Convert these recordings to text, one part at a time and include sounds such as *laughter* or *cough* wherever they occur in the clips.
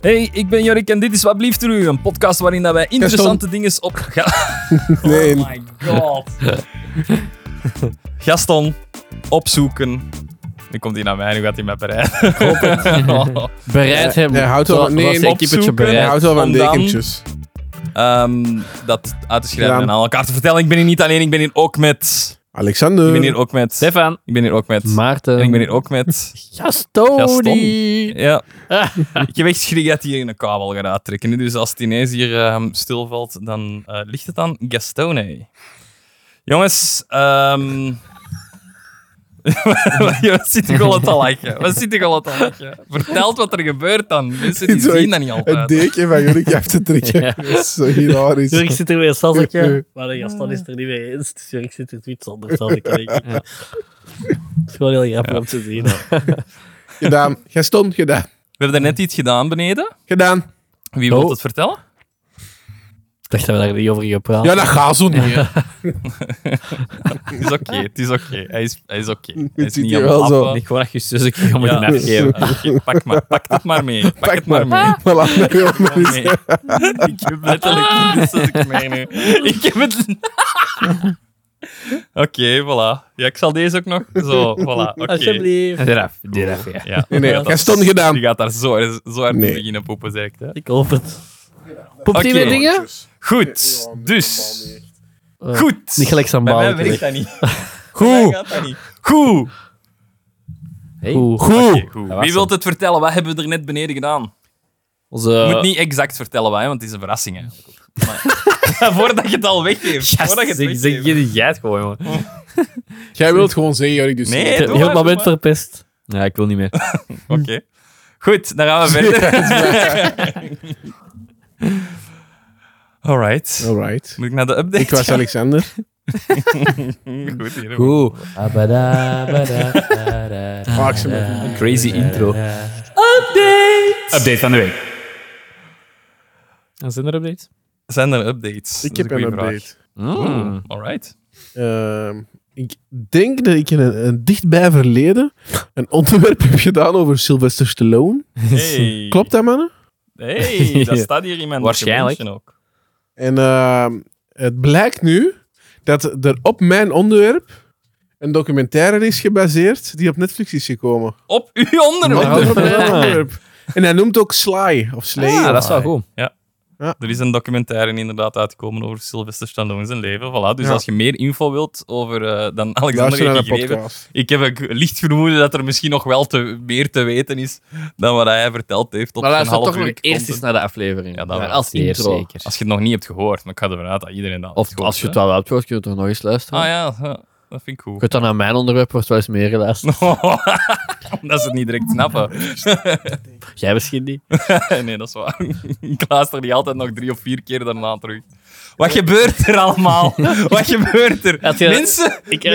Hey, ik ben Jorik en dit is Wat Blieft Er U, een podcast waarin dat wij interessante dingen op... Ga- Nee. Oh my god. Gaston, opzoeken. Nu komt hij naar mij, nu gaat hij mij bereiden. Bereid hebben. Nee, houdt wel- Zoals- nee, zoals een opzoeken. kippetje Hij bereid. houdt wel van Om dan- dekentjes. Ehm, dat uit te schrijven Ja. en aan elkaar te vertellen. Ik ben hier niet alleen, ik ben hier ook met... Alexander. Ik ben *laughs* hier ook met... Stefan. Ik ben hier ook met... Maarten. En ik ben ehm, hier ook met... Gastoni. *laughs* Ja. ik heb echt schrik dat hij hier een kabel gaat uittrekken. Dus als het ineens hier ehm, stilvalt, dan eh, ligt het aan Gastone. Jongens, ehm *laughs* Wat zit ik al te lachen? Wat zit ik al te lachen? Vertelt wat er gebeurt dan. Mensen die Zo zien dat niet Het altijd. deken van Jorik af *laughs* te trekken. Ja. Dat is zo hilarisch. Jurk zit er weer Ja. een sassetje, maar de Gaston is het er niet mee eens. Dus Jurk zit er iets anders dan ik. denk. Het is gewoon heel grappig om te zien. hè. Gedaan. Gaston, gedaan. We hebben daarnet iets gedaan beneden. Gedaan. Wie wil Oh. het vertellen? Ik dacht dat we daar niet over gingen Ah. praten. Ja, dat gaat *laughs* zo niet. hè. Het is oké, het is oké. Hij is, hij is oké. *laughs* Hij is ziet niet hier helemaal wel zo. appen. Ik gewoon dat je zus een keer moet Ja. afgeven. *laughs* Oké, pak, maar, pak het maar mee. Pak, Pak het maar, mee. Maar laat mij wel maar eens- *laughs* Nee. ik heb letterlijk niet zoals ik mij *laughs* nu. Ik heb het. *laughs* Oké, voilà. Ja, ik zal deze ook nog. Zo, voilà. Oké. Alsjeblieft. *laughs* Diraf, diraf, ja. Ja, Nee, nee. Ja, dat- Gaston, Je gedaan. gaat daar zo hard, zo hard Nee. beginnen poepen, zeg ik. hè. Ik hoop het. Poept Oké. die met dingen? Goed, dus. Eh, Goed. Niet gelijk zijn Bij mij bal. werkt dat niet. Bij mij Goed. gaat dat niet. Goed. Oeh. Goed. Oké, goed. was Wie hem. wilt het vertellen? Wat hebben we er net beneden gedaan? Je Onze moet niet exact vertellen wat, hè, want het is een verrassing. Hè. Maar, *laughs* voordat je het al weggeeft. gast. voordat je het Zeg zeg weggeeft. je die geit gewoon, jongen. Jij wilt gewoon zeggen, Jorik. Dus Nee, Ik doe heb maar, heel doe het moment maar. *laughs* verpest. Ja, ik wil niet meer. Oké. Goed, dan *laughs* gaan we verder. Alright. Alright. Moet ik naar de update? Ik was *laughs* gaan? Alexander. Goed, hier. Oeh. Oh, Maximum. Crazy intro. Update van de week. Zijn er updates? Zijn er updates? Ik Dat heb is een een goeie update. vraag. Hmm, Mm. Oeh, *laughs* Alright. Ehm, ik denk dat ik in een, een dichtbij verleden een *laughs* onderwerp heb gedaan over Sylvester Stallone. Hey. Klopt dat, mannen? Hey, *laughs* daar staat hier iemand. Waarschijnlijk. Mention Ook. En ehm, het blijkt nu dat er op mijn onderwerp een documentaire is gebaseerd die op Netflix is gekomen. Op uw onderwerp. Onder- Op *laughs* mijn Ja. onderwerp. En hij noemt ook Sly of Slay. Ja, of- dat is wel goed. Er is een documentaire inderdaad uitgekomen over Sylvester Stallone zijn leven. Voilà. Dus Ja. als je meer info wilt over eh, dan Alexander Luister naar heeft de gegeven, podcast. ik heb een licht vermoeden dat er misschien nog wel te, meer te weten is dan wat hij verteld heeft. Op Maar zijn luister half toch uur nog eerst eens content. naar de aflevering. Ja, dat wel. als Zeer intro. zeker. Als je het nog niet hebt gehoord, maar ik ga ervan uit dat iedereen dat Of heeft gehoord, als je het hè. wel hebt gehoord, kun je het toch nog eens luisteren. Ah ja, ja, dat vind ik goed. Je kunt dan naar mijn onderwerp wordt wel eens meer geluisterd. *laughs* Omdat ze het niet direct snappen. *laughs* Jij misschien niet. nee, dat is waar. *laughs* Ik luister die altijd nog drie of vier keer daarna terug. Wat gebeurt er *laughs* allemaal? Wat gebeurt er? Had je- Mensen, Ik *laughs*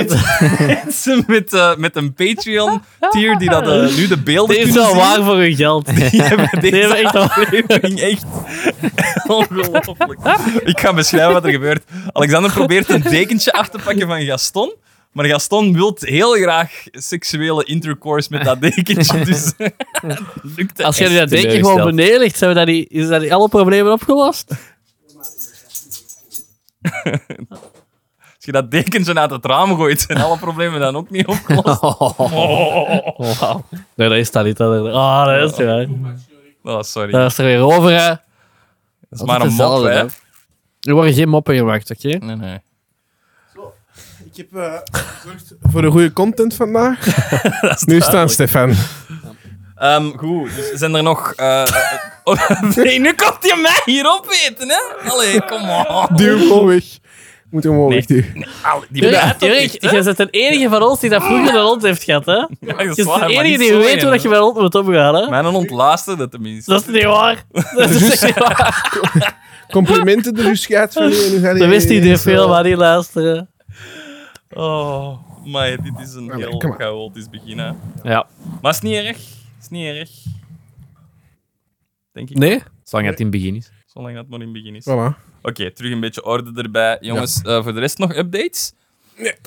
mensen met, eh, met een Patreon-tier die dat, eh, nu de beelden Dit is kunnen wel zien, *laughs* waar voor hun geld. Die hebben Nee, deze maar echt wel. aflevering echt ongelooflijk. Ik ga beschrijven wat er gebeurt. Alexander probeert een dekentje af te pakken van Gaston. Maar Gaston wil heel graag seksuele intercourse met dat dekentje. Dus *laughs* het lukt Als jij echt nu dat deken gewoon teleurgesteld. beneden ligt, zijn we dat niet, is dat niet alle problemen opgelost? *laughs* Als je dat dekentje uit het raam gooit, zijn alle problemen dan ook niet opgelost. Oh. Nee, dat is dat niet. Dat Ah, dat is niet waar. Oh, sorry. Dat is er weer over, hè. Dat is maar een mop, hè. Er worden geen moppen gemaakt, oké? Nee, nee. Ik heb eh, gezorgd voor een goede content *laughs* vandaag. nu staan, Stefan. Ehm, goed, dus zijn er nog... eh, oh, *laughs* nee, nu komt je mij hier opeten, hè? Allee, kom op. Duw hem gewoon weg. Moet hem gewoon wegduwen. Allee, Die Jurk, blijft toch Jurk, echt, hè? jij bent de enige van ons die dat vroeger een hond heeft gehad, hè? Ja, dat Je is bent de waar, maar enige niet die zo weet in, hoe dat je met een hond moet omgaan, hè? Mijn ontlaatste, tenminste. Dat is niet *laughs* waar. Dat is Dus- echt niet waar. Complimenten de dus gaat van je. en nu ga je- Dat wist iedereen eh, veel, maar niet *laughs* luisteren. Oh. Maar dit is een Allee, heel kom maar. chaotisch begin, hè. Ja. Maar is niet erg. Is niet erg. Denk ik. Nee? Zolang het in het begin is. Oh. Zolang dat maar in het begin is. Voilà. Oké, terug een beetje orde erbij. Jongens, eh, voor de rest nog updates?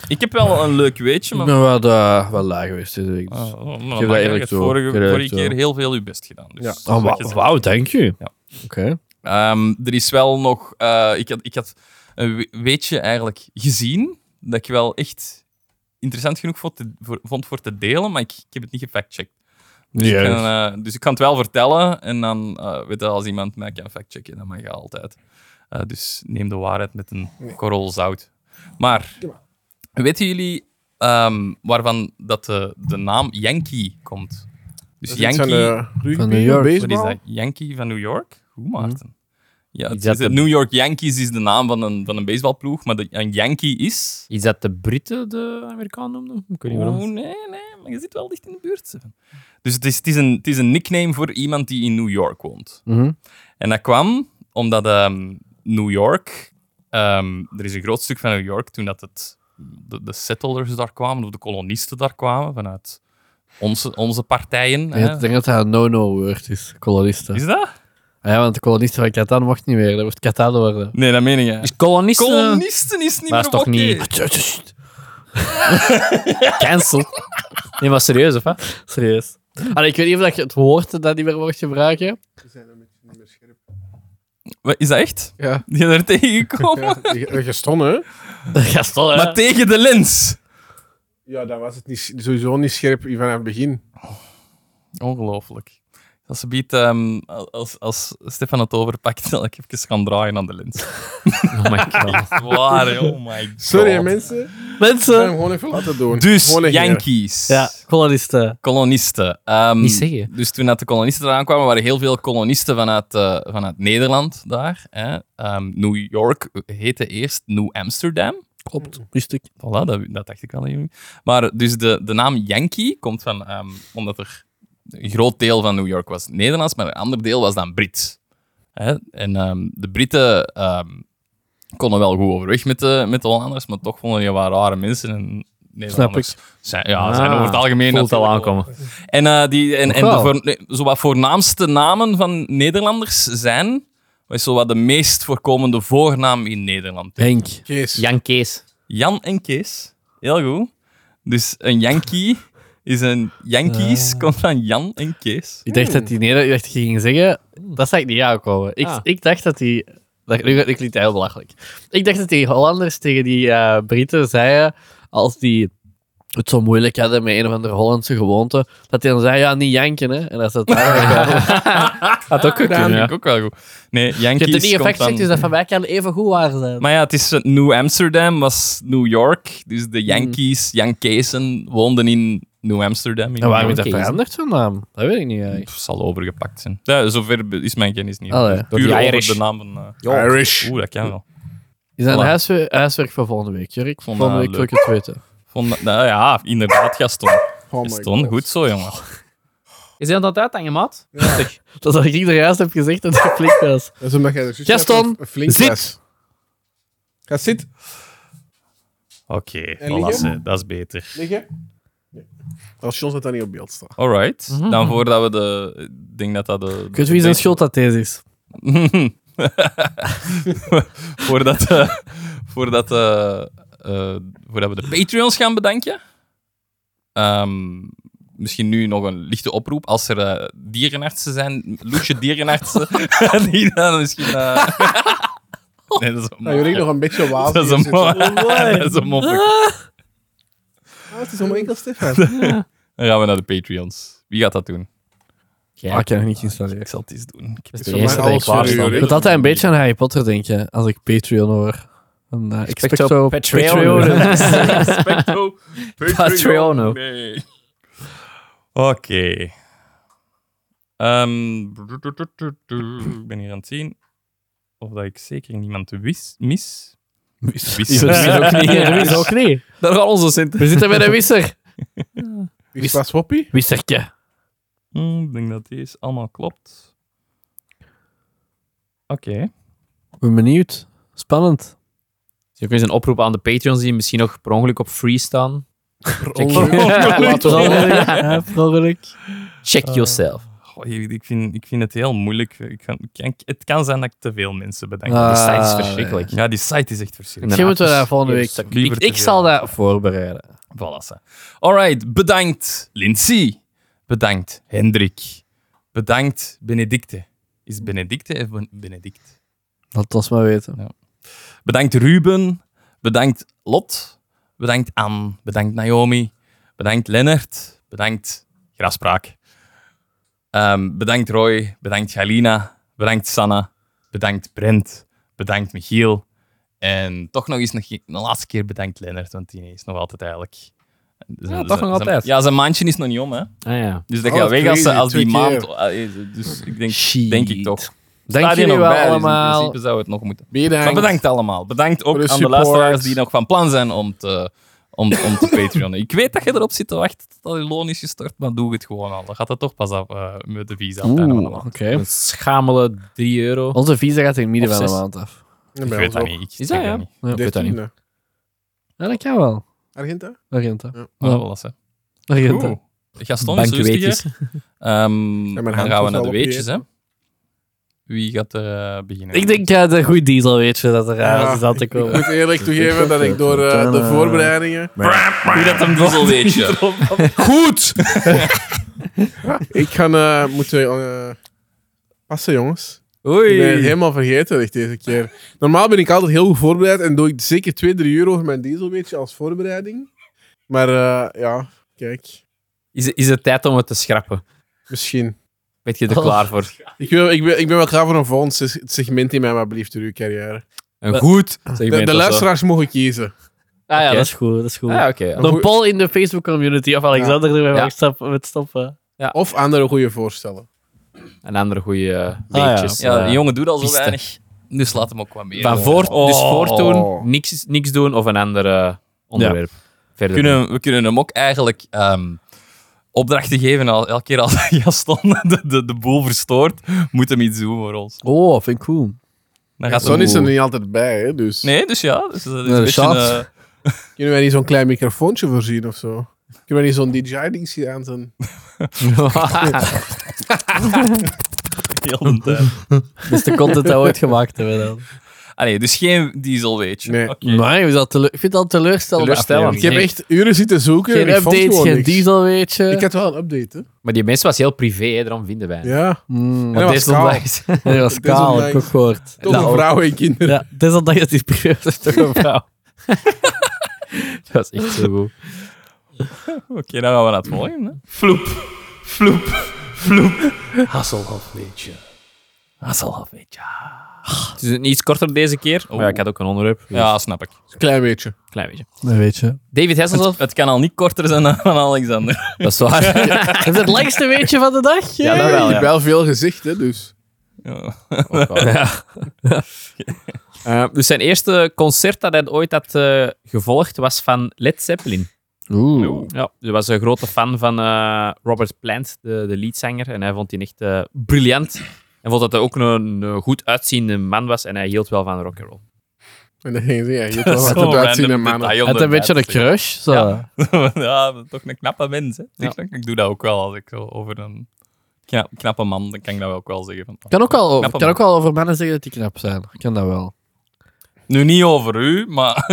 Ik heb wel een leuk weetje, Ik maar... ben wel, eh, wel laag geweest deze week. dus. Oh, oh, maar dat Mike, je eerlijk hebt toe. vorige, Ik geef dat vorige toe. keer heel veel uw best gedaan. Dus Ja. dat Oh, is wa- wat je zegt. wauw, thank you. Ja. Oké. Ehm, er is wel nog... eh, ik, had, ik had een we- weetje eigenlijk gezien dat ik wel echt interessant genoeg vond, te- voor, vond voor te delen, maar ik, ik heb het niet gefactcheckt. Dus, ik Juist. kan, eh, dus ik kan het wel vertellen en dan eh, weet je, als iemand mij kan factchecken, dan mag je altijd. Eh, dus neem de waarheid met een korrel zout. Maar weten jullie ehm, waarvan dat de, de naam Yankee komt? Dus Dat is iets Yankee, van, eh, rugby, van New York. wat is baseball. dat? Yankee van New York? Hoe, Hmm. Maarten? Ja, het, Is dat is- het de- New York Yankees is de naam van een, van een baseballploeg, maar de, een Yankee is... Is dat de Britten de Amerikanen noemden? Ik weet niet Oh, waarom. nee, nee, maar je zit wel dicht in de buurt. Steven. Dus het is, het, is een, het is een nickname voor iemand die in New York woont. Mhm. En dat kwam omdat ehm, New York... ehm, er is een groot stuk van New York toen dat het, de, de settlers daar kwamen, of de kolonisten daar kwamen, vanuit onze, onze partijen. Ik hè. denk- ik denk dat dat een no-no-woord Ah, is, kolonisten. Is dat? Ah Ja, want de kolonisten van Catan mocht niet meer. Dat wordt Catan worden. Nee, dat meen ik. hè. Is kolonisten... eh, Kolonisten is niet maar meer is toch oké. niet... Ah, *laughs* Cancel. Nee, maar serieus, of hè? Serieus. Allee, ik weet niet of dat je het woord dat niet meer mocht gebruiken. Wat, Is dat echt? Ja. Je bent er *laughs* tegengekomen? *laughs* Ja, je- je stond, hè? Gaston, hè? Maar tegen de lens. Ja, dan was het niet, sowieso niet scherp vanaf het begin. Ongelooflijk. Als ze biedt, ehm, als, als Stefan het overpakt, *laughs* dat ik even kan draaien aan de lens. *laughs* Oh my god. Waar, oh my god. Sorry, mensen. Ik ben hem Mensen. gewoon even laten doen. Dus, Gewoon negeren. Yankees. Ja, kolonisten. Kolonisten. Ehm, Niet zeggen. Dus toen dat de kolonisten eraan kwamen, waren heel veel kolonisten vanuit, eh, vanuit Nederland daar. Hè. Ehm, New York heette eerst New Amsterdam. Mm. Klopt. Wist ik. Voilà, dat, dat dacht ik wel. eigenlijk. Maar dus de, de naam Yankee komt van, ehm, omdat er een groot deel van New York was Nederlands, maar een ander deel was dan Brits. Hè? En ehm, de Britten ehm, konden wel goed overweg met de, met de Hollanders, maar toch vonden die wel rare mensen. En Nederlanders Zijn, ja, zijn Ah, over het algemeen Voelt al natuurlijk aankomen. en, eh, die, en, en de Wel. voor, nee, zowat voornaamste namen van Nederlanders zijn, wat is zowat de meest voorkomende voornaam in Nederland? Henk. Kees. Jan Kees. Jan en Kees. Heel goed. Dus een Yankee *laughs* is een Eh. Yankees, komt van Jan en Kees. Ik dacht dat die nee, ik dacht dat die ging zeggen. Dat zag ik niet aankomen. Ik, Ah. ik dacht dat die. Dat, nu, ik liet heel belachelijk. Ik dacht dat die Hollanders tegen die eh, Britten zeiden. Als die het zo moeilijk hadden met een of andere Hollandse gewoonte. Dat die dan zeiden: ja, niet janken hè. En dat ze het *laughs* daar. Had ook gekund. Dat vind Ja. ik ook wel goed. Nee, Je hebt het Yankees niet komt effect van... dus dat van mij kan even goed waar zijn. Maar ja, het is eh, New Amsterdam was New York. Dus Mhm. de Yankees, Yankeesen, woonden in New Amsterdam. In En waarom New is dat York. veranderd van naam? Dat weet ik niet eigenlijk. Pff, zal overgepakt zijn. Ja, zover be- is mijn kennis niet. Oh, ja. Dus Door Puur die over Irish. de naam van... eh, Irish. Oeh, dat kan wel. Is dat een Voilà. huiswerk, huiswerk voor volgende week, Jurk? Vond Volgende dat week wil ik het weten. Vond dat- nou ja, *laughs* inderdaad, Gaston. Oh my Gaston, God. goed zo, jongen. Is hij aan het uithangen, maat? *laughs* Dat had ik er juist heb gezegd dat het flink was. Dat is omdat jij er juist Gaston, net een flink zit. was. Ga zitten. Oké, En voilà, liggen? ze, dat is beter. Liggen. Nee. Als John dat dan niet op beeld staat. Alright. Dan voordat we de. Ik denk dat dat de. Ik weet Mhm. wie zijn schuld dat deze is. voordat, eh, voordat, eh, eh, voordat we de Patreons gaan bedanken. Ehm, misschien nu nog een lichte oproep. Als er eh, dierenartsen zijn, loesje dierenartsen, *laughs* die dan misschien. *laughs* eh, nee, dat is een Nou, jullie nog een beetje *laughs* waas. Dat is een mooi. mooi. *laughs* Dat is een mopje. Het is allemaal enkel *laughs* Stefan. Dan gaan we naar de Patreons. Wie gaat dat doen? Ja, ik heb nog niet geïnstalleerd. Ik zal het eens doen. Ik heb De voor eerste mij dat ik alles voor waarschijn. u, Ik hè? moet altijd een beetje aan Harry Potter denken als ik Patreon hoor. Een, eh, Expecto *laughs* Patreon. Expecto Patreono. Nee. Nou. Oké. Ehm, Ik ben hier aan het zien of dat ik zeker niemand wis, mis. Wis. Misschien ook *laughs* niet. *laughs* Dat is ook niet. Daar gaan onze centen. We zitten met een wisser. Wie is pas Woppie? Wissertje. Hmm, ik denk dat deze allemaal klopt. Oké. Ik ben benieuwd. Spannend. Dus Is ook eens een oproep aan de Patreons die misschien nog per ongeluk op free staan. ongeluk. Eh, Laten we dat- Ja, per ongeluk. Check yourself. Goh, hier, ik, vind, ik vind het heel moeilijk. Ik kan, ik kan- het kan zijn dat ik te veel mensen bedank. Ah, Die site is verschrikkelijk. ja, die site is echt verschrikkelijk. Misschien moeten we daar volgende Ik week... stak Ik, liever ik te zal veel. dat voorbereiden. Voilà. ze. Alright, bedankt Lindsay. Bedankt Hendrik. Bedankt Benedicte. Is Benedicte of Ben- Benedict? Laat ons maar weten. Bedankt Ruben. Bedankt Lot. Bedankt Anne. Bedankt Naomi. Bedankt Lennart. Bedankt Graspraak. Ehm, bedankt Roy. Bedankt Galina. Bedankt Sanna. Bedankt Brent. Bedankt Michiel. En toch nog eens nog een laatste keer bedankt Lennart, want die is nog altijd eigenlijk. Zijn- toch nog zijn- altijd. Ja, zijn maandje is nog niet om, hè? Ah ja. Dus dat Oh, gaat weg als, crazy, als die twee maand. keer. eh, Dus ik denk, denk ik toch. Dank Staat hier jullie nog wel bij, dus allemaal. in principe zou het nog moeten. Bedankt. Maar bedankt allemaal. Bedankt ook Voor aan de de support. luisteraars die nog van plan zijn om te, om, om te *laughs* patreonen. Ik weet dat je erop zit te wachten tot je loon is gestort, maar doe het gewoon al. Dan gaat het toch pas af eh, met de visa. aan het einde van de Oeh, maand. oké. Een schamele 3 euro. Onze visa gaat in het midden Of van de zes. maand af. Ja, Ik bij weet ons dat ook. niet. Ik check Is dat, ja? niet. Ja, ik weet dat niet. 13e. Ja, dat kan wel. Argenta? Argenta. Maar wel eens, hè. Argenta. Oeh. Gaston is rustig, Bankweetjes. hè. *laughs* Ehm, Ja, mijn dan hand gaan we was naar al de op weetjes, hè. dieet. Wie gaat er eh, beginnen? Ik denk dat de goede diesel weet je dat er aan is aan te ik, ik komen. moet eerlijk toegeven dat ik door eh, de voorbereidingen... Wie dat hem dus *laughs* diesel weet je. Goed! ik ga eh, moeten eh, passen, jongens. Ik ben het Oei. helemaal vergeten echt deze keer. Normaal ben ik altijd heel goed voorbereid en doe ik zeker twee, drie uur over mijn dieselweetje als voorbereiding. Maar eh, ja, kijk. Is, is het tijd om het te schrappen? Misschien. Ben je er Oh. klaar voor? Ik, wil, ik, ben, ik ben wel klaar voor een volgend se- segment in mij, maar blieft door uw carrière. Een goed segment. De, of de zo. luisteraars mogen kiezen. Ah ja, Oké. dat is goed, dat is goed. Ah, oké. ja. Een poll in de Facebook community of Alexander ermee Ja. mag stappen- met stoppen. Of andere goede voorstellen. Een andere goede eh, Ah, ja. weetjes. Ja, eh, die jongen doet al zo piste. weinig. Dus laat hem ook wat meer. Van doen. voort, dus Oh. voortdoen, niks, niks doen of een ander eh, onderwerp. Verder. kunnen, we kunnen hem ook eigenlijk ehm, opdrachten geven. Al, elke keer als *laughs* Gaston de, de, de boel verstoort, moet hem iets doen voor ons. Oh, vind ik cool. Dan gaat Son hem- is er niet altijd bij, hè, dus Nee, dus ja. Dus, dat is Ja, een de beetje, chat. eh, kunnen wij niet zo'n klein microfoontje voorzien of zo? Kunnen wij niet zo'n DJ-ding aan zijn? heel de tijd. Dat is de content dat we ooit gemaakt hebben dan. Ah, nee, dus geen diesel, weet je. Nee. Oké. Nee, is dat teleur- ik vind dat een teleurstellende Teleurstellend. aflevering. Ik heb echt uren zitten zoeken. en Geen ik vond updates, gewoon geen niks. diesel, eh. weet je. Ik had wel een update, hè? Maar die mensen was heel privé, hè, daarom vinden wij. hem. Ja. Mm, En dat was kaal. Desondanks- dat was Desondanks- kaal, heb ik ook gehoord. Tot een vrouw en kinderen. Ja, desondanks dat die privé was, toch een vrouw. *laughs* dat was echt zo goed. Oké, dan gaan we naar het volgende. hè. Hasselhoff, weet je. Het is een iets korter deze keer. Maar ja, ik had ook een onderwerp. dus Ja, snap ik. Een klein beetje. een Klein beetje. Nee, weet je. David *laughs* Hasselhoff. Het kan al niet korter zijn dan van Alexander. Dat is waar. Is het langste weetje van de dag? Ja, dat je wel, hebt ja. wel veel gezegd, hè, dus. Ja. *laughs* Ja. Eh, dus zijn eerste concert dat hij ooit had eh, gevolgd was van Led Zeppelin. Oeh. Ja, hij was een grote fan van eh, Robert Plant, de, de leadzanger. En hij vond die echt eh, briljant. En vond dat hij ook een, een goed uitziende man was. En hij hield wel van rock'n'roll. En dan ging ze, ja, je hebt *laughs* wel wat Zo'n eruit zien, hè, random mannen. detail Had een beetje een onderwijs. crush. Zo. Ja. ja, maar toch een knappe mens. Hè? Ik, ik doe dat ook wel als ik zo over een kna- knappe man, dan kan ik dat ook wel zeggen. Van, oh. Kan ook wel over, Knappe kan man. ook wel over mannen zeggen dat die knap zijn. Ik kan dat wel. Nu niet over u, maar. *laughs*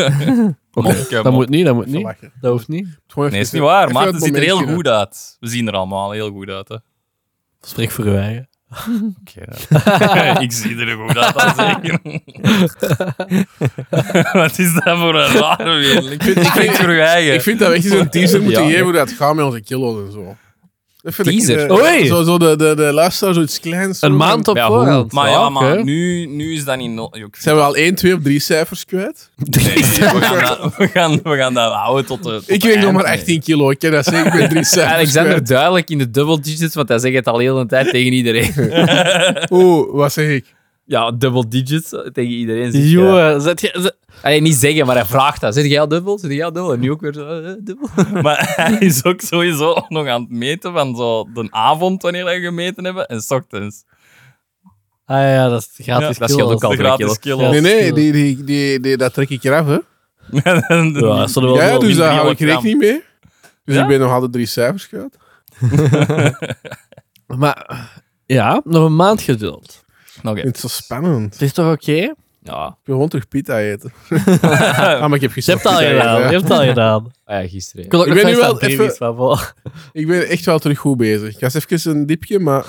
Monke, Dat monke. moet niet, dat moet Even niet. lachen. Dat hoeft niet. Gewoon even Nee, is niet even- waar. even Maarten het ziet er heel momentje. goed uit. We zien er allemaal heel goed uit. Hè. Spreek voor uw eigen. *laughs* ik zie er goed uit, dat zeker. *laughs* Wat is dat voor een rare wereld? Ik vind het voor uw eigen. Ik vind dat we echt zo'n teaser moeten Ja. geven hoe dat gaat met onze kilo's en zo. Dat vind ik, Teaser? eh, Oei! Zo, zo de, de, de luisteraar, zoiets kleins. zo Een van- maand op Ja, hoe? voorhand. maar ja, oké. maar nu, nu is dat niet nodig. Ik vind- Zijn we al 1, 2 of 3 cijfers kwijt? nee, we, gaan dat, we, gaan, we gaan dat houden tot de. tot Ik de weet nog eind. maar 18 kilo, ik ken dat zeker, ik *laughs* ben 3 cijfers Alexander kwijt. duidelijk in de double digits, want hij zegt het al heel een tijd tegen iedereen. Oeh, wat zeg ik? ja, double digits eh, tegen iedereen. zegt hij dat. Jongen, zet je... zet- Allee, niet zeggen, maar hij vraagt dat. Zit jij al dubbel? Zit jij al dubbel? En nu ook weer zo, eh, dubbel. Maar *laughs* hij is ook sowieso nog aan het meten van zo de avond wanneer we gemeten hebben en 's ochtends. *laughs* Ah ja, dat is gratis dat scheelt ook kilo's. al. De drie gratis kilo. kilo. Nee, nee, verschil. die, die, die, die, dat trek ik eraf, hè. Ja, dat zullen we wel Ja, doen. dus daar hou ik honderd gram. rekening mee. Dus Ja? ik ben nog altijd drie cijfers kwijt. Maar ja, nog een maand geduld. Ik vind het zo spannend. Het is toch oké? Ja, Ik wil gewoon terug pita eten. ah, maar ik heb Je gisteren hebt het al pita gedaan. gegeten, Je ja. hebt het al gedaan. ah ja gisteren. Ik wil ook Ik nog ben nu vast wel aan baby's, even- maar bon. Ik ben echt wel terug goed bezig. Ik ga eens even een diepje, maar...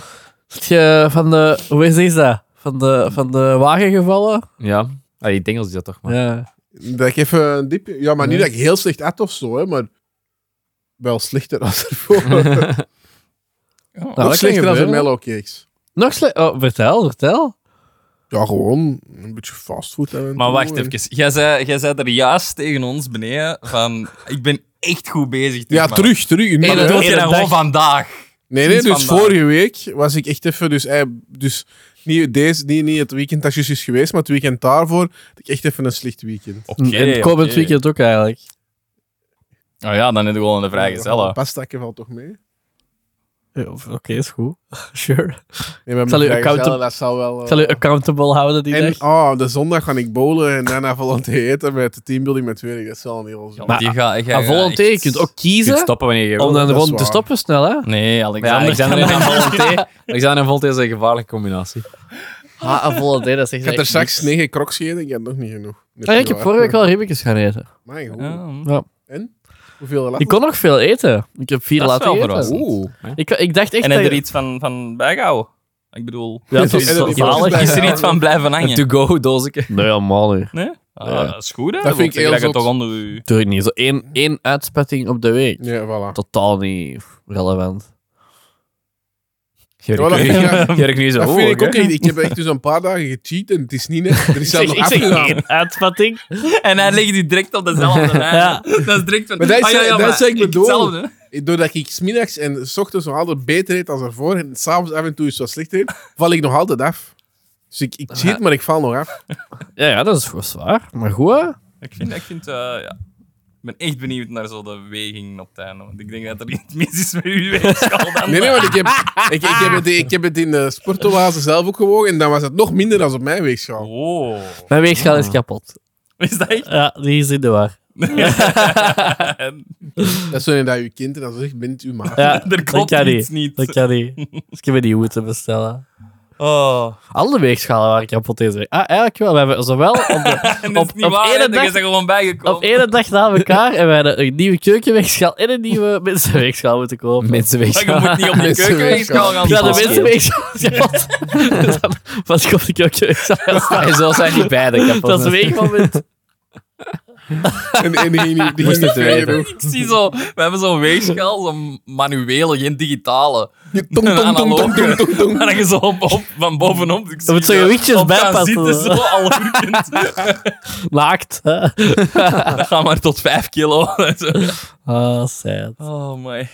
Zit je van de... Hoe is dat? Van de, van de wagen gevallen? Ja. Ah, die dingels is dat toch, maar. Ja. Dat ik even een diepje... Ja, maar niet Nee. dat ik heel slecht at of zo, hè, maar... Wel slechter als *laughs* ervoor. dat Nog slechter dan kan de Nou, gebeuren. mellowcakes. Nog slecht... Oh, vertel, vertel. Ja, gewoon een beetje fastfood. af en Maar toe wacht en- even. Jij zei, jij zei er juist tegen ons beneden van... Ik ben echt goed bezig. Ja, terug, terug. Maar En dat- dat doe je Eén dan gewoon dag. vandaag. Nee, nee, Sinds dus vandaag. vorige week was ik echt even... Dus, eh, dus niet, deze, niet, niet het weekend dat juist is geweest, maar het weekend daarvoor had ik echt even een slecht weekend. Oké, en komend weekend ook eigenlijk. Oh ja, dan heb je gewoon een vrijgezellen. Pastakken valt toch mee? Ja, Oké, is goed. *laughs* Sure. Nee, maar Zal met u vrijgezellen, account- dat zal wel... eh, Ik zal je accountable houden die en dag. oh, de zondag ga ik bowlen en daarna *laughs* volonté eten met de teambuilding met Twinning. Dat is wel een heel zo. Maar je gaat... Je Maar volonté, je kunt ook kiezen stoppen wanneer je om dan dat is rond te waar. stoppen snel, hè? Nee, Alexander. Ja, Alexander kan en dat niet. Volonté. *laughs* Alexander en Volonté is een gevaarlijke combinatie. Ah, een volle day, dat is echt... Ik heb er echt straks niks. negen crocs gegeten. Ik heb nog niet genoeg. Ah, ja, ik heb vorige week al ribbetjes gaan eten. Mijn god. Ja, mm. Hoeveel lachen? Ik kon nog veel eten. Ik heb vier Dat is laten wel eten. verrassend. Oeh. Ik, ik dacht echt En dat heb je er je- iets van, van bijgehouden? Ik bedoel... eh, Ja, het En is er zo iets zalig. bij. Is *laughs* er iets van blijven hangen? to-go doosje. Nee, helemaal niet. Nee? Ah, Ja. Dat is goed, hè? Dat vind ik heel Dat je zot. toch onder je... Doe ik niet. Zo één, één uitspetting op de week. Ja, voilà. Totaal niet relevant. Ja, *laughs* *laughs* dat, vind ik- ja, Jurk nu zo oh, dat hoog, vind ik ook hè? echt. Ik heb echt dus een paar dagen gecheat en het is niet net. Er is zelfs Ik, nog ik zeg afgedaan. één uitvatting. En hij legt die direct op *laughs* dezelfde lijn. Ja. Dat is direct Ah, van... Maar dat is- dat is wat ik bedoel. hetzelfde. Doordat ik 's middags en 's ochtends nog altijd beter eet dan ervoor en s'avonds af en toe iets wat slechter eet, val ik nog altijd af. Dus ik, ik cheat, maar ik val nog af. Ja, ja, dat is voor zwaar. Maar goed, hè? Ik vind... Ik vind eh, ja. Ik ben echt benieuwd naar zo de weging op het einde. Want ik denk dat er iets mis is met uw *laughs* weegschaal dan. Nee, nee, want ik heb, ik, ik heb, het, ik heb het in de sportoase zelf ook gewogen en dan was het nog minder dan op mijn weegschaal. Oh. Mijn weegschaal is kapot. Is dat echt? Ja, die is in de war. Dat is zo dat je kind en dan zegt, bent u maar. Ja, *laughs* *laughs* er klopt dat kan iets niet. niet. Dat kan niet. Dus ik heb die moeten bestellen. Oh. Alle weegschalen waren kapot deze week. Ah, eigenlijk wel. We hebben zowel op, de, En dat op, is niet op waar, hè, ene dat dag, is er gewoon op bijgekomen. ene dag na elkaar en we hadden een nieuwe keukenweegschaal en een *laughs* nieuwe mensenweegschaal moeten *laughs* kopen. Maar je moet niet op *laughs* die Mensen keukenweegschaal gaan Ja, de staan. mensenweegschaal is *laughs* kapot. Dus dan was ik op de keukenweegschaal. En zo zijn die beide kapot. Dat is een weegmoment. En, en die ging niet, die ging Moest niet ver het weten. genoeg. Ik zie zo... We hebben zo'n weegschaal, zo'n manuele, geen digitale. Tong, tong, tong, tong, tong, tong, tong. Maar dat je zo op, op- van bovenop... Ik zie moet zo je wichtjes op gaan bijpassen. zitten, zo, al hurkend. Naakt. hè. *laughs* dat gaat maar tot 5 kilo. *laughs* Ah, sad. oh, my.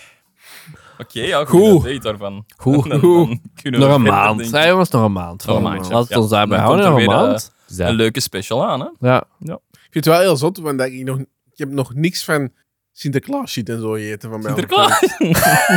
Oké, ja, goed. Goed. Dat weet daarvan. Goed. Dan- Goed. dan kunnen we Nog een verder, *laughs* maand. denk Ja, ik. jongens, nog een maand. Nog een maandje, Laat het ja. ons daarbij Dan houden. Nog komt er een weer, eh, maand. Een leuke special aan, hè? Ja. Ik vind het wel heel zot, want dat ik, nog, ik heb nog niks van Sinterklaas shit en zo gegeten van mij. Sinterklaas?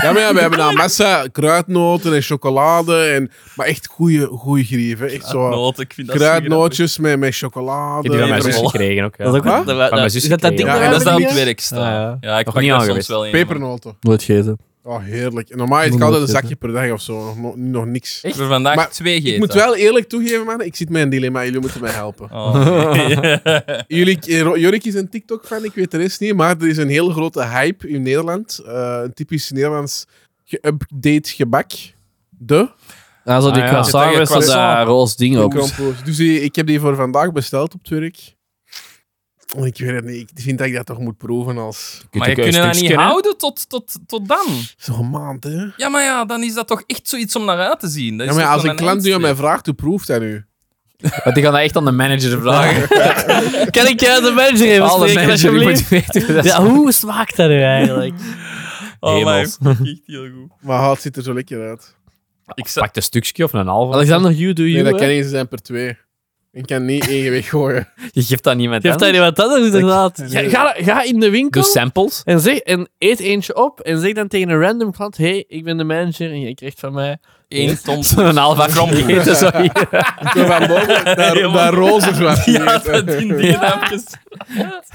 Ja, maar ja, we hebben een massa kruidnoten en chocolade. En, maar echt goede grieven. Echt zo Noot, ik vind dat zo grappig. kruidnootjes met, met chocolade. Ik heb die van mijn Nee, zus rollen. gekregen ook. ja. Dat is ook Wat? dat- dat- mijn zus Is dat dat ding gekregen. Ja, Ja, en dat is dat dan op niet, het hè? werk staan. Ah, Ja, ik Nog pak niet daar soms aangeweest. wel in. Pepernoten. Nooit gegeten. Oh, heerlijk. En normaal eet ik Moet altijd een nooit zakje per dag of zo. Nog, nog, nog niks. Ik heb er vandaag Maar twee gegeten. Ik moet wel eerlijk toegeven, man. Ik zit met een dilemma. Jullie moeten mij helpen. Oh, nee. *laughs* Jullie, eh, Ro- Jorik is een TikTok-fan, ik weet de rest niet. Maar er is een hele grote hype in Nederland. Eh, een typisch Nederlands geupdate gebak. De Ah, zo die Ah, ja. croissant Zit er met zo'n croissant? eh, roze ding op. Kompoos. Dus die- ik heb die voor vandaag besteld op het werk. Ik weet het niet. Ik vind dat ik dat toch moet proeven als... maar je ook een kunt dat niet stukje, hè? houden tot, tot, tot dan. Zo'n maand, hè? Ja, Ja, maar ja, dan is dat toch echt zoiets om naar uit te zien. Dat is maar toch als wel een klant nu aan mij eindstreep. vraagt, hoe proeft dat nu? Want die gaan dat echt aan de manager vragen. Kan ik jou de manager even Alle spreken, manager die moet alsjeblieft? weten hoe dat Ja, hoe smaakt dat nu eigenlijk? Oh, maar Hemels. dat is echt heel *laughs* goed. Maar ah, het ziet er zo lekker uit. Ik is. Pak een stukje of een halve. *laughs* Alexander, you do Nee, you. dat kan hè? eens zijn per twee. Ik kan niet één weggooien. Je geeft dat niemand Geef aan. dat aan iemand anders, inderdaad. Ga, ga, ga in de winkel Doe Dus- samples. en, zeg, en eet eentje op en zeg dan tegen een random klant hey, ik ben de manager en je krijgt van mij... Eén ton. Een halve *laughs* krompje. Eten, zo hier. Zo van *laughs* boven, daar, daar roze zwart. Ja, dat in die raampjes.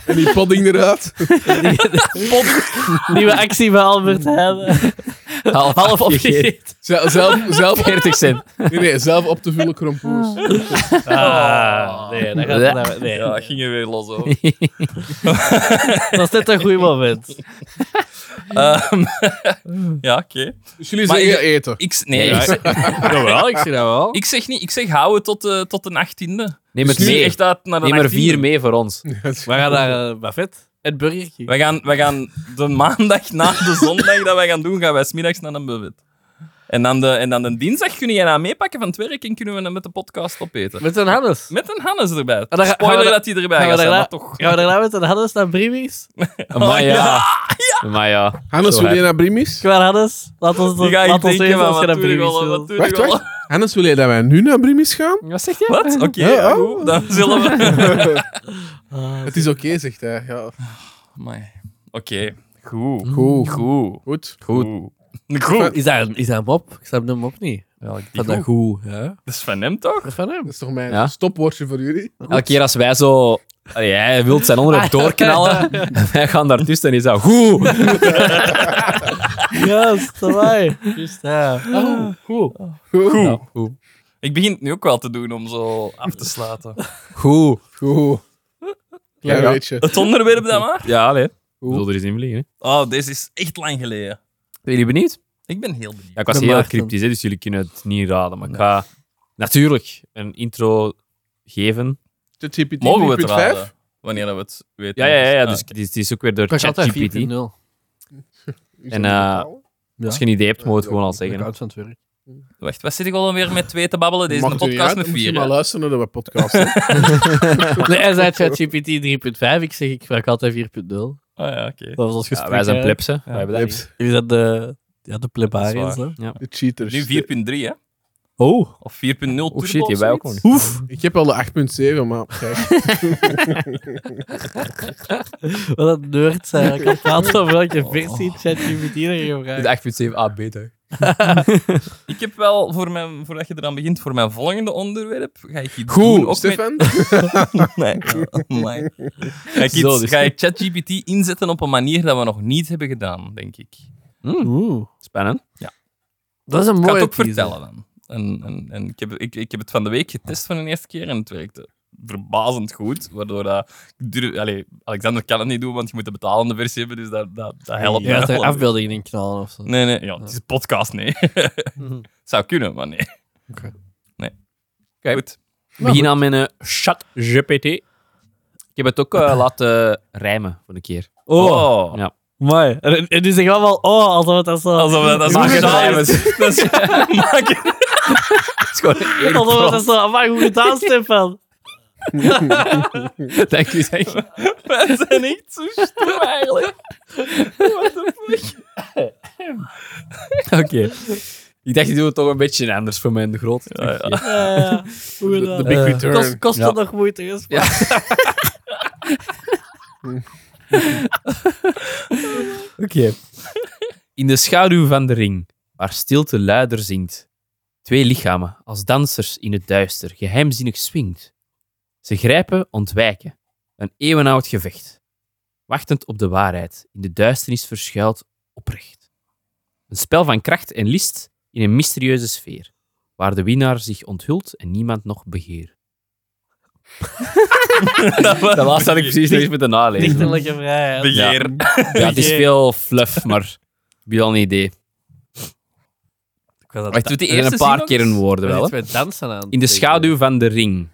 En die podding eruit. Mm. *laughs* Nieuwe actie bij Albert Heijn. Half, half opgegeten. Zelf, zelf, *laughs* zelf, 40 cent. nee, nee, zelf op te vullen krompoes. Ah, nee, dat gaat Ja. nee. Ja, ging er weer los *laughs* over. Dat is net een goed moment. Ehm, *laughs* ja, oké. Dus jullie Maar zeggen ik- eten. Ik, s- nee, Ja, ik, zeg, *laughs* Jawel, ik zie dat wel. ik zeg niet. Ik zeg hou het tot, de tot de 18e. Neem Dus het nu mee. echt uit naar de Neem er 18e. vier mee voor ons. We gaan naar uh, Buffet. Het Burger King. We gaan, we gaan de maandag na de zondag dat wij gaan doen, gaan wij smiddags naar een buffet. En dan, de, en dan de dinsdag kun jij dat meepakken van het werk en kunnen we hem met de podcast opeten. Met een Hannes. Met een Hannes erbij. dan gaan- Spoiler Ah, gaan we dat hij erbij gaan we gaat zijn, daarna- maar toch. *laughs* Gaan we daarna met een Hannes naar Brimis? Maar Oh, ja. Maar ja. *laughs* Hannes, Zo wil hard. jij naar Brimis? Klaar Hannes, laat ons, Die ga ik laat ons denken, weten maar als je wat naar doe je Brimis wel, wat wil. doe je Wacht, wel? wacht. Hannes, wil jij dat wij nu naar Brimis gaan? Wat zeg je? Wat? Oké, Ja, goed, oh. dan zullen *laughs* we... Ah, Het is oké, zegt hij. Ja. Amai. Oh Oké, goed. Goed. Goed. Goed. Goed. Goed. Is daar, een- is daar een mop? Ik snap de mop niet. Dat Van dat goed, ja. is van hem, toch? Dat is van hem. Dat is toch mijn Ja. stopwoordje voor jullie? Elke keer als wij zo... Allee, hij wil zijn onderwerp *laughs* doorknallen. en wij gaan daartussen en is dat goed. Juist, lawaai. *laughs* Juist, ja. Oh, goed. Goed. Ja, goed. Ik begin het nu ook wel te doen om zo af te *laughs* sluiten. Goed. Goed. Klein Ja. beetje. Het onderwerp dan maar. Ja, nee. Zullen er eens in vliegen, hè? Oh, deze is echt lang geleden. Zijn jullie benieuwd? Ik ben heel benieuwd. Ja, ik was De heel maagden. cryptisch, hè, dus jullie kunnen het niet raden. Maar ik ga natuurlijk een intro geven. ChatGPT Mogen we het 3.5? raden? Wanneer we het weten. Ja, ja, ja. ja, Ah, dus het is, het is ook weer door Ik had altijd dus, ChatGPT. 4.0. En, eh, Als je een idee hebt, moet je het gewoon al eh, Ik zeggen. houd van het werk. Wacht, wat zit ik alweer met twee te babbelen? Deze Mag is een het er niet podcast uit? met Dan Moet je vier. hè? maar luisteren naar de podcast. hè. Nee, hij zei ChatGPT 3.5. Ik zeg, ik werk altijd 4.0. Dat Ah, ja, oké. was ons Ja, gesprek. wij zijn hè. plepsen. wij hebben dat niet. Jeps, Jullie zijn de, ja, de plebariërs. Dat hè. De cheaters. Nu 4.3, hè? Oh. Of 4.0 turbo Oh shit, die of wij ook nog zoiets? niet. Oef. Ik heb al de 8.7, maar kijk. Wat een nerd *laughs* zijn. Ik kan praten over welke versie Oh. ChatGPT er je vraagt. De 8.7 AB beter. *laughs* Ik heb wel, voor mijn, voordat je eraan begint, voor mijn volgende onderwerp, ga ik iets Goed, doen. Ook met... *laughs* Stefan. Nee. Amai. Ga ik, Zo, iets, dus. ga ik ChatGPT inzetten op een manier dat we nog niet hebben gedaan, denk ik. Oeh. Spannend. Dat is een Ik mooie kan het ook teaser. vertellen dan. En, en, en ik, heb, ik, ik heb het van de week getest voor de eerste keer en het werkte verbazend goed. Waardoor dat, ik durf- allee, Alexander kan het niet doen, want je moet de betalende versie hebben, dus dat, dat, dat helpt Je gaat mij er wel. afbeeldingen in knallen of zo. Nee, nee, ja, Mhm. het is een podcast, nee. *laughs* Zou kunnen, maar nee. Oké. Nee. Oké. Goed. Ik begin aan mijn eh, chat GPT. Ik heb het ook eh, *laughs* laten rijmen voor een keer. Oh. Ja. Mooi. En, en die zeggen allemaal, oh, alsof het dat zo... Alsof dat, dat is Maak het gedaan rijmen. is. Dat is- maak het- Het is gewoon *laughs* één Alsof het prompt. dat zo... Amai, goed *laughs* gedaan, Stefan. *laughs* Dank u, *laughs* dank u. Wij zijn echt zo stom eigenlijk. Oké. Ik dacht, ik doe het toch een beetje anders voor mijn groot. Ja, ja. Goed gedaan. The big Eh, return. Kost, kost Ja. het nog moeite, hè, Stefan? Oké. In de schaduw van de ring, waar stilte luider zingt. Twee lichamen, als dansers in het duister, geheimzinnig swingt. Ze grijpen, ontwijken. Een eeuwenoud gevecht. Wachtend op de waarheid, in de duisternis verschuilt oprecht. Een spel van kracht en list in een mysterieuze sfeer, waar de winnaar zich onthult en niemand nog begeert. *laughs* Dat was- Dat laatste had ik precies nog eens moeten nalezen. Dichterlijke vrijheid. Begeer. Ja, het is Oké. veel fluff, maar heb je al een idee. Ik was aan Maar het ik doe die Er zijn eerste een paar keer een woorden wel. was iets met dansen aan. In de schaduw van de ring.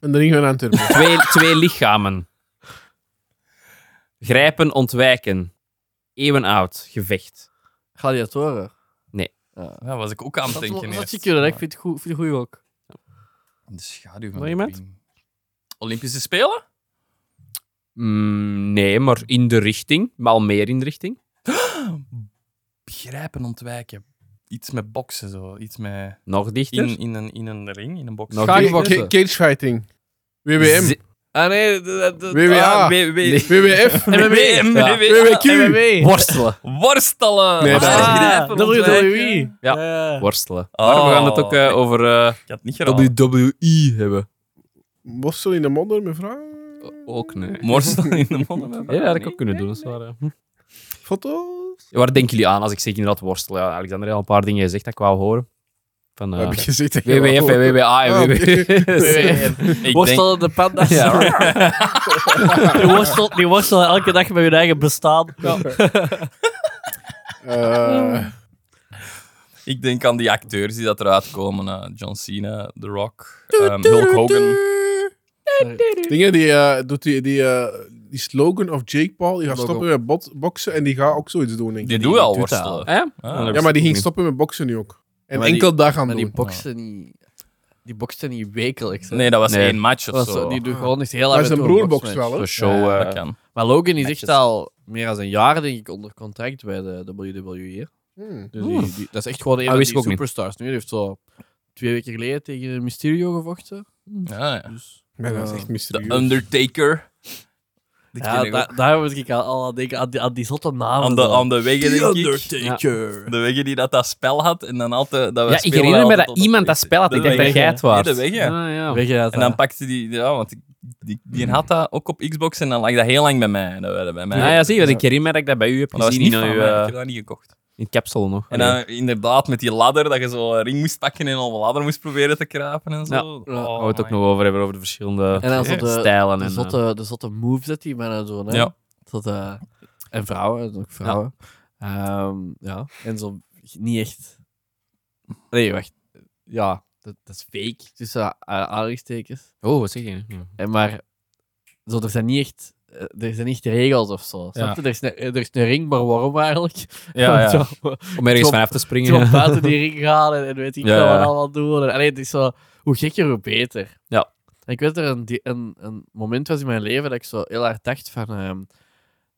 En dan gingen we naar het turbo. *laughs* Twee, twee lichamen. Grijpen, ontwijken. Eeuwenoud gevecht. Gladiatoren. Ja, was ik ook aan het Dat denken. is wat eerst. je kunnen, hè. ik vind het goed, vind het goed ook. De schaduw van Nog de iemand? ring. Olympische Spelen? Mm, nee, maar in de richting. Maar al meer in de richting. Begrijpen, ontwijken. Iets met boksen zo. Iets met. Nog dichter. In, in, een, in een ring, in een box. Nog Ga- Cage- kickboksen. ca- Cage fighting. WWM. Ze- Ah nee, dat... dat WWA. Ah, W- W- *laughs* WWF. W- *laughs* M- Ja. W- WWQ. Worstelen. Worstelen. Nee, Ah, dat- begrijpen, ontwijken. WWE. Ja. ja. Worstelen. Oh. Maar we gaan het ook eh, over eh, Ik had het niet geraden. WWE hebben. Worstel in de modder, mevrouw. Ook nee. Worstelen in de mannen. *laughs* Ja, dat had ik ook kunnen doen. Dat is waar, hè. Foto. Ja, waar denken jullie aan als ik zeg inderdaad worstel? Ja, Alexander heeft al een paar dingen gezegd dat ik wou horen. Van, eh, Heb ik gezegd. dat je WWF wel- en WWA en Ah, oké. *laughs* WWF. Ik denk... Worstelen de *laughs* panda's. Ja, Die worstelt, die worstelt elke dag met hun eigen bestaan. Eh, Ik denk aan die acteurs die dat eruit komen. eh, John Cena, The Rock, ehm, Hulk Hogan. Dingen die, eh, doet die, die, eh, die slogan of Jake Paul, die gaat Logo. stoppen met bot- boksen en die gaat ook zoiets doen, denk ik. Die doen wel doet worstelen. hè? Ah. Ja, maar die ging stoppen met boksen nu ook. En Maar die- enkel daar gaan Maar doen. die boksten niet... Die boksten niet wekelijks. hè. Nee, dat was Nee. één match of Dat was- zo. die doen gewoon echt heel maar hard. zijn broer bokst wel, hè? Zo'n show. eh, dat kan. Maar Logan is echt Netjes. al meer dan een jaar, denk ik, onder contract bij de WWE. Hmm. Dus die, die- dat is echt gewoon een Ah, van wist ik die ook niet. superstars. Nu, die heeft zo twee weken geleden tegen Mysterio gevochten. Ja, ja. Dus, Maar dat Ja. is echt The mysterieus. Undertaker. Die ja, ken ik da- ook. daar moet ik al, al aan denken, aan die, aan die zotte namen. aan, de, zo. aan de wegen, denk ik. Undertaker. De wegen die dat, dat spel had. En dan altijd, dat we Ja, ik spelen herinner me altijd dat op de iemand dat politie. spel had. De Ik denk dat wegen. jij het was. Nee, de wegen. Ah, ja. Weet je dat, En hè? dan pakte die... Ja, want ik- die, die had dat ook op Xbox en dan lag dat heel lang bij mij. Dat werd bij mij. Ah, ja, zie je, want ik herinner me dat ik dat bij u heb Maar dat was gezien niet in, van uw, mij. Ik eh, heb dat niet gekocht. in capsule nog. En dan inderdaad met die ladder, dat je zo een ring moest pakken en op een ladder moest proberen te krapen en zo. Ja. Oh, gaan we het ook my nog over hebben, over de verschillende En dan zo de- stijlen. de, en, eh, zotte, de zotte moves dat die mannen doen. Hè? Ja. Zotte- en vrouwen, ook vrouwen. Ja. ja. En zo niet echt... Nee, wacht. Ja, dat, dat is fake, tussen uh, aanhalingstekens. Oh, wat zeg je? Ja. En maar zo, er zijn niet echt, eh, er zijn niet echt regels of zo. Snap je? Er, is een, er is een ring, maar waarom eigenlijk? Ja, ja. *laughs* Zo, eh, Om ergens Zo- vanaf te zo springen. *laughs* ja. buiten die ring gaan en, en weet ik Ja, veel ja. wat allemaal doen. En, allee, het is zo, hoe gekker, hoe beter. Ja. En ik weet dat er een, di- een, een moment was in mijn leven dat ik zo heel hard dacht van... ehm,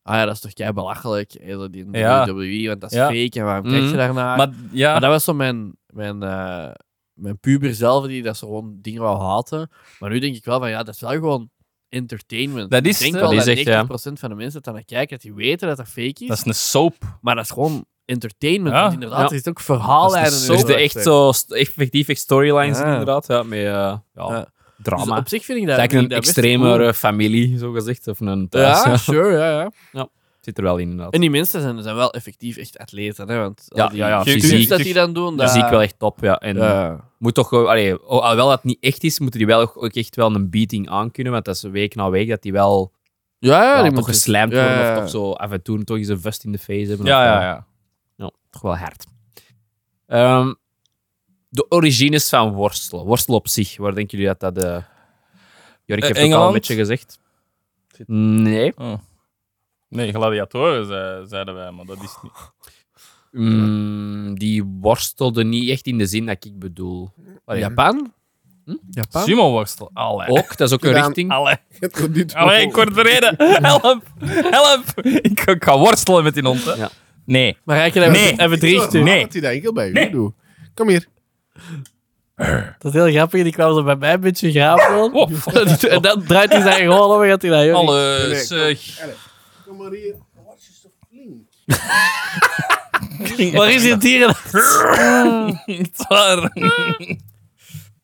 ah ja, dat is toch kei belachelijk, eh, zo die Ja. WWE, want dat is Ja. fake en waarom Mhm. kijk je daarnaar? Maar ja, Maar dat was zo mijn, mijn, eh, mijn puber zelf, die dat ze gewoon dingen wou haten. Maar nu denk ik wel van, ja, dat is wel gewoon entertainment. Dat is ik denk het, wel dat dat is echt, ja. 90% van de mensen dat aan het kijken, dat die weten dat dat fake is. dat is een soap. Maar dat is gewoon entertainment. Ja, want inderdaad, ja. er zit ook verhaallijnen in. dus de echt zo st- effectief echt storylines Ja. inderdaad. Ja, met eh, ja, Ja. Dus drama. op zich vind ik dat... het is vind ik eigenlijk een dat best extremere cool. familie, zo gezegd. Of een thuis. *laughs* Ja, ja. sure, ja, ja. Zit er wel in, inderdaad. En die mensen zijn, zijn wel effectief echt atleten, hè. Want al Ja, die ja, ja, trucs fysiek. dat die dan doen, dat... Dat zie ik wel echt top, ja. En Ja. moet toch, eh, allee, oh, alhoewel dat niet echt is, moeten die wel ook echt wel een beating aankunnen, want dat is week na week dat die wel Ja, ja, ja, die toch moeten- geslamd ja, worden ja, of ja. toch zo af en toe toch eens een vest in de face hebben. Ja, of, ja, eh, ja. ja, toch wel hard. Ehm, de origines van worstelen. Worstelen op zich, waar denken jullie dat dat... eh Jorik Eh, heeft het ook al een Engeland? beetje gezegd. Nee. Nee, gladiatoren ze- zeiden wij, maar dat is het niet. Mm, die worstelde niet echt in de zin dat ik bedoel. Allee, Japan? Hm? Japan? Sumo worstel. Allee. Ook, *laughs* dat is ook een Gedaan. richting. *laughs* Allee. *laughs* Het komt niet Allee, ik word bereden. Help. Help. Ik, ik ga worstelen met die hond. hè. Ja. Nee. Maar eigenlijk hebben Nee. even drie Nee. stuks. Nee. Dat hij dat enkel bij u doet. Kom hier. Dat is heel grappig. Die kwam zo bij mij een beetje graven. Oh, en dan draait hij zijn gewoon om en gaat hij naar jullie. Alles. Nee, eh, Kom maar hier. Wat is toch flink? Waar is dit hier? eh, *laughs* daar.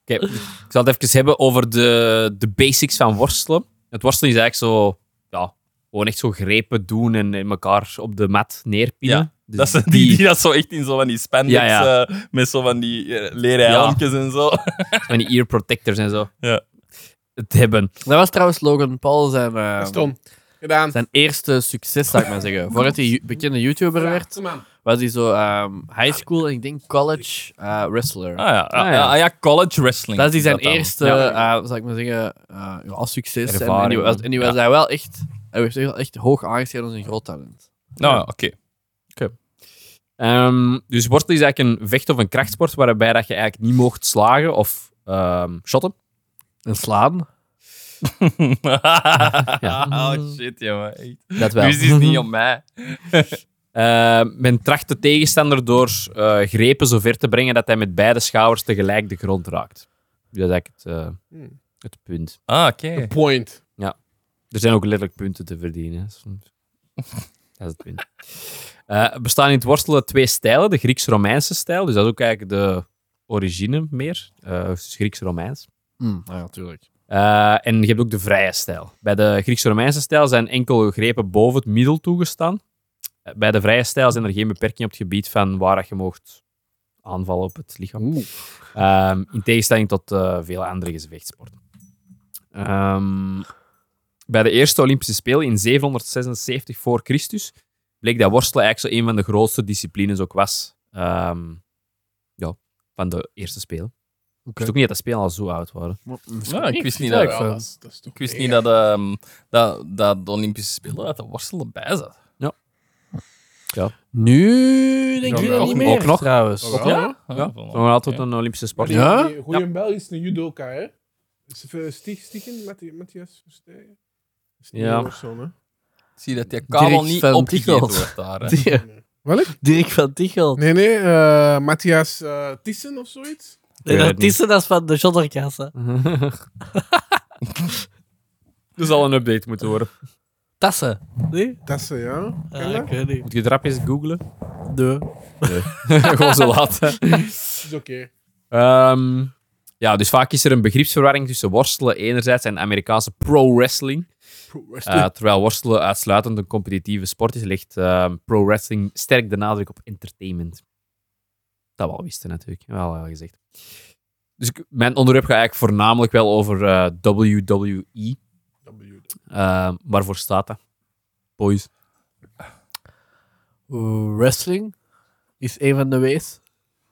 Oké, ik zal het even hebben over de, de basics van worstelen. Het worstelen is eigenlijk zo, ja, gewoon echt zo grepen doen en in elkaar op de mat neerpinnen. Ja, Dus Dat zijn die, die dat zo echt in zo van die spandex, Ja, ja. eh, met zo van die eh, leren helmpjes en zo. van die ear protectors en zo. Ja. Het hebben. Dat was trouwens Logan Paul zijn, eh, Stom. Gedaan. zijn eerste succes, zou ik maar zeggen. Voordat hij ju- bekende YouTuber werd, Kom aan. was hij zo ehm, high school en ik denk college eh, wrestler. Ah ja, ah, Ah, ja. ja. ah ja, college wrestling. Dat is zijn dan. eerste, eh, zou ik maar zeggen, eh, ja, succes. En- En, die Ervaring. was, en die was Ja. hij wel echt, hij werd echt, wel echt hoog aangeschreven als een groot talent. Nou, ja, oké. Ehm, dus worstelen is eigenlijk een vecht- of een krachtsport waarbij dat je eigenlijk niet mocht slagen of ehm, shotten. En slaan? Ja. *laughs* Oh shit, jongen. Echt. Dat wel. Nu Dus is het niet om mij. Eh, men tracht de tegenstander door eh, grepen zover te brengen dat hij met beide schouders tegelijk de grond raakt. Dus Dat is eigenlijk het, eh, Hmm. het punt. Ah, oké. Point. Er zijn ook letterlijk punten te verdienen. hè, *laughs* soms. dat is het punt. Eh, er bestaan in het worstelen twee stijlen. De Grieks-Romeinse stijl, dus dat is ook eigenlijk de origine meer. eh, dus Grieks-Romeins. Hm, ja, natuurlijk. Eh, en je hebt ook de vrije stijl. Bij de Grieks-Romeinse stijl zijn enkele grepen boven het middel toegestaan. Eh, Bij de vrije stijl zijn er geen beperkingen op het gebied van waar dat je mocht aanvallen op het lichaam. Ehm, in tegenstelling tot eh, vele andere gevechtsporten. Ehm, bij de eerste Olympische Spelen in 776 voor Christus bleek dat worstelen eigenlijk zo een van de grootste disciplines ook was ehm, ja, van de eerste Spelen. Ik wist ook niet dat de Spelen al zo oud waren. Ja, ik wist niet Ja, dat, ja, dat, is, dat is toch ik wist niet dat, ehm, dat, dat de Olympische Spelen dat de worstelen bij zat. Nu denk Ja, je dat ook niet nog. meer, Ook nog. trouwens. Ook wel, hè? Ja, Nog altijd een Olympische sport. Die- Ja? die Goeie Belg is een judoka, hè? Is even stig, stikken met die, met die Verstegen. Is niet Ja. meer zo, hè? Zie dat die kabel Direct niet van opgegeten Tichelt. wordt daar. *laughs* hè. *laughs* Die- Welk? Dirk van Tichel. Nee, nee, eh Matthias eh, Thyssen of zoiets. weet Nee, het dat niet. is dat is van de Jodderkassa. Er Dus zal een update moeten worden. Tassen. Nee? Tassen, eh, ja. Ken Ah, dat? ik weet niet. Moet je erop eens googlen? Nee. *laughs* Gewoon zo laten. Is oké. Ehm, ja, dus vaak is er een begripsverwarring tussen worstelen enerzijds en Amerikaanse pro-wrestling. Wrestling. Eh, terwijl worstelen uitsluitend een competitieve sport is, ligt ehm, pro-wrestling sterk de nadruk op entertainment. Dat we al wisten natuurlijk, wel al gezegd. Dus ik- mijn onderwerp gaat eigenlijk voornamelijk wel over eh, WWE. W. Ehm, waarvoor staat dat? Boys. Oeh, Wrestling is een van de wees.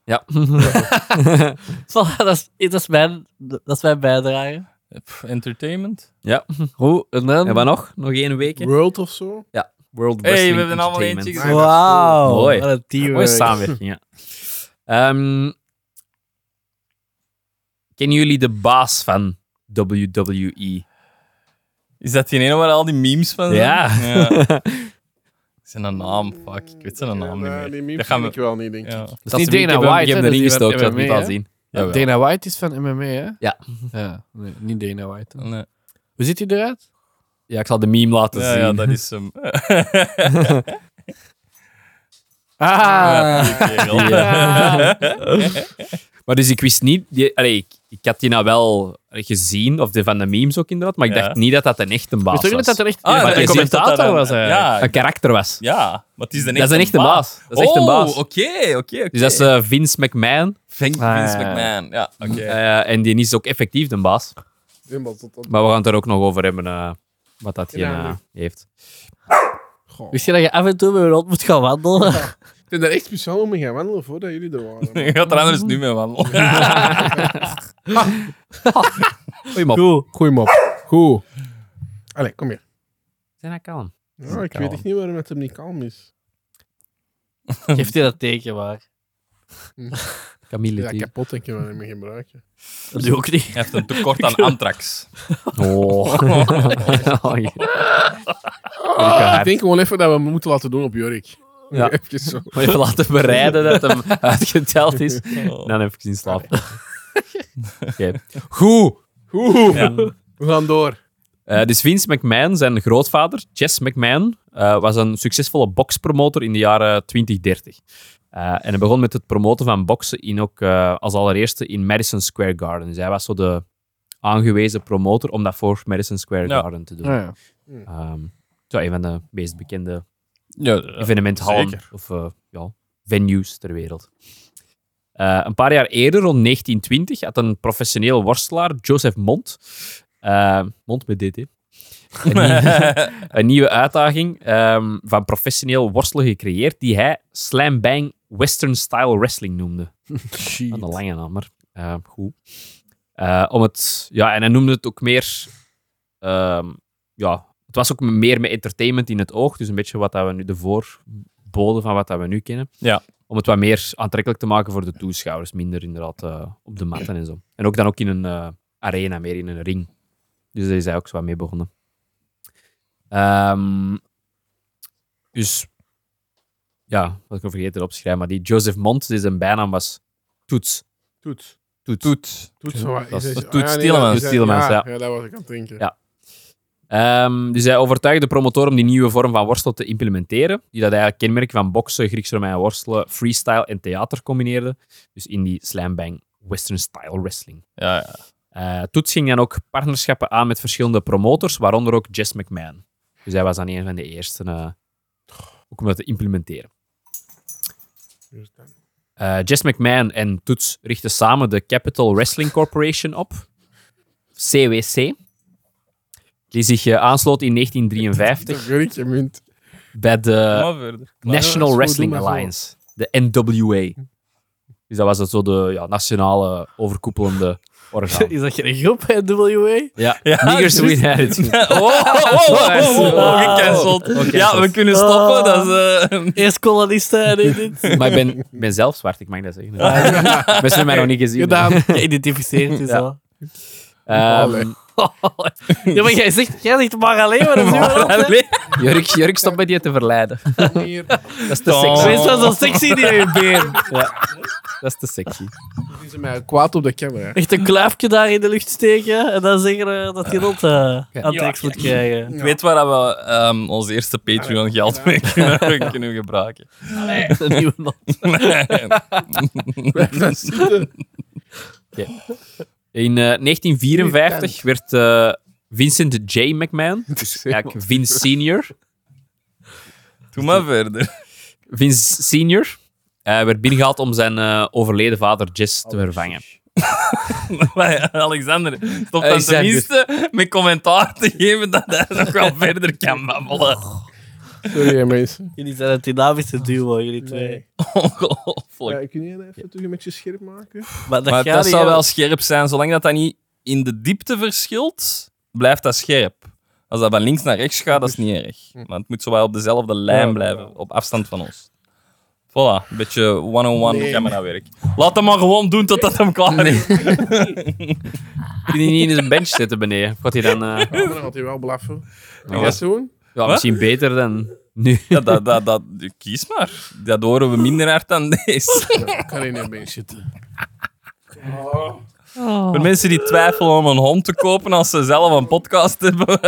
Ja. Voilà, *laughs* dat, is, eh, dat, is mijn, dat is mijn Ah, bijdrage. Pff, entertainment. ja. Hoe? En dan? En wat nog? Nog één weekje? World of zo. World Hey, we Wrestling hebben allemaal Entertainment. eentje Nee, dat is Wauw. Mooi. Wat een teamwork. Mooie samenwerking, ja. Ehm, kennen jullie de baas van E? WWE? Is dat die ene waar al die memes van zijn? Ja. Zijn een naam, fuck. Ik weet zijn Ja, naam niet nee, meer. Die memes Dat gaan ken we- ik wel niet, denk ik. Ja. Dat niet Dana White, Ik hè, heb dat is erin die gestoken, van dat moet MMA, al hè? zien. Jawel. Dana White is van MMA, hè? Ja. Ja, nee, niet Dana White. hè. Nee. Hoe ziet hij eruit? Ja, ik zal de meme laten Ja, zien. ja, dat is hem. Ah! Kerel. Maar dus ik wist niet... Die, allee, ik, ik had die nou wel gezien, of de, van de memes ook inderdaad, maar ik Ja. dacht niet dat dat een echte Weet baas je ook niet was. dat er echt Ah, ja, dat- een ik zie dat dat commentator een- was hij. Ja. Een karakter was. Ja, maar het is de dat is een echte baas. Dat is echt een baas. Oh, oké, oké, oké. Dus dat is eh, Vince McMahon. Vink- Ah, Vince ja, ja. McMahon. Ja, oké. Eh, en die is ook effectief de baas. Helemaal tot dan. Maar we gaan het er ook nog over hebben, eh, wat dat hier Ja. heeft. Goh. Wist je dat je af en toe met een hond moet gaan wandelen? *laughs* Ik ben daar echt speciaal om mee gaan wandelen voordat jullie er *laughs* *laughs* waren. Je gaat er anders nu mee wandelen. *laughs* Goeie mop. Goed. Goeie mop. Goed. Allee, kom hier. Zijn dat kalm? Ja, ik Kalm. weet echt niet waarom het hem niet kalm is. Geeft hij dat teken maar. Camille. Ja, die- kapot denk je wel niet meer gebruiken. Dat doe ik niet. Hij heeft een tekort *laughs* aan antrax. Oh. *laughs* Oh, ja. Ah, Ik denk gewoon even dat we hem moeten laten doen op Jorik. Ja. *laughs* Even zo. Maar even laten bereiden dat hem uitgeteld is. Dan heb ik zien slapen. Oké. Goed. Oeh, we gaan door. Eh, dus Vince McMahon, zijn grootvader, Chess McMahon, eh, was een succesvolle boxpromotor in de jaren 2030. Eh, en hij begon met het promoten van boksen in ook, eh, als allereerste in Madison Square Garden. Dus hij was zo de aangewezen promotor om dat voor Madison Square Ja. Garden te doen. Ah, ja. Ehm, zo een van de meest bekende Ja, evenementhallen of eh, ja, venues ter wereld. Eh, een paar jaar eerder, rond 1920, had een professioneel worstelaar, Joseph Mont, eh, Mont met DT, een, nieuwe- *laughs* een nieuwe uitdaging ehm, van professioneel worstelen gecreëerd, die hij Slam Bang Western Style Wrestling noemde. Van de lange naam, maar eh, goed. Eh, om het, ja, en hij noemde het ook meer. ehm, ja, het was ook meer met entertainment in het oog. Dus een beetje wat dat we nu, de voorboden van wat dat we nu kennen. Ja. Om het wat meer aantrekkelijk te maken voor de toeschouwers. Minder inderdaad eh, op de matten en zo. En ook dan ook in een eh, arena, meer in een ring. Dus daar is hij ook zo wat mee begonnen. Ehm, dus ja, wat ik al vergeten op te schrijven, maar die Joseph Mont, die zijn bijnaam was Toets. Toets. Toets. Toet. Toets. zo wat. Dat is- Is- dat is ah, Toets ja, nee, Tielemans. dat is- Tielemans, ja. ja. Ja, dat was ik aan het denken. Ja. Ehm, dus hij overtuigde promotoren om die nieuwe vorm van worstelen te implementeren. Die dat eigenlijk kenmerken van boksen, Grieks-Romein worstelen, freestyle en theater combineerde. Dus in die slam bang western style wrestling. Ja, ja. Eh, Toets ging dan ook partnerschappen aan met verschillende promotors, waaronder ook Jess McMahon. Dus hij was dan een van de eerste eh, ook om dat te implementeren. Eh, Jess McMahon en Toots richten samen de Capital Wrestling Corporation op, CWC, die zich eh, aansloot in 1953 Griekje munt. bij de... Oh, maar verder. National goed, Wrestling doe maar voor. Alliance, de NWA. Dus dat was dat zo de ja, nationale *laughs* overkoepelende *laughs* orgaan. Is dat geen groep bij NWA? Ja, Ja, niggers juist. with attitude. Oh, oh, oh, oh, oh, oh, oh, gecanceld. Oké, Ja, we goed. kunnen stoppen. Dat is, eh, Eerst kolonisten en nu *laughs* dit. Maar ik ben, ik ben zelf zwart, ik mag dat zeggen. *laughs* Mensen hebben mij nog niet gezien. Gedaan. Geïdentificeerd is Ja. al. Ehm, *laughs* Allee. Ja, maar jij zegt, jij zegt maar alleen maar dat is wel- Jurk, Jurk, stop met je te verleiden. Dat is te Oh. sexy. Wees wel zo sexy die je been. Dat is te sexy. Die zijn mij kwaad op de camera. Echt een kluifje daar in de lucht steken en dan zeggen eh, dat je dat eh aan het tekst moet krijgen. Ik weet waar we ehm, ons eerste Patreon geld mee kunnen, kunnen *laughs* gebruiken. *laughs* Een nieuwe man. Dat is niet- In eh, 1954 werd eh, Vincent J. McMahon, dus eigenlijk Vince Senior, Doe maar verder. Vince Senior eh, werd binnengehaald om zijn eh, overleden vader Jess te vervangen. Maar Alexander, stop dan Alexander. dus- tenminste met commentaar te geven dat hij nog wel verder kan *laughs* babbelen. Sorry, hè, mensen. Jullie zijn een dynamische duo, jullie twee. Ongelooflijk. Ja, kun jij even terug een beetje scherp maken? Maar dat, Maar gaat dat niet, zou hè. wel scherp zijn. Zolang dat, dat niet in de diepte verschilt, blijft dat scherp. Als dat van links naar rechts gaat, dat is niet erg. Maar het moet zowel op dezelfde lijn blijven, op afstand van ons. Voilà, een beetje one-on-one Nee. camerawerk. Laat hem maar gewoon doen totdat hem klaar is. Kun je niet in zijn bench zitten beneden? Gaat hij dan... eh, Ja, dan had hij wel blaffen. En wat? dat doen? ja, misschien beter dan nu. Ja, dat, dat, dat, kies maar. Dat horen we minder hard dan deze. Ik kan in een been zitten. Voor mensen die twijfelen om een hond te kopen als ze zelf een podcast hebben.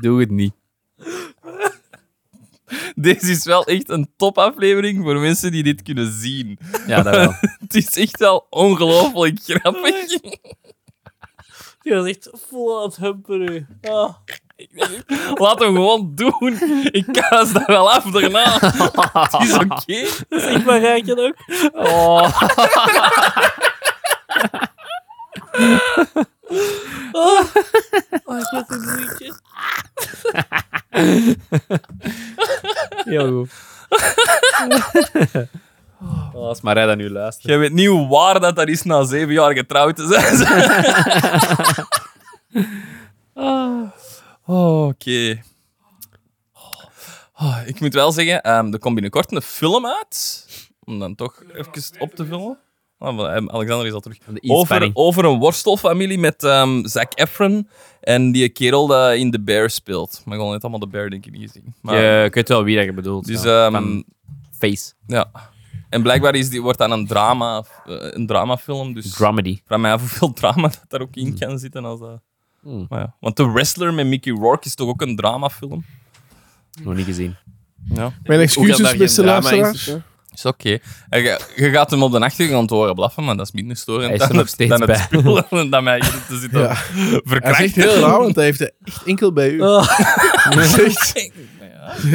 Doe het niet. *laughs* Deze is wel echt een topaflevering voor mensen die dit kunnen zien. Ja, dat wel. *laughs* Het is echt wel ongelooflijk grappig. *laughs* Die was echt vol aan het humperen. Ah. Laat hem gewoon doen. Ik kaas dat wel af *laughs* daarna. Het is oké. Zeg maar, Rijken ook. *laughs* Oh, Oh, ik moet een muziekje. heel goed. Oh, als Marij dat nu luistert. Jij weet niet hoe waar dat, dat is na zeven jaar getrouwd te *laughs* zijn. Ah. Oh, oké. Oh, ik moet wel zeggen, ehm, er komt binnenkort een film uit. Om dan toch even op te vullen. Ah, wel, ehm, Alexander is al terug. De Over, inspanning. over een worstelfamilie met ehm Zac Efron en die kerel die in The Bear speelt. Maar ik wil net allemaal The Bear, denk ik, niet gezien. Maar, Je, ik weet wel wie dat je bedoelt. dus, ja. ehm, Van Face. Ja. En blijkbaar is die, wordt dan een, drama, eh, een dramafilm. Dus ik Dramedy. vraag mij af hoeveel *laughs* drama dat daar ook in kan zitten. Als dat. Hmm. Maar ja. Want The Wrestler met Mickey Rourke is toch ook een dramafilm? Nog niet gezien. Mijn Hoe kan excuses, daar beste geen drama in luisteraars. Is oké. En Je, je gaat hem op de achtergrond horen blaffen, maar dat is minder storend Hij is er dan, nog het- steeds dan het bij. spul en *laughs* dat mij hier te zitten Ja. Hij is echt verkrachten. heel raar, want hij heeft er echt enkel bij Oh, u. Ah. Dat is echt-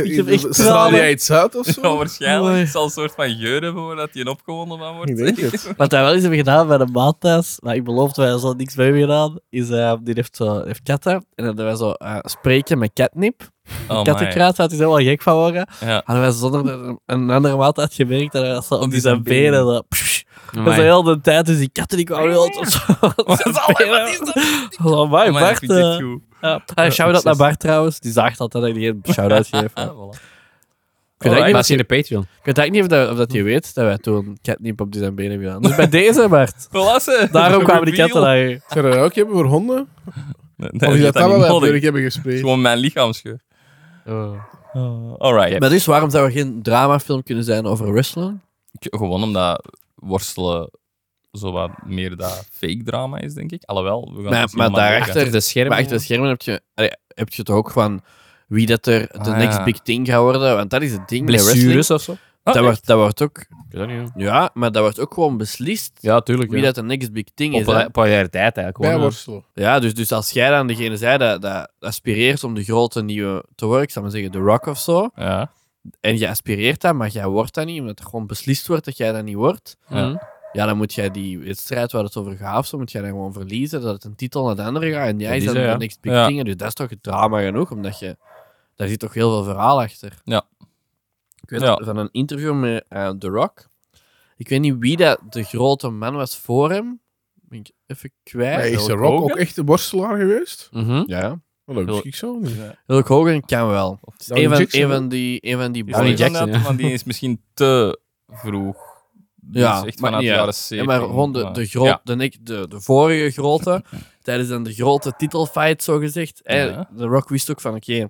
Ik heb echt Straal tranen. jij iets uit of *laughs* zo? Ja, waarschijnlijk. Mooi. Het zal een soort van geur hebben waar dat hij opgewonden van wordt. Ik denk het. Wat hij wel eens hebben gedaan bij de maathuis, maar ik beloofde, wij hadden niks bij hebben gedaan, is eh, die heeft, zo, heeft katten. En dan hebben wij zo eh, spreken met catnip. Oh, *laughs* my. Kattenkraat, daar had hij helemaal gek van worden. Ja. Hadden wij zonder dat een andere maat had gemerkt dat hij dat zo op die zijn benen. benen... zo, psh. Dat was heel de tijd, dus die katten die kwamen heel tot zo. *laughs* Wat is dat? Oh, my, Amai, dat Bart. vind ik echt eh, goed. ja. Ah, Shout-out naar Bart trouwens, die zaagt altijd dat ik die een shout-out geef. Ah, voilà. Oh, Ik weet Maar eigenlijk het is in de Patreon. Ik weet eigenlijk niet of dat, of dat je weet dat wij toen catnip op die zijn benen hebben gedaan. *laughs* Dus bij deze, Bart. Voilà, *laughs* *laughs* *laughs* Daarom kwamen die katten naar je. Zou je dat ook hebben voor honden? Of je je dat dat daar wel niet bij nodig. Björk hebben Het gespreid? is Gewoon mijn lichaamsgeur. Oh. Alright. Maar dus, waarom zou er geen dramafilm kunnen zijn over wrestling? Ik- Gewoon omdat worstelen zo wat meer dat fake drama is, denk ik. Alhoewel, we gaan het Maar, misschien maar nog maar daarachter, Achter de schermen. maar achter de schermen heb je, allee, heb je toch ook van wie dat er de Ah, next ja. big thing gaat worden? Want dat is het ding. bij wrestling. Blessures of zo. Oh, Dat, wordt, dat wordt ook weet dat niet. Ja, maar dat wordt ook gewoon beslist Ja, tuurlijk. wie Ja. dat de next big thing is. Op hè. pola- polariteit eigenlijk. gewoon, hè. Bijworstelen. Ja, dus, dus als jij dan degene zei dat, dat aspireert om de grote nieuwe te worden, ik zou maar zeggen The Rock of zo, Ja. en je aspireert dat, maar jij wordt dat niet, omdat er gewoon beslist wordt dat jij dat niet wordt, Ja. ja, dan moet jij die wedstrijd waar het over gaat, of zo, moet jij dan gewoon verliezen, dat het een titel naar de andere gaat, en jij Dat is is dan het, de ja. next big Ja. thing, en dus dat is toch drama genoeg, omdat je, daar zit toch heel veel verhaal achter. Ja. Ik weet Ja. van een interview met eh, The Rock, ik weet niet wie dat de grote man was voor hem, ben ik even kwijt. Maar is Hulk de Rock Hogan? ook echt een worstelaar geweest? Mhm. Ja. Dat wist Heel- ik zo niet. Hulk Hogan kan wel. Dan Een van, Jackson, een van die, een van die Die Johnny is boys. inderdaad, Jackson, ja. want die is misschien te vroeg. Die Ja, is echt maar vanuit niet de jaren uit. 70. Ja, maar gewoon de, de, groot, Ja. de, nek- de, de vorige *laughs* grote, tijdens dan de grote titelfight, zogezegd. gezegd. Ja. De Rock wist ook van, oké,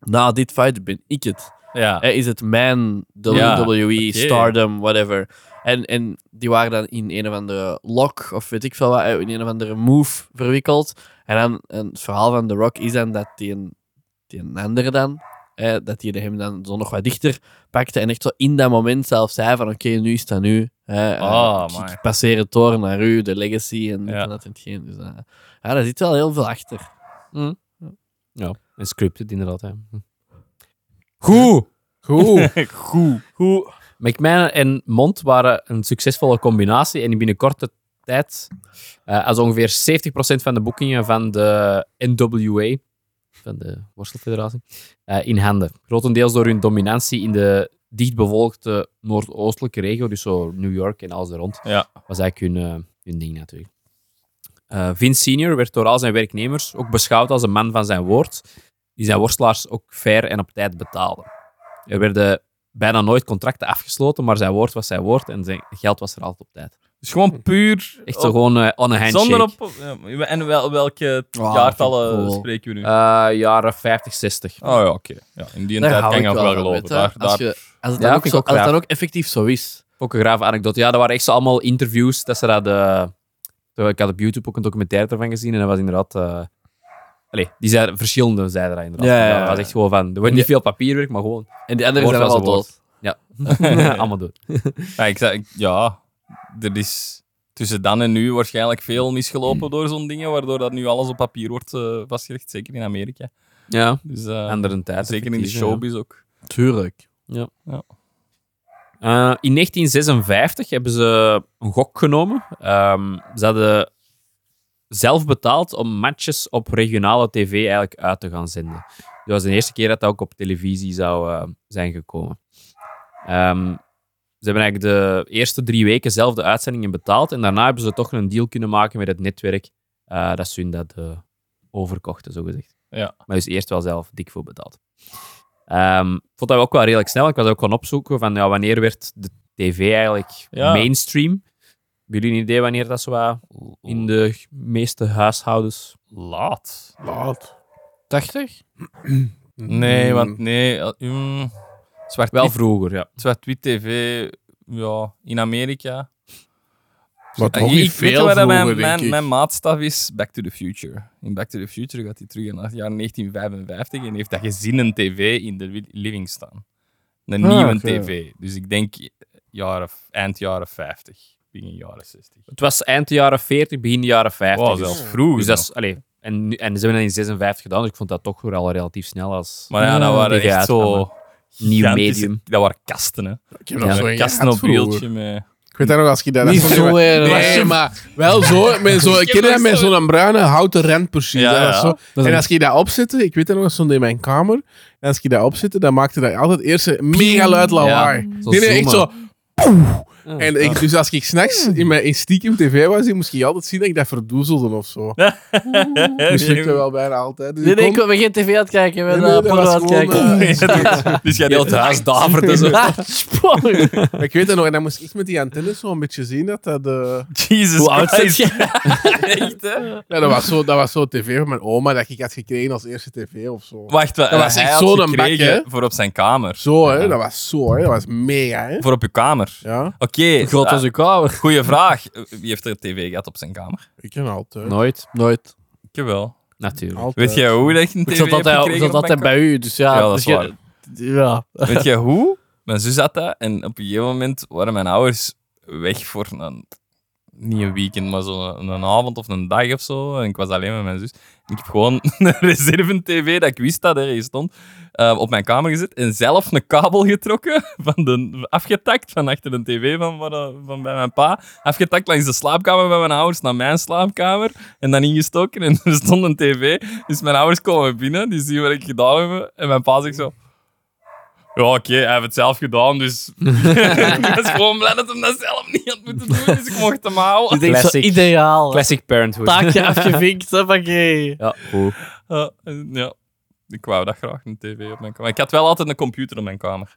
na dit fight ben ik het. Ja. Hè, is het mijn Ja, WWE, Stardom, whatever. En, en die waren dan in een of andere lock, of weet ik veel wat, eh, in een of andere move verwikkeld. En dan en het verhaal van The Rock is dan dat die een, die een andere dan, hè, dat die hem dan zo nog wat dichter pakte. En echt zo in dat moment zelf zei van, oké, nu is dat nu. Hè, eh, Ah, ik- amai. ik passeer het door naar u, de legacy en dit Ja. en dat en hetgeen. Dus, eh, ja, daar zit wel heel veel achter. ja. En scripted inderdaad. Hè. Hm. Goed! Goed. Goed. Goed. McMahon en Mond waren een succesvolle combinatie en in binnen korte tijd, eh, als ongeveer 70% van de boekingen van de NWA, van de Worstelfederatie, eh, in handen. Grotendeels door hun dominantie in de dichtbevolkte noordoostelijke regio, dus zo New York en alles er rond, Ja. was eigenlijk hun, eh, hun ding natuurlijk. Eh Vince Senior werd door al zijn werknemers ook beschouwd als een man van zijn woord, die zijn worstelaars ook fair en op tijd betaalde. Er werden bijna nooit contracten afgesloten, maar zijn woord was zijn woord en zijn geld was er altijd op tijd. Dus gewoon puur. Echt zo gewoon eh, on a handshake. Oh. Zonder op. ja, En wel, welke Ah, jaartallen cool. spreken we nu? Eh, jaren 50, 60. oh ja, oké. Ja, in die Daar tijd hou kan ik je nog wel wel van, geloven. weet je. Daar, Als daar. je- Als het Ja, dan ook vind ik zo- ook als het dan graag. ook effectief zo is. Ook een grave anekdote. Ja, dat waren echt zo allemaal interviews. Dat ze dat, eh, terwijl ik had op YouTube ook een documentaire ervan gezien en dat was inderdaad... eh allee, die zeiden, verschillende zeiden dat inderdaad. Ja, ja, ja. Dat was echt gewoon van... Er wordt niet veel papierwerk, maar gewoon... *laughs* En die anderen Woord zijn was allemaal een woord. dood. allemaal dood. *laughs* Ja, ik zei, ik- ja, er is tussen dan en nu waarschijnlijk veel Hmm. misgelopen door zo'n dingen, waardoor dat nu alles op papier wordt eh, vastgelegd, zeker in Amerika. Ja, Dus, eh, andere tijd. zeker in de effectief, ja. showbiz ook. Tuurlijk. Eh, in 1956 hebben ze een gok genomen. Ehm, ze hadden zelf betaald om matches op regionale tv eigenlijk uit te gaan zenden. Dat was de eerste keer dat dat ook op televisie zou eh, zijn gekomen. Ehm, ze hebben eigenlijk de eerste drie weken zelf de uitzendingen betaald. En daarna hebben ze toch een deal kunnen maken met het netwerk eh, dat ze hun dat eh, overkochten, zogezegd. Ja. Maar dus eerst wel zelf dik voor betaald. Ehm, ik vond dat ook wel redelijk snel. Ik was ook gaan opzoeken van ja, wanneer werd de tv eigenlijk Ja. mainstream. Hebben jullie een idee wanneer dat zo wat in de meeste huishoudens Laat. Laat. 80? Nee, Hmm. Mm. want nee. eh, mm, zwart Wel vroeger, ja. Zwart-wit TV, ja, in Amerika. Maar toch Ik- niet Eh, ik weet veel wel dat vroeger, mijn, denk mijn, ik. mijn maatstaf is Back to the Future. In Back to the Future gaat hij terug naar het jaar 1955 en heeft dat gezin een tv in de wi- living staan. Een Ah, nieuwe oké. tv. Dus ik denk jaren, eind jaren 50, begin jaren 60. Het was eind de jaren 40, begin de jaren 50. Wow, dus zelfs vroeg. dus nog. dat is, allee, en, nu- en ze hebben dat in 56 gedaan, dus ik vond dat toch weer al relatief snel als... maar Ah, ja, dat waren tegen echt zo... Nieuw gigantische- medium. Dat waren kasten, hè. Ik heb nog Ja, zo'n Kasten gehad op vroeger. wieltje. *laughs* Met... Ik weet dat nog als je dat... Niet dat- zo, hè, dat was Nee, zo- maar wel zo. Met *laughs* zo ik ken dat met zo'n bruine houten rand precies. Ja, hè, dat ja. Zo. En als je dat opzette, ik weet dat nog, dat stond in mijn kamer. En als je dat opzette, dan maakte dat altijd eerst een mega luid lawaai. zo nee, nee, echt zo... zoomen. poeh. En ik, dus als ik s'nachts Hmm. in mijn in stiekem tv was, moest je altijd zien dat ik dat verdoezelde of zo. *laughs* Dus lukte wel bijna altijd. Dus Nee, ik nee, ik kon- wil geen tv aan het kijken. Ik ben Nee, nee, eh, dat porno was aan het gewoon, kijken. *laughs* eh, dus jij Heel het huis daverde zo. Ah, spannend. Maar *laughs* ik weet dat nog. En dan moest ik echt met die antenne zo een beetje zien dat dat... eh, Jesus Hoe oud zit Christ. je? Echt, hè? Ja, dat was zo, dat was zo tv van mijn oma dat ik had gekregen als eerste tv of zo. Wacht, dat was echt zo'n bak, hè? Voor op zijn kamer. Zo, hè? Ja. Dat was zo, hè? Dat was mega, hè? Voor op je kamer. Ja, Oké, Groot ah, als uw kamer. goeie vraag. Wie heeft er tv gehad op zijn kamer? ik ken altijd. Nooit. Nooit. Ik wel. Natuurlijk. altijd. Weet jij hoe dat je een Ik tv zat hebt altijd, gekregen ik zat op mijn altijd bij u, dus ja. Ja, dat dus is je- Ja. *laughs* kamer? Weet jij hoe? Mijn zus had dat en op een gegeven moment waren mijn ouders weg voor een, niet een weekend, maar zo'n een, avond of een dag of zo. En ik was alleen met mijn zus. Ik heb gewoon *laughs* een reserve-tv, dat ik wist dat er hier stond, eh, op mijn kamer gezet en zelf een kabel getrokken, *laughs* van de, afgetakt van achter de tv van, van, van bij mijn pa. Afgetakt langs de slaapkamer bij mijn ouders naar mijn slaapkamer en dan ingestoken en *laughs* er stond een tv. Dus mijn ouders komen binnen, die zien wat ik gedaan heb en mijn pa zegt zo... Ja, oké, hij heeft het zelf gedaan, dus... *laughs* ik was gewoon blij dat hij dat zelf niet had moeten doen, dus ik mocht hem houden. Ik denk zo Classic. ideaal. Classic parenthood. Taakje afgevinkt, hoppakee. *laughs* Ja, goed. Eh, en ja, ik wou dat graag, een tv op mijn kamer. Ik had wel altijd een computer op mijn kamer.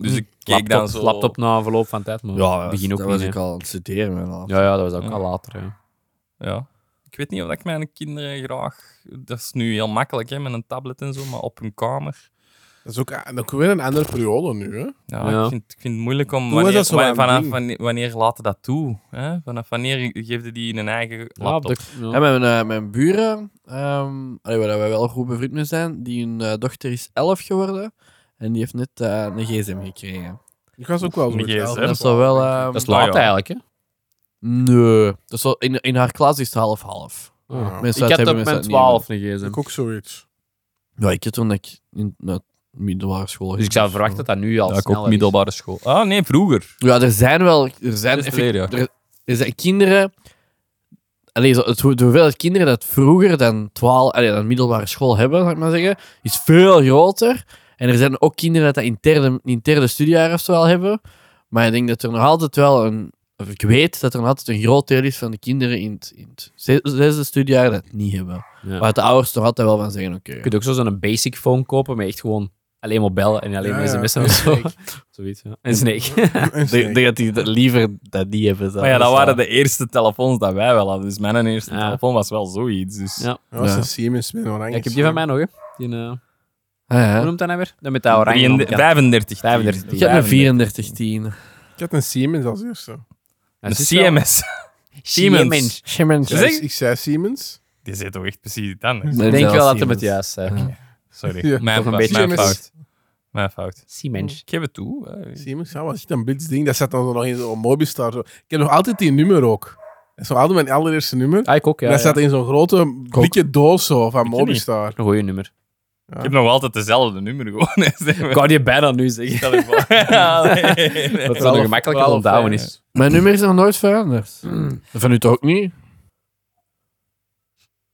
Dus ik keek dan Laptop, zo... laptop na een verloop van tijd, maar begin ook dat niet, was hè. ik al aan het studeren. man, al. Ja, ja, dat was ook Ja. al later. Hè. Ja. Ik weet niet of ik mijn kinderen graag... Dat is nu heel makkelijk, hè, met een tablet en zo, maar op hun kamer... Dat is ook, en ook weer een andere periode nu, hè? Ja, Ja. Ik, vind, ik vind het moeilijk om... was Wanneer, dat zo wa- aan het vanaf doen? wanneer, wanneer laten dat toe? Hè? Vanaf wanneer geeft die een eigen Ja, op laptop? de- ja. Ja, mijn, eh, mijn buren, ehm allee, waar wij wel goed bevriend mee zijn, die hun eh, dochter is 11 geworden en die heeft net eh, een gsm gekregen. Ik was ook wel zo. Een met elf. GSM. Dat is wel wel... ehm, Dat Ah, is laat ja. eigenlijk, hè? Nee, dat is wel, in, in haar klas is het half-half. Ja, Mensen ik uit heb hebben, op mensen mijn uit niet hebben. 12 een gsm. ik ook zoiets. Ja, ik heb toen dat ik in de middelbare school Dus ik zou verwachten dat dat nu al Ja, ik sneller ook is. middelbare school. Ah, nee, vroeger. Ja, er zijn wel... Er zijn, Zesde effect- leerjaar. er, er zijn kinderen... Allee, zo, het, hoe- de hoeveelheid kinderen dat vroeger dan 12, allee, dan middelbare school hebben, zal ik maar zeggen, is veel groter. En er zijn ook kinderen dat dat in derde, in derde studiejaar of zo al hebben. Maar ik denk dat er nog altijd wel een... Of ik weet dat er nog altijd een groot deel is van de kinderen in het, in het ze- zesde studiejaar dat het niet hebben. Ja. Waar de ouders toch altijd wel van zeggen, oké. Je kunt ook zo zo'n basic phone kopen met echt gewoon alleen maar bellen en alleen Ja, maar ja. sms'en of *laughs* zo. *laughs* Zoiets, ja. En Snake. En Ik denk dat die dat liever dat die hebben. Maar ja, dat waren de eerste telefoons dat wij wel hadden. Dus mijn eerste Ja. telefoon was wel zoiets. Dus... Ja. Dat was Ja. een Siemens met een oranje. Ja, ik heb die van mij nog, hè. Die, eh, Ah, Hoe ja. noemt dat nou weer? Dat met dat oranje. Drieënde- onderkant. 35. 35. Ik heb een 3410. Ik had een Siemens als eerste. Dat is wel- CMS. Siemens. Simmons. Ja, Zeg- ik, ik zei Siemens. *laughs* Die zit toch echt precies iets anders. Ik denk wel dat het het juist is. Sorry. Ja. Mijn, Toch een fa- beetje mijn CMS. fout. Mijn fout. Siemens. Ik geef het toe. hè. Siemens, ja, wat is dat een blitz ding? Dat zat dan zo nog in zo'n Mobistar. Zo. Ik heb nog altijd die nummer ook. Dat is nog altijd mijn allereerste nummer. Ah, ik ook, ja. dat ja. zat in zo'n grote dikke doos zo, van Mobistar. Een goeie nummer. Ik heb nog altijd dezelfde nummer *laughs* gewoon. hè, zeg maar. Ik wou je bijna nu *laughs* zeggen. Stel je voor. Ja, nee, nee. Dat het gemakkelijker te onthouden is. Mijn nummer is nog nooit veranderd. Hmm. Van u toch ook niet?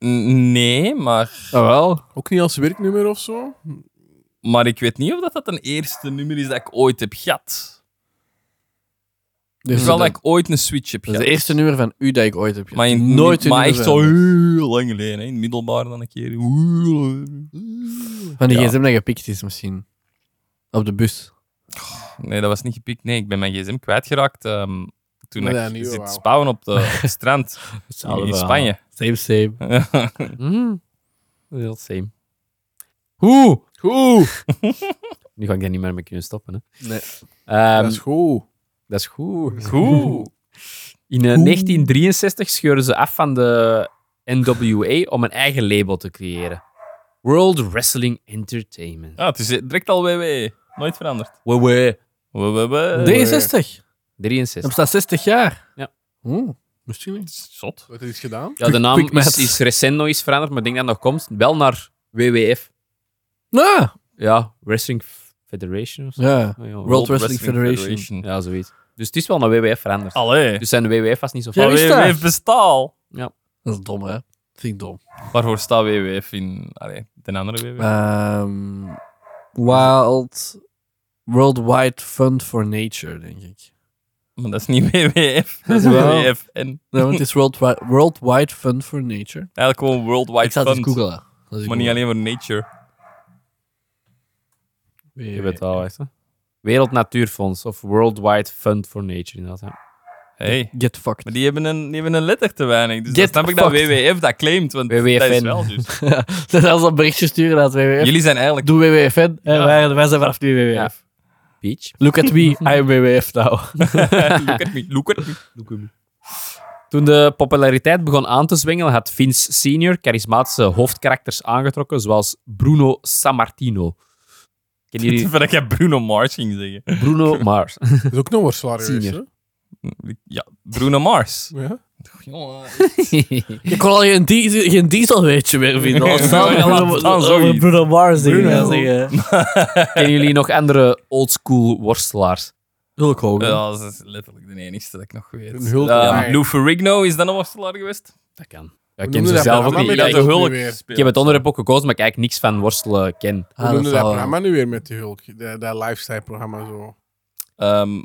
N- Nee, maar, Ah, wel. Ook niet als werknummer of zo. maar ik weet niet of dat, dat een eerste nummer is dat ik ooit heb gehad. Dus wel dat dat ik ooit een Switch heb dat is gehad. het eerste nummer van u dat ik ooit heb. gehad. Maar, in, nooit een maar nummer echt zo veranderd. heel lang geleden, hè. in het middelbaar dan een keer. Van die Ja. gsm dat gepikt is misschien. Op de bus. Nee, dat was niet gepikt. Nee, ik ben mijn gsm kwijtgeraakt ehm, toen Maar dat ik niet, zit wauw. spouwen op, de, op het strand in, in Spanje. Same, same. Mm. Heel same. Hoe? Goed, *laughs* Nu ga ik daar niet meer mee kunnen stoppen. Hè. Nee. Ehm, dat is goed. dat is goed. Hoe? In eh, 1963 scheuren ze af van de NWA om een eigen label te creëren. World Wrestling Entertainment. Ah, het is direct al WW. Nooit veranderd. Wee wee. We, eh, we, Eh, we. Nee. 63. Dat 63. bestaat 60 jaar. Ja. Oeh, misschien niet. Zot. Wat er iets gedaan? Ja, de naam quick is, math. is recent nog eens veranderd, maar ik denk dat het nog komt. Wel naar WWF. Ah, Ja, Wrestling Federation of zo. ja. Ja, World, Wrestling Federation. Ja, zoiets. Dus het is wel naar WWF veranderd. Allee. Dus zijn WWF was niet zo Ja, fout. is WWF dat? bestaat. Dat is dom, hè? Dat vind ik dom. Waarvoor staat WWF in allee, de andere E. WWF? Ehm, wild. Worldwide Fund for Nature, denk ik. Maar dat is niet WWF. Dat is E Wel. WWF. En Nee, want het *laughs* is Worldwide, Worldwide Fund for Nature. eigenlijk gewoon ik Worldwide zal het Fund. eens googlen. Dat is Maar niet alleen voor nature. Je weet al, echt. hè. Wereld Natuurfonds of Worldwide Fund for Nature. Inderdaad, ja. Hey. Get fucked. Maar die hebben een, die hebben een letter te weinig. Dus dan Get snap ik dat fucked. E WWF dat claimt. Want dat is WWFN. wel dus. *laughs* dat als dat berichtje sturen dat WWF. Jullie zijn eigenlijk... Doe WWFN. En Ja. wij, wij zijn vanaf nu WWF. Ja. Peach. Look *laughs* at me, I'm WWF now. *laughs* look at me, look at me. Toen de populariteit begon aan te zwengelen, had Vince senior charismatische hoofdkarakters aangetrokken, zoals Bruno Sammartino. Ik Kennen *laughs* jullie Voordat jij Bruno Mars ging zeggen. Bruno *laughs* Mars? Dat is ook nog wel zwaar geweest, Senior. Ja, Bruno Mars. hè? Ja. Je kon al geen, diesel, geen dieselweetje meer vinden. Nee, Als dan- nee, dan- laat dan- staan, dan- zoiets. Bruno Mars dingen Bruno. gaan zeggen. Kennen jullie nog andere oldschool worstelaars? Hulk Hogan. Ja, dat is letterlijk de enige dat ik nog weet. Een hulp. Eh, Ja. Lou Ferrigno is dan een worstelaar geweest. Dat kan. Ja, ik Hoe ken noemde ze dat zelf ook programma niet. met Ja, dat ik, hulp? ik niet weer. heb het onderwerp ook gekozen, maar ik eigenlijk niks van worstelen ken. Hoe Ah, noemde dat zal wel. eh, programma nu weer met de Hulk? Dat, dat lifestyle-programma zo. Ehm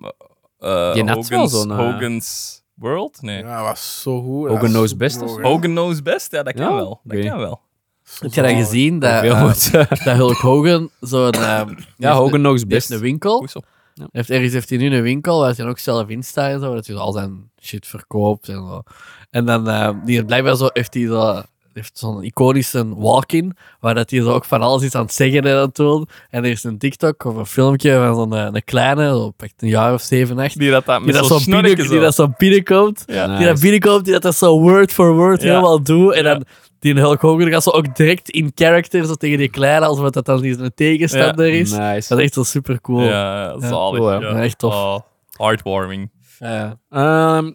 eh, Die had Hogan's, wel zo'n, eh, Hogan's World? Nee. Ja, dat was zo goed. Hogan Dat is knows zo best of Oh, droog, hè. Hogan Knows Best? Ja, dat kan Ja, wel. Dat oké. kan wel. Zo Heb je dat zalig. gezien? Dat, Veel *laughs* eh, moet. dat Hulk Hogan zo'n... eh, die ja, heeft *laughs* een- Hogan nog eens die heeft best. een winkel. Goed zo. Heeft, ergens heeft hij nu een winkel waar hij dan ook zelf in staat en zo, dat hij al zijn shit verkoopt en zo. En dan eh, die heeft blijkbaar zo, heeft hij zo, heeft zo'n iconische walk-in, waar dat hij zo ook van alles is aan het zeggen en aan het doen. En er is een TikTok of een filmpje van zo'n eh, een kleine, zo, pakt een jaar of zeven, acht, Die dat, dat die met dat zo'n zo binnen, snorken zo. die dat zo binnenkomt, die dat binnenkomt, die dat, dat zo word for word Ja. helemaal doet. En Ja. dan die Hulk Hogan gaat zo ook direct in character zo tegen die kleine, alsof dat dan die een tegenstander is. Nice. Dat is echt wel super cool. Ja, zalig. cool, hè. ja. Ja, echt tof. Oh, heartwarming. Ehm,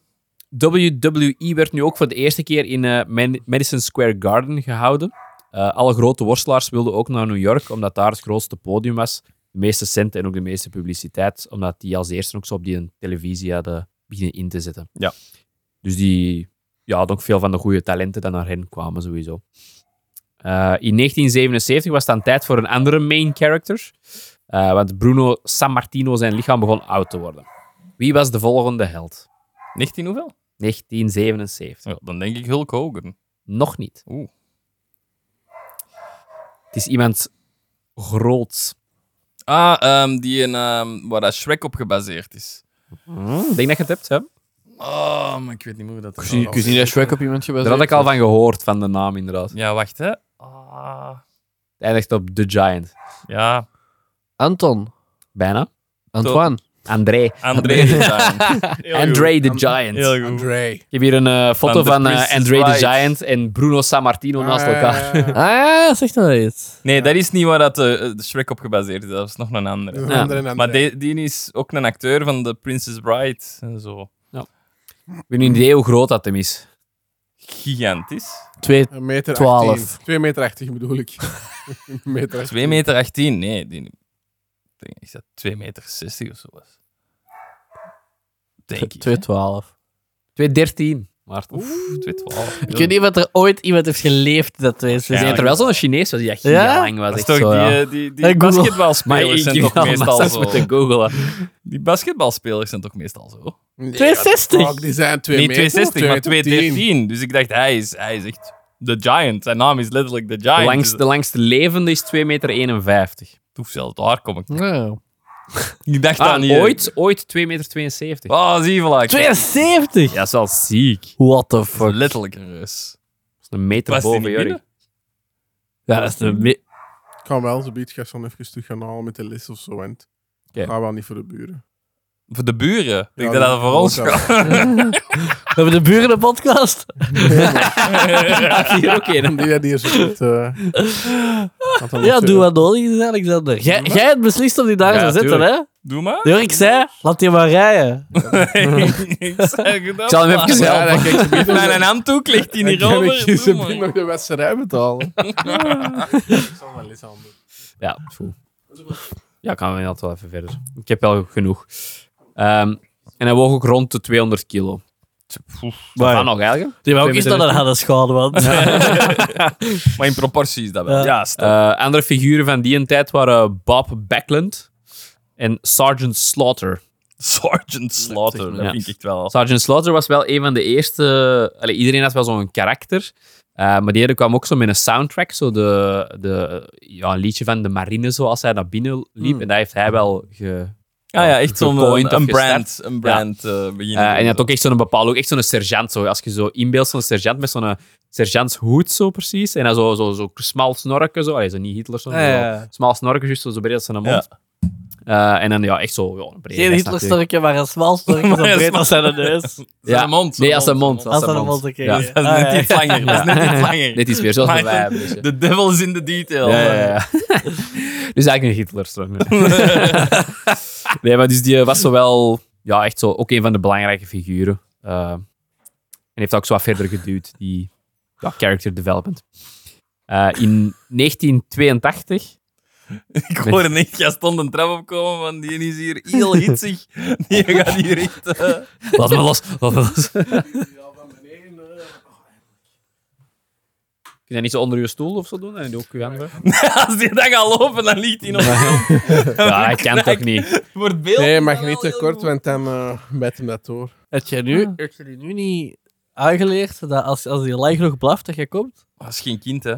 WWE werd nu ook voor de eerste keer in eh, Man- Madison Square Garden gehouden. Eh, alle grote worstelaars wilden ook naar New York, omdat daar het grootste podium was. De meeste centen en ook de meeste publiciteit, omdat die als eerste ook zo op die televisie hadden beginnen in te zetten. Ja. Dus die ja, had ook veel van de goede talenten die naar hen kwamen, sowieso. Eh, in 1977 was het dan tijd voor een andere main character, eh, want Bruno Sammartino zijn lichaam begon oud te worden. Wie was de volgende held? 19 hoeveel? 1977. Ja, dan denk ik Hulk Hogan. Nog niet. Oeh. Het is iemand groots. Ah, ehm, die een, ehm, waar dat Shrek op gebaseerd is. Hmm, Ik denk dat je het hebt, hè? Oh, maar ik weet niet hoe dat is. Ik wist niet dat Shrek op iemand gebaseerd Daar had ik al van gehoord, van de naam inderdaad. Het Ja, wacht hè. Ah, eindigt op The Giant. ja, Anton. Bijna. Antoine. André. André de Giant. André the Giant. *laughs* Heel goed. André. Ik heb hier een eh, foto Van van, The eh, Princess André the Bride. Giant en Bruno Sammartino naast Ah, elkaar. ja, ja, ja. Ah ja, zeg nou iets. Nee, dat is niet waar dat eh, de Shrek op gebaseerd is. Dat is nog een andere. Dat is een Ja. andere en Maar andere. die, die is ook een acteur van The Princess Bride en zo. *laughs* Ik heb een idee hoe groot dat hem is. Gigantisch. Twee. Een meter 12. 18. 2 meter 18 bedoel ik. *laughs* Een meter 18. 2 meter 18. Nee, die, ik denk is dat 2 meter 60 of zo was. Denk ik. hè. 212. 213. Maar Oeh, 212. Ik weet niet wat er ooit iemand heeft geleefd dat twee Ja, er wel zo'n Chinees was die echt Ja? giga lang was. Dat is echt toch zo, ja. die, eh, die, die, Hey, Google. Maar basketbalspelers *laughs* ik zijn toch heb meestal meestal zo. moeten googelen. Die basketbalspelers zijn toch meestal zo? Nee, 62. fuck, die zijn 2 Niet meter. 260, maar 210. 213. Dus ik dacht, hij is, hij is echt de Giant. Zijn naam is letterlijk de Giant. De, langst, de langste levende is 2,51 meter. Toef, zelfs daar kom ik. Nou. Ik dacht Ah, dat niet. eh, ooit, ooit 2,72 meter. Oh, zie je wel. 72! Ja, dat is wel ziek. Dat What the fuck. Letterlijk een reus. is een meter Was die boven niet Jorik. binnen? Ja, dat is de me- Kan wel, zo biedt. Ik ga zo even terug gaan halen met de list of zo. En Oké. Ga wel niet voor de buren. Voor de buren. Ik denk Ja, dat dat voor ons wel. gaat. We hebben de buren een podcast. Hier ook *laughs* een. Die dat hier zo goed... eh, had dan Ja, nog, doe eh, wat nodig is, Alexander. Jij, jij hebt beslist om die daar Ja, te zetten, hè? Doe maar. Jorik zei, laat die maar rijden. ik zeg het Ik zal hem Ah. Ja, even zelf. dat kan ik ze bieden. Naar een handdoek ligt hij Dan niet kan ik je over. ze Doe bieden maar. nog de wedstrijd betalen. Ik zal wel eens anders. Ja, voel. Ja, kan we inderdaad wel even verder. Ik heb wel genoeg. Ehm, en hij woog ook rond de 200 kilo. Dat kan nog eigenlijk. Die wou ook Twee eens naar meter een hadden schade, man. Maar in proportie is dat wel. Ja. Ja, stel. Eh, andere figuren van die tijd waren eh, Bob Backlund en Sergeant Slaughter. Sergeant Slaughter. Ja. Ah, Dat vind ik echt wel. Sergeant Slaughter was wel een van de eerste. allee, iedereen had wel zo'n karakter. eh, maar die ene kwam ook zo met een soundtrack. Zo de, de, ja, een liedje van de marine, zoals hij naar binnen liep. En dat heeft hij wel ge, Ah ja, echt zo'n Gecoind een, of een gestart. brand, een brand eh, beginnen. Eh, en je had doen, ook echt zo'n bepaalde, ook echt zo'n sergeant. Zo. Als je zo inbeeldt, zo'n sergeant met zo'n eh, sergeantshoed zo precies. En dan zo, zo, zo smal snorken, zo. Allee, zo niet Hitler, zo. maar zo Smal snorken, juist zo, zo breed als zijn mond. Eh, en dan ja, echt zo... Ja, een brede Geen vest natuurlijk. Hitlerstorkje, maar een smal storkje zo Maar een breed als smal- zijn *laughs* neus. Zijn Ja. mond. Nee, als zijn mond. Als zijn zijn mond, oké. *laughs* Ja. Dat is Ah, Ah, net iets *laughs* langer. Dat is net iets langer. Dit is weer zoals bij Maar wij. hebben, dus, ja. The devil is in the detail. Ja, ja, ja. Dus eigenlijk een Hitler-song. *laughs* nee, maar dus die was zo wel... Ja, echt zo... Ook een van de belangrijke figuren. Eh, en heeft ook zo wat verder geduwd, die ja, character development. Eh, in 1982 *laughs* Ik hoor niet Gaston de trap opkomen, want die is hier heel hitsig. Die gaat hier echt... eh, Laat me los, laat me los. Kun je dat niet zo onder je stoel of zo doen? En doe ook je handen. *laughs* Als die dat gaat lopen, dan ligt hij nog... Ja, dat kan toch niet? Wordt beeld... Nee, mag niet te kort, want dan eh bijt hem dat door. Heb je *laughs* nu, heb je die nu niet aangeleerd dat als, als je lang genoeg blaft dat je komt? Dat is geen kind, hè.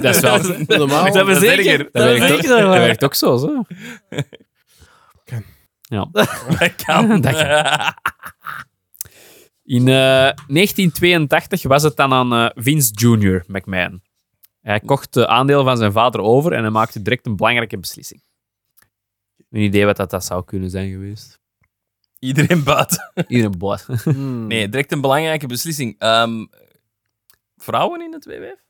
Dat is wel... *laughs* Normaal. Dat is Oh, zeker. erger. Dat werkt, ook, zeker, dat maar- werkt ook zo, zo. *laughs* Ja. *laughs* Dat kan. Dat In eh, 1982 was het dan aan eh, Vince Jr. McMahon. Hij kocht de aandelen van zijn vader over en hij maakte direct een belangrijke beslissing. Een idee wat dat, dat zou kunnen zijn geweest. Iedereen buiten. Iedereen boos. Eh, Nee, direct een belangrijke beslissing. Ehm, vrouwen in het WWF?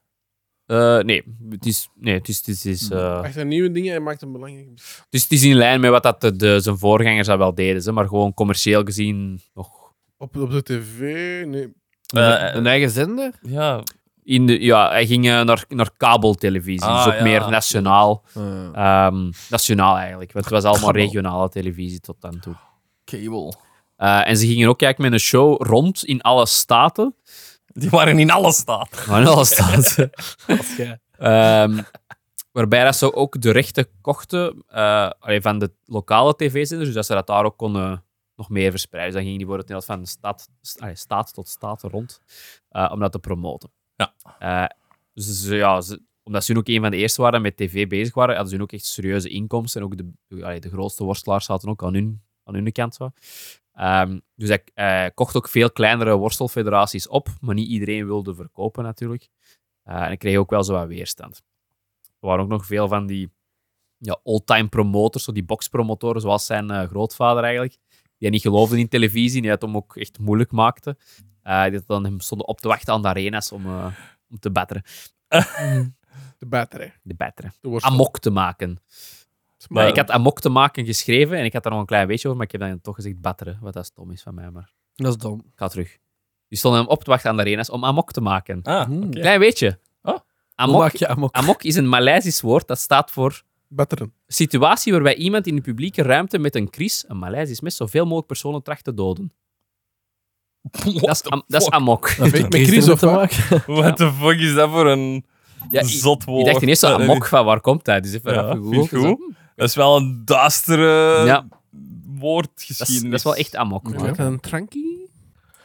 Eh, nee, het is, nee, het is, het is, Hm. het is, eh, Echt een nieuwe dingen, hij maakt een belangrijke het is, Dus het is in lijn met wat dat de, de- zijn voorgangers dat wel deden. Ze, maar gewoon commercieel gezien nog. Op, op de tv? Nee. Eh, Een eigen zender? ja. In de, ja, hij ging eh, naar, naar kabeltelevisie, Ah, dus ook ja. meer nationaal. Ah. Ehm, nationaal eigenlijk, want het was allemaal regionale televisie tot dan toe. Cable. Eh, en ze gingen ook kijken met een show rond in alle staten. Die waren in alle staat. Maar in alle *laughs* staten. Ehm, waarbij dat ze ook de rechten kochten eh, allee, van de lokale tv-zenders, dus dat ze dat daar ook konden nog meer verspreiden. Dus dan ging die bijvoorbeeld van staat, st- allee, staat tot staat rond eh, om dat te promoten. Ja. Eh, dus ze- ja, ze- omdat ze hun ook een van de eerste waren die met tv bezig waren, hadden ze hun ook echt serieuze inkomsten. En ook de, de- allee, de grootste worstelaars zaten ook aan hun, aan hun kant. Zo. Ehm, dus hij eh, kocht ook veel kleinere worstelfederaties op, maar niet iedereen wilde verkopen natuurlijk. Eh, en ik kreeg ook wel zo wat weerstand. Er waren ook nog veel van die ja, all-time promoters, zo die boxpromotoren, zoals zijn eh, grootvader eigenlijk, die niet geloofden in televisie, die het hem ook echt moeilijk maakte. Eh, die dan hem stonden op te wachten aan de arenas om, eh, om te batteren. De batterij. De batteren. De worstel. Amok te maken. Maar ik had amok te maken geschreven en ik had daar nog een klein beetje over, maar ik heb dan toch gezegd batteren, wat dat stom is van mij, maar Dat is dom. ik ga terug. Die stonden hem op te wachten aan de arenas om amok te maken. Ah, Hmm. oké. Klein beetje. Oh. Hoe Amok, maak je amok? amok is een Maleisisch woord dat staat voor Batteren. situatie waarbij iemand in de publieke ruimte met een kris, een Maleisisch mes, zoveel mogelijk personen tracht te doden. Dat is, am- dat is amok. Dat Met Chris of wat? *laughs* What the fuck is dat voor een Ja, ik, zot woord? ik dacht ineens zo, Dat- amok, van waar komt dat? Dus even Ja, even vind ik googlen, zo. Dat is wel een duistere Ja. Dat is, dat woordgeschiedenis. is wel echt amok. Met man. een trankie?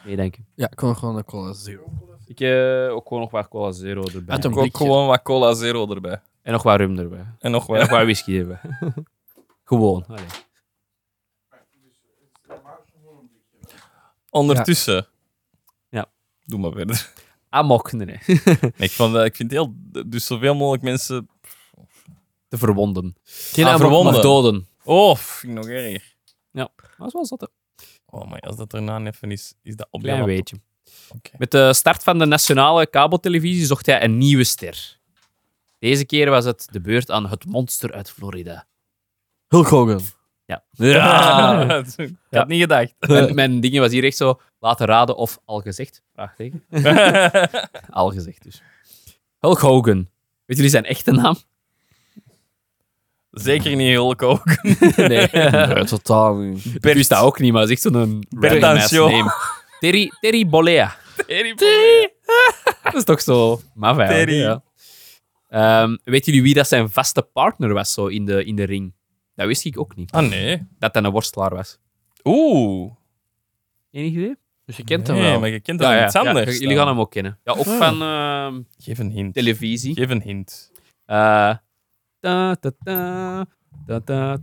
Nee, denk ik. Ja, ik kon gewoon een cola zero. Ik eh, ook gewoon nog wat cola zero erbij. Uit een Ik ook blikje. gewoon wat cola zero erbij. En nog wat rum erbij. En nog En wat. nog wat whisky erbij. *laughs* gewoon. allee. Ondertussen. Ja. Doe maar verder. *laughs* Amok, nee, nee. Nee, ik, vond, eh, ik vind het heel... Dus zoveel mogelijk mensen... Te verwonden. Geen Ah, amok, verwonden. Of doden. Oh, vind ik nog erger. Maar dat is wel zot, hè. Oh, maar als dat erna even is, is dat op Klein Oké. beetje. Met de start van de nationale kabeltelevisie zocht hij een nieuwe ster. Deze keer was het de beurt aan het monster uit Florida. Hulk Hogan. *laughs* Ja, *laughs* dat is- ik had niet *laughs* gedacht. Mijn, mijn ding was hier echt zo laten raden of al gezegd. Vraagteken. Al gezegd dus. Hulk Hogan. Weet jullie zijn *laughs* echte naam? Zeker niet Hulk ook. Nee. Nee, totaal niet. Bert wist dat ook niet, maar dat is echt zo'n Bert random ass Dancio. name. Terry, Terry Bollea. Dat is toch zo maf eigenlijk, Terry. ja. Ehm, weten jullie wie dat zijn vaste partner was zo in de, in de ring? Dat wist ik ook niet. Ah, nee. Dat hij een worstelaar was. Oeh. Enig idee? Dus je kent hem Nee, wel. maar je kent dat iets anders. Ja, jullie gaan hem ook kennen. Ja, ook van ehm, Geef een hint. televisie. Geef een hint. Eh, ta, ta, ta, ta, ta, ta,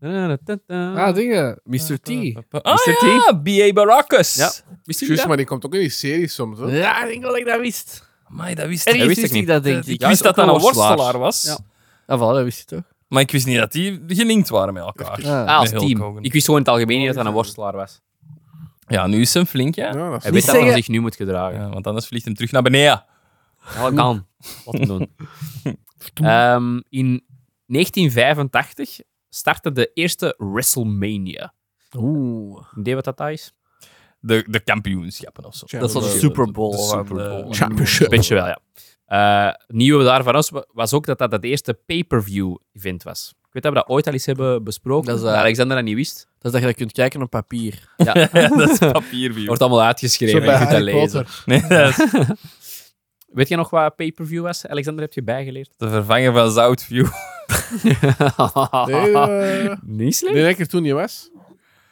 ta, ta, ta. Ah, dingen. Mr. T. Ah Mr. T? ja, B.A. Baracus. Ja. Wist jullie Juist, dat? maar die komt ook in die serie soms, hoor. Ja, ik denk wel dat ik dat wist. Amai, dat wist Ergens ik. wist ik wist ik niet. dat, denk ik. Ik wist dat dat een worstelaar was, Ja. Ah, voilà, dat wist je toch? maar ik wist niet dat die gelinkt waren met elkaar. Ja. Ah, als Met Hulk team. Hogan. Ik wist gewoon in het algemeen niet dat hij een worstelaar was. Ja, nu is hem flink, ja. Ja, dat is Hij weet dat zeggen- hij zich nu moet gedragen. Ja, want anders vliegt hem terug naar beneden. Ga gaan. Wat *laughs* te doen. Ehm, in 1985 startte de eerste WrestleMania. Oeh. Idee wat dat daar is? De, de kampioenschappen of zo. Dat is wel de de- Super Bowl. de Super Bowl. Een Championship. beetje wel, ja. Eh, het nieuwe daarvan was, was ook dat dat het eerste pay-per-view event was. Ik weet dat we dat ooit al eens hebben besproken. Dat Dat is, eh, Alexander dat niet wist. Dat is dat je dat kunt kijken op papier. Ja, *laughs* dat is- Papierview. wordt allemaal uitgeschreven. Zo bij Je kunt dat Harry lezen. Potter. Nee, dat is Weet je nog wat pay-per-view was? Alexander, heb je *laughs* bijgeleerd? *laughs* de vervanger van Zoutview. Nee, eh, *laughs* Niet slecht. nee, dat ik er toen niet was.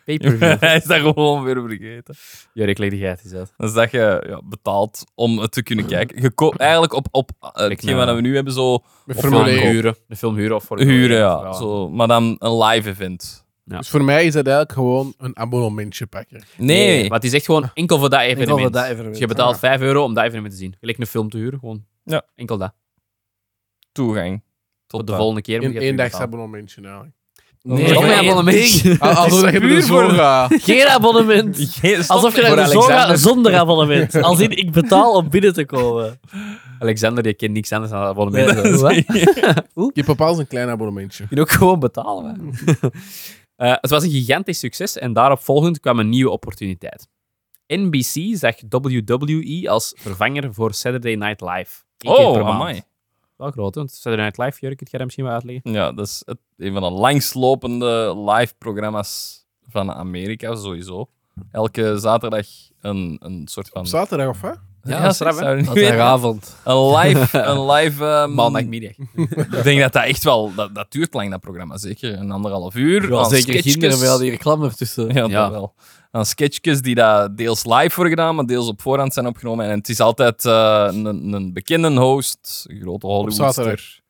Pay-per-view. *laughs* Hij is dat gewoon weer vergeten. Jurk, leg die geit eens uit. Dat is dat je ja, betaalt om het te kunnen kijken. Je koopt eigenlijk op, op eh, hetgeen nou. wat we nu hebben, zo Met Of Formule aankoop. 1. Huren. De film huren of voor huren, ja. Zo, maar dan een live event. Dus voor mij is dat eigenlijk gewoon een abonnementje pakken. Nee, Nee, maar het is echt gewoon enkel voor dat evenement. Enkel voor dat evenement. Dus je betaalt 5 euro om dat evenement te zien. Gelijk een film te huren, gewoon. Ja. Enkel dat. toegang. Tot Tot de dan. volgende keer moet Een je het eendags betalen. abonnementje eigenlijk. Nee, Geen nee, abonnement. *laughs* Alsof dat je puur er zo voor- gaat. *laughs* Geen abonnement. Geen- stop Alsof je met- naar de voor zoo Alexander. gaat zonder abonnement. Als in, ik betaal om binnen te komen. Alexander, die kent niks anders dan abonnementen. Nee, *laughs* wat? Je bepaalt een klein abonnementje. Je kunt ook gewoon betalen. man. *laughs* Eh, het was een gigantisch succes en daaropvolgend kwam een nieuwe opportuniteit. NBC zag WWE als vervanger voor Saturday Night Live. Eén keer per Oh, maand. amai. Wel groot, hè, want Saturday Night Live, Jurk, het ga je dat misschien wel uitleggen. Ja, dat is het, een van de langslopende live programma's van Amerika, sowieso. Elke zaterdag een, een soort van... Op zaterdag of wat? Ja, dat is zou ik rap, hè? zou *laughs* niet weten. *laughs* Zaterdagavond. Een live... Een live ehm, Maandagmiddag. ik denk dat dat echt wel... Dat, dat duurt lang, dat programma. Zeker een anderhalf uur. Ja, aan zeker sketchjes. kinderen wel die reclame ertussen. *laughs* Ja, dat wel. Aan sketchjes die daar deels live voor gedaan, maar deels op voorhand zijn opgenomen. En het is altijd eh, een, een bekende host, een grote zaterdag. Hollywoodster.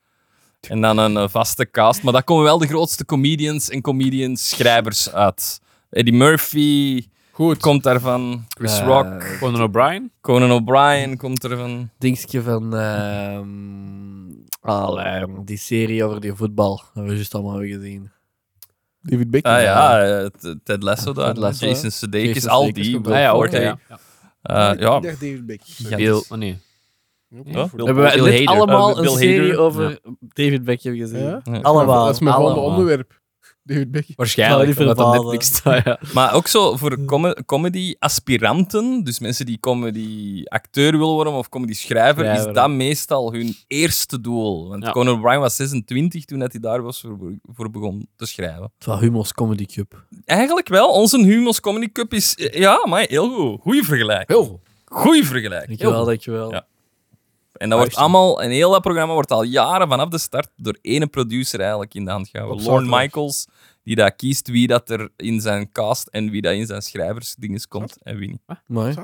En dan een eh, vaste cast. Maar daar komen wel de grootste comedians en comedians-schrijvers uit. Eddie Murphy Goed. komt daarvan. Chris Eh, Rock. Conan O'Brien. Conan O'Brien komt ervan. Dingetje van... ehm, allee, die serie over die voetbal. Dat we juist allemaal hebben gezien. David Beckham. Ah ja, eh, T- Ted Lasso daar. Ted Lasso, Jason hè? Sudeikis, Jason al Sudeikis die. komt Will ook Ah ja, voor, Forte. hoor, Eh, ja. Ja, Ik dacht David Beckham. Eh, Ja. Bill, oh nee. Huh? Bill- hebben wij Bill net Hader. allemaal Eh, Bill een serie Hader. over David Beckham gezien? Ja? Allemaal. Dat is mijn volgende Allemaal. onderwerp. David Beckham. Zou Waarschijnlijk, niet omdat het verbazen. Netflix staat, ja. Maar ook zo voor com- comedy-aspiranten, dus mensen die comedy-acteur willen worden of comedy-schrijver, Ja, is waarom? dat meestal hun eerste doel. Want Ja. Conan O'Brien was 26 toen dat hij daar was voor, be- voor begon te schrijven. Het was Humos Comedy Cup. Eigenlijk wel, onze Humos Comedy Cup is... eh, Ja, maar heel goed. Goeie vergelijking. Heel goed. Goeie vergelijking. Dankjewel, Heel goed. dankjewel. Ja. En dat wordt allemaal, en heel dat programma wordt al jaren vanaf de start door één producer eigenlijk in de hand gehouden. Op Lorne zaterdag. Michaels, die dat kiest wie dat er in zijn cast en wie dat in zijn schrijversdinges komt en wie niet. Mooi.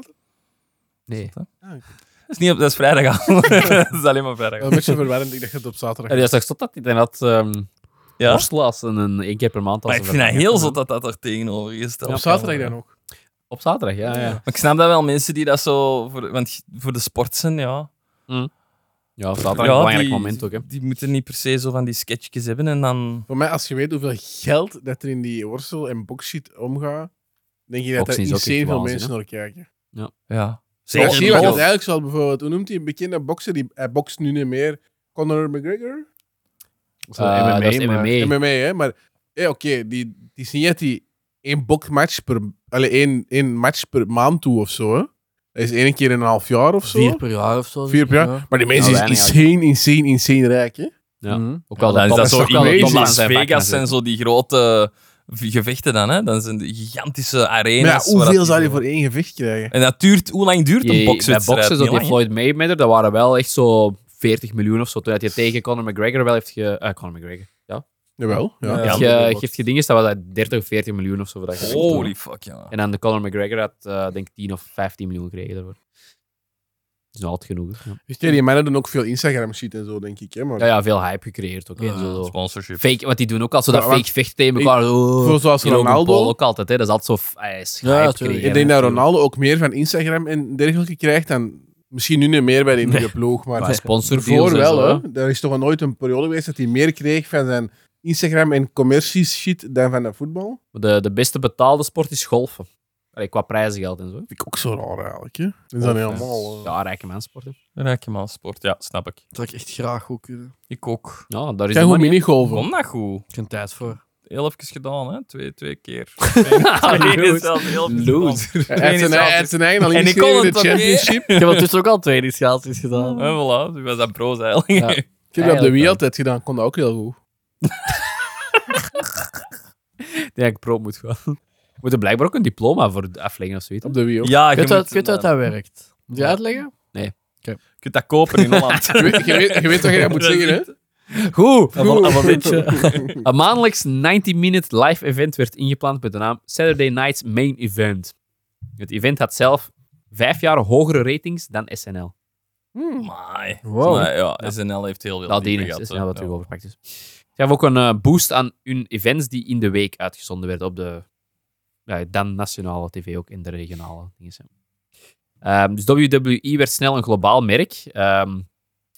Nee. *laughs* Ah, Dat is, niet op, dat is *laughs* vrijdagavond. dat is alleen maar Een vrijdagavond. *laughs* beetje verwarrend. Ik dacht het op zaterdag. Ja, dat is toch zot dat hij dan had ehm Ja. borstelaars en een één keer per maand. als Maar ik een vind dat vervanger. heel zot dat dat er tegenover is. Op zaterdag dan ook. Op zaterdag, ja. ja. Maar ik snap dat wel, mensen die dat zo... Voor, want voor de sport zijn, ja... Ja, op zaterdag ja, een belangrijk die, moment ook. Hè. Die moeten niet per se zo van die sketchjes hebben en dan... Voor mij, als je weet hoeveel geld dat er in die worstel en boxshit omgaat, denk je dat Boxen er is ook echt insane veel waanzin, mensen hè? naar kijken. Ja. Zeker. Zeker. zie je wat het Ja. eigenlijk zal bijvoorbeeld. Hoe noemt hij een bekende bokser? Die, hij bokst nu niet meer. Conor McGregor? Of zo, Eh, dat is Maar, MMA. MMA, hè. Maar eh, oké, die, die is niet dat die één bokmatch per... Allee, één, één match per maand toe of zo, hè. Dat is één keer in een half jaar of zo. Vier per jaar of zo. Vier per jaar. Maar die mensen Ja, is Nou, weinig insane, insane, insane rijk, hè. Ja. Mhm. Ook wel Dan is dat is zo toch in wel in amazing. Las Vegas zijn zijn zo die grote gevechten dan, hè. Dan zijn die gigantische Maar ja, arenas. waar hoeveel dat zou die je voor één gevecht krijgen? En dat duurt... Hoe lang duurt een Je- bokswedstrijd? Bij boksen, Niet zo die lang, hè? Floyd Mayweather, dat waren wel echt zo 40 miljoen of zo. Toen hij tegen Conor McGregor wel heeft ge... eh, Conor McGregor. Ja. Jawel, ja. Ja. Heeft Ja. ge- Geeft je dingen, dat was dat 30 of 40 miljoen of zo. Voor dat gevecht. Holy fuck, ja. En dan de Conor McGregor had, eh, denk ik, 10 of 15 miljoen gekregen daarvoor. Dat is nog altijd genoeg. hè. Ja. Ja, die mannen doen ook veel Instagram-shit en zo, denk ik, hè. Maar... Ja, ja, veel hype gecreëerd ook. hè, Ja. zo. Ah, Sponsorship. Fake, want die doen ook al zo dat Ja, fake want vechten tegen elkaar. Oh, Voor zoals in Logan Ronaldo. Paul ook altijd, hè. Dat is altijd zo... Hij is Ja, hype tuurlijk. creëren, Ik denk dat natuurlijk. Ronaldo ook meer van Instagram en dergelijke krijgt dan misschien nu niet meer bij de nieuwe ploeg, *laughs* maar Maar sponsordeals voor en wel. zo, Hè. Er is toch nooit een periode geweest dat hij meer kreeg van zijn Instagram en commercie shit dan van de voetbal. De, de beste betaalde sport is golfen. Allee, qua prijzengeld en zo. Dus Vind ik ook zo raar eigenlijk. Hè? Is dat niet allemaal. eh, Ja, rijke mansporten. Raak je maar aan sport. Ja, snap ik. Dat zou ik echt graag eh. goed kunnen. Ik ook. Ja, daar Zijn is de goed money. minigolven. Kom dat goed. Geen tijd voor. Heel even gedaan, hè. Twee, twee keer. Twee is wel heel even gedaan. Hij heeft zijn- hij heeft zijn eigen al En ik ingeschreven kon in de het ook niet. championship. Ik heb ondertussen ook al twee *laughs* initiaties gedaan. En voilà, die was dat broos eigenlijk. Ja. Ik heb dat op de Eigenlijk Wii wel. altijd gedaan. Kon dat ook heel goed. Ik denk dat ik pro moet gaan. We *laughs* moeten blijkbaar ook een diploma voor afleggen of zoiets. Op de Wii ook. Ja, Ik je weet dat, kunt, ik weet dat dat werkt. Moet je uitleggen? je kunt dat kopen in Holland. Je weet, je weet, je weet wat jij *laughs* moet zeggen, hè? Goed. Een van- een van ditje. Een maandelijks 90-minute live event werd ingepland met de naam Saturday Night's Main Event. Het event had zelf vijf jaar hogere ratings dan SNL. Amai. Wow. Maar ja, SNL heeft heel veel Dat diepe is gehad, SNL dat hè. u overpakt is. Ze hebben ook een eh, boost aan hun events die in de week uitgezonden werden op de ja, dan nationale tv ook in de regionale dingen. hè. Ehm, dus WWE werd snel een globaal merk. Ehm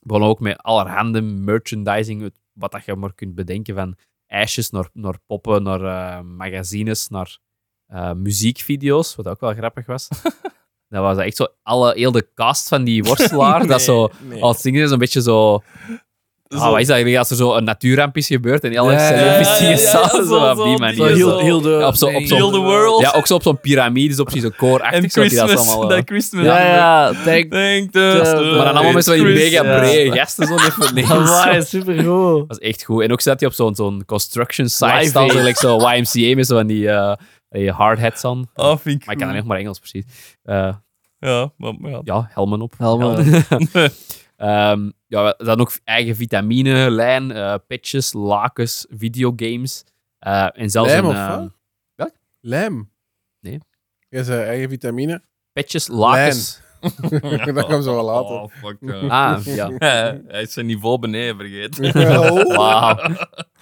begon ook met allerhande merchandising, het- wat dat je maar kunt bedenken van ijsjes naar, naar poppen, naar eh, magazines, naar eh, muziekvideo's, wat ook wel grappig was. dat was echt zo, alle, heel de cast van die worstelaar, dat zo, als dingen is een beetje zo... Ah, wat is dat eigenlijk als er zo een natuurramp is gebeurd en alle Ja, ja, celebrities ja, ja, ja, samen, zo, zo op zo, die die manier. zo. Zo Heel- heel de, Ja, op zo'n- op *laughs* zo'n- Heel the world. Ja, ook zo op zo'n piramide, zo precies zo'n en koorachtig. zo die dat Christmas. allemaal, eh, *laughs* Dat Christmas. Ja, Ah ja, denk. Denk de, maar dan allemaal met zo'n mega Christmas. brede gasten zo *laughs* even links. Amai, supergoed. Dat is echt goed. En ook zat hij op zo'n zo'n construction site Live staan, zo, aid. like zo YMCA met zo van die, eh die hard hats aan. Oh, vind ik Maar ik kan goed. alleen nog maar Engels, precies. Eh, Ja, maar, maar ja. ja, helmen op. Helemaal. *laughs* Ehm, ja, dan ook eigen vitamine, lijn, eh, patches, lakens, videogames. eh, en zelfs Lijm een, of eh, wat? welk? Lijm. Nee. Je zei eigen vitamine. patches, lakens. *laughs* dat kwam zo wel later. Oh, fuck. ja. *laughs* Ah, ja. Hij is zijn niveau beneden vergeten. *laughs* Oh, Wauw.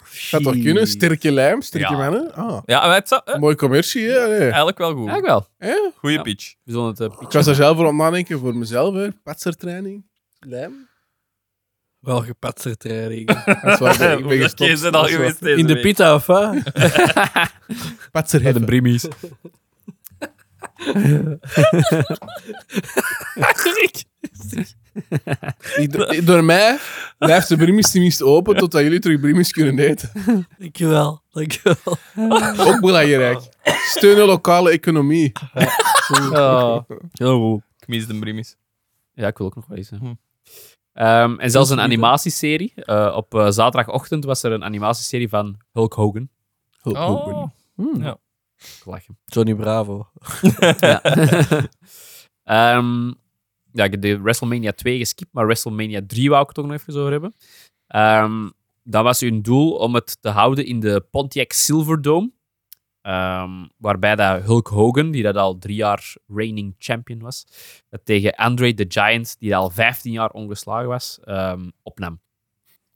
gaat toch kunnen? Sterke lijm, sterke Ja. mannen. Ah, Ja, maar het zou- eh, mooi commercie, hè? Allee. eigenlijk wel goed. Eigenlijk wel. Eh? Goeie Ja. pitch. Bijzonder het, eh, Ik was daar zelf voor om nadenken, voor mezelf, hè. Patsertraining. Lijm. Wel gepatste *laughs* training. Dat is waar, ik *laughs* ben- ik ben Oké, gestopt. ze zijn al Dat is waar. geweest deze In de week. pita, of wat? met een Patserheffen. brimmies. Ik- Door mij blijft de brimis tenminste open totdat jullie terug brimis kunnen eten. Dankjewel, dankjewel. Ook belangrijk. Steun de lokale economie. Oh. Heel goed. Ik mis de brimis. Ja, ik wil ook nog wel eens. hè. Hm. Ehm, en zelfs een animatieserie. Eh, op eh, zaterdagochtend was er een animatieserie van Hulk Hogan. Oh. Ik lach hem. Johnny Bravo. Ja. *laughs* Ehm, ja, ik heb de WrestleMania 2 geskipt, maar WrestleMania 3 wou ik het ook nog even over hebben. Ehm dat was hun doel om het te houden in de Pontiac Silverdome. Ehm, waarbij dat Hulk Hogan, die dat al drie jaar reigning champion was, dat tegen Andre the Giant, die al 15 jaar ongeslagen was, ehm, opnam.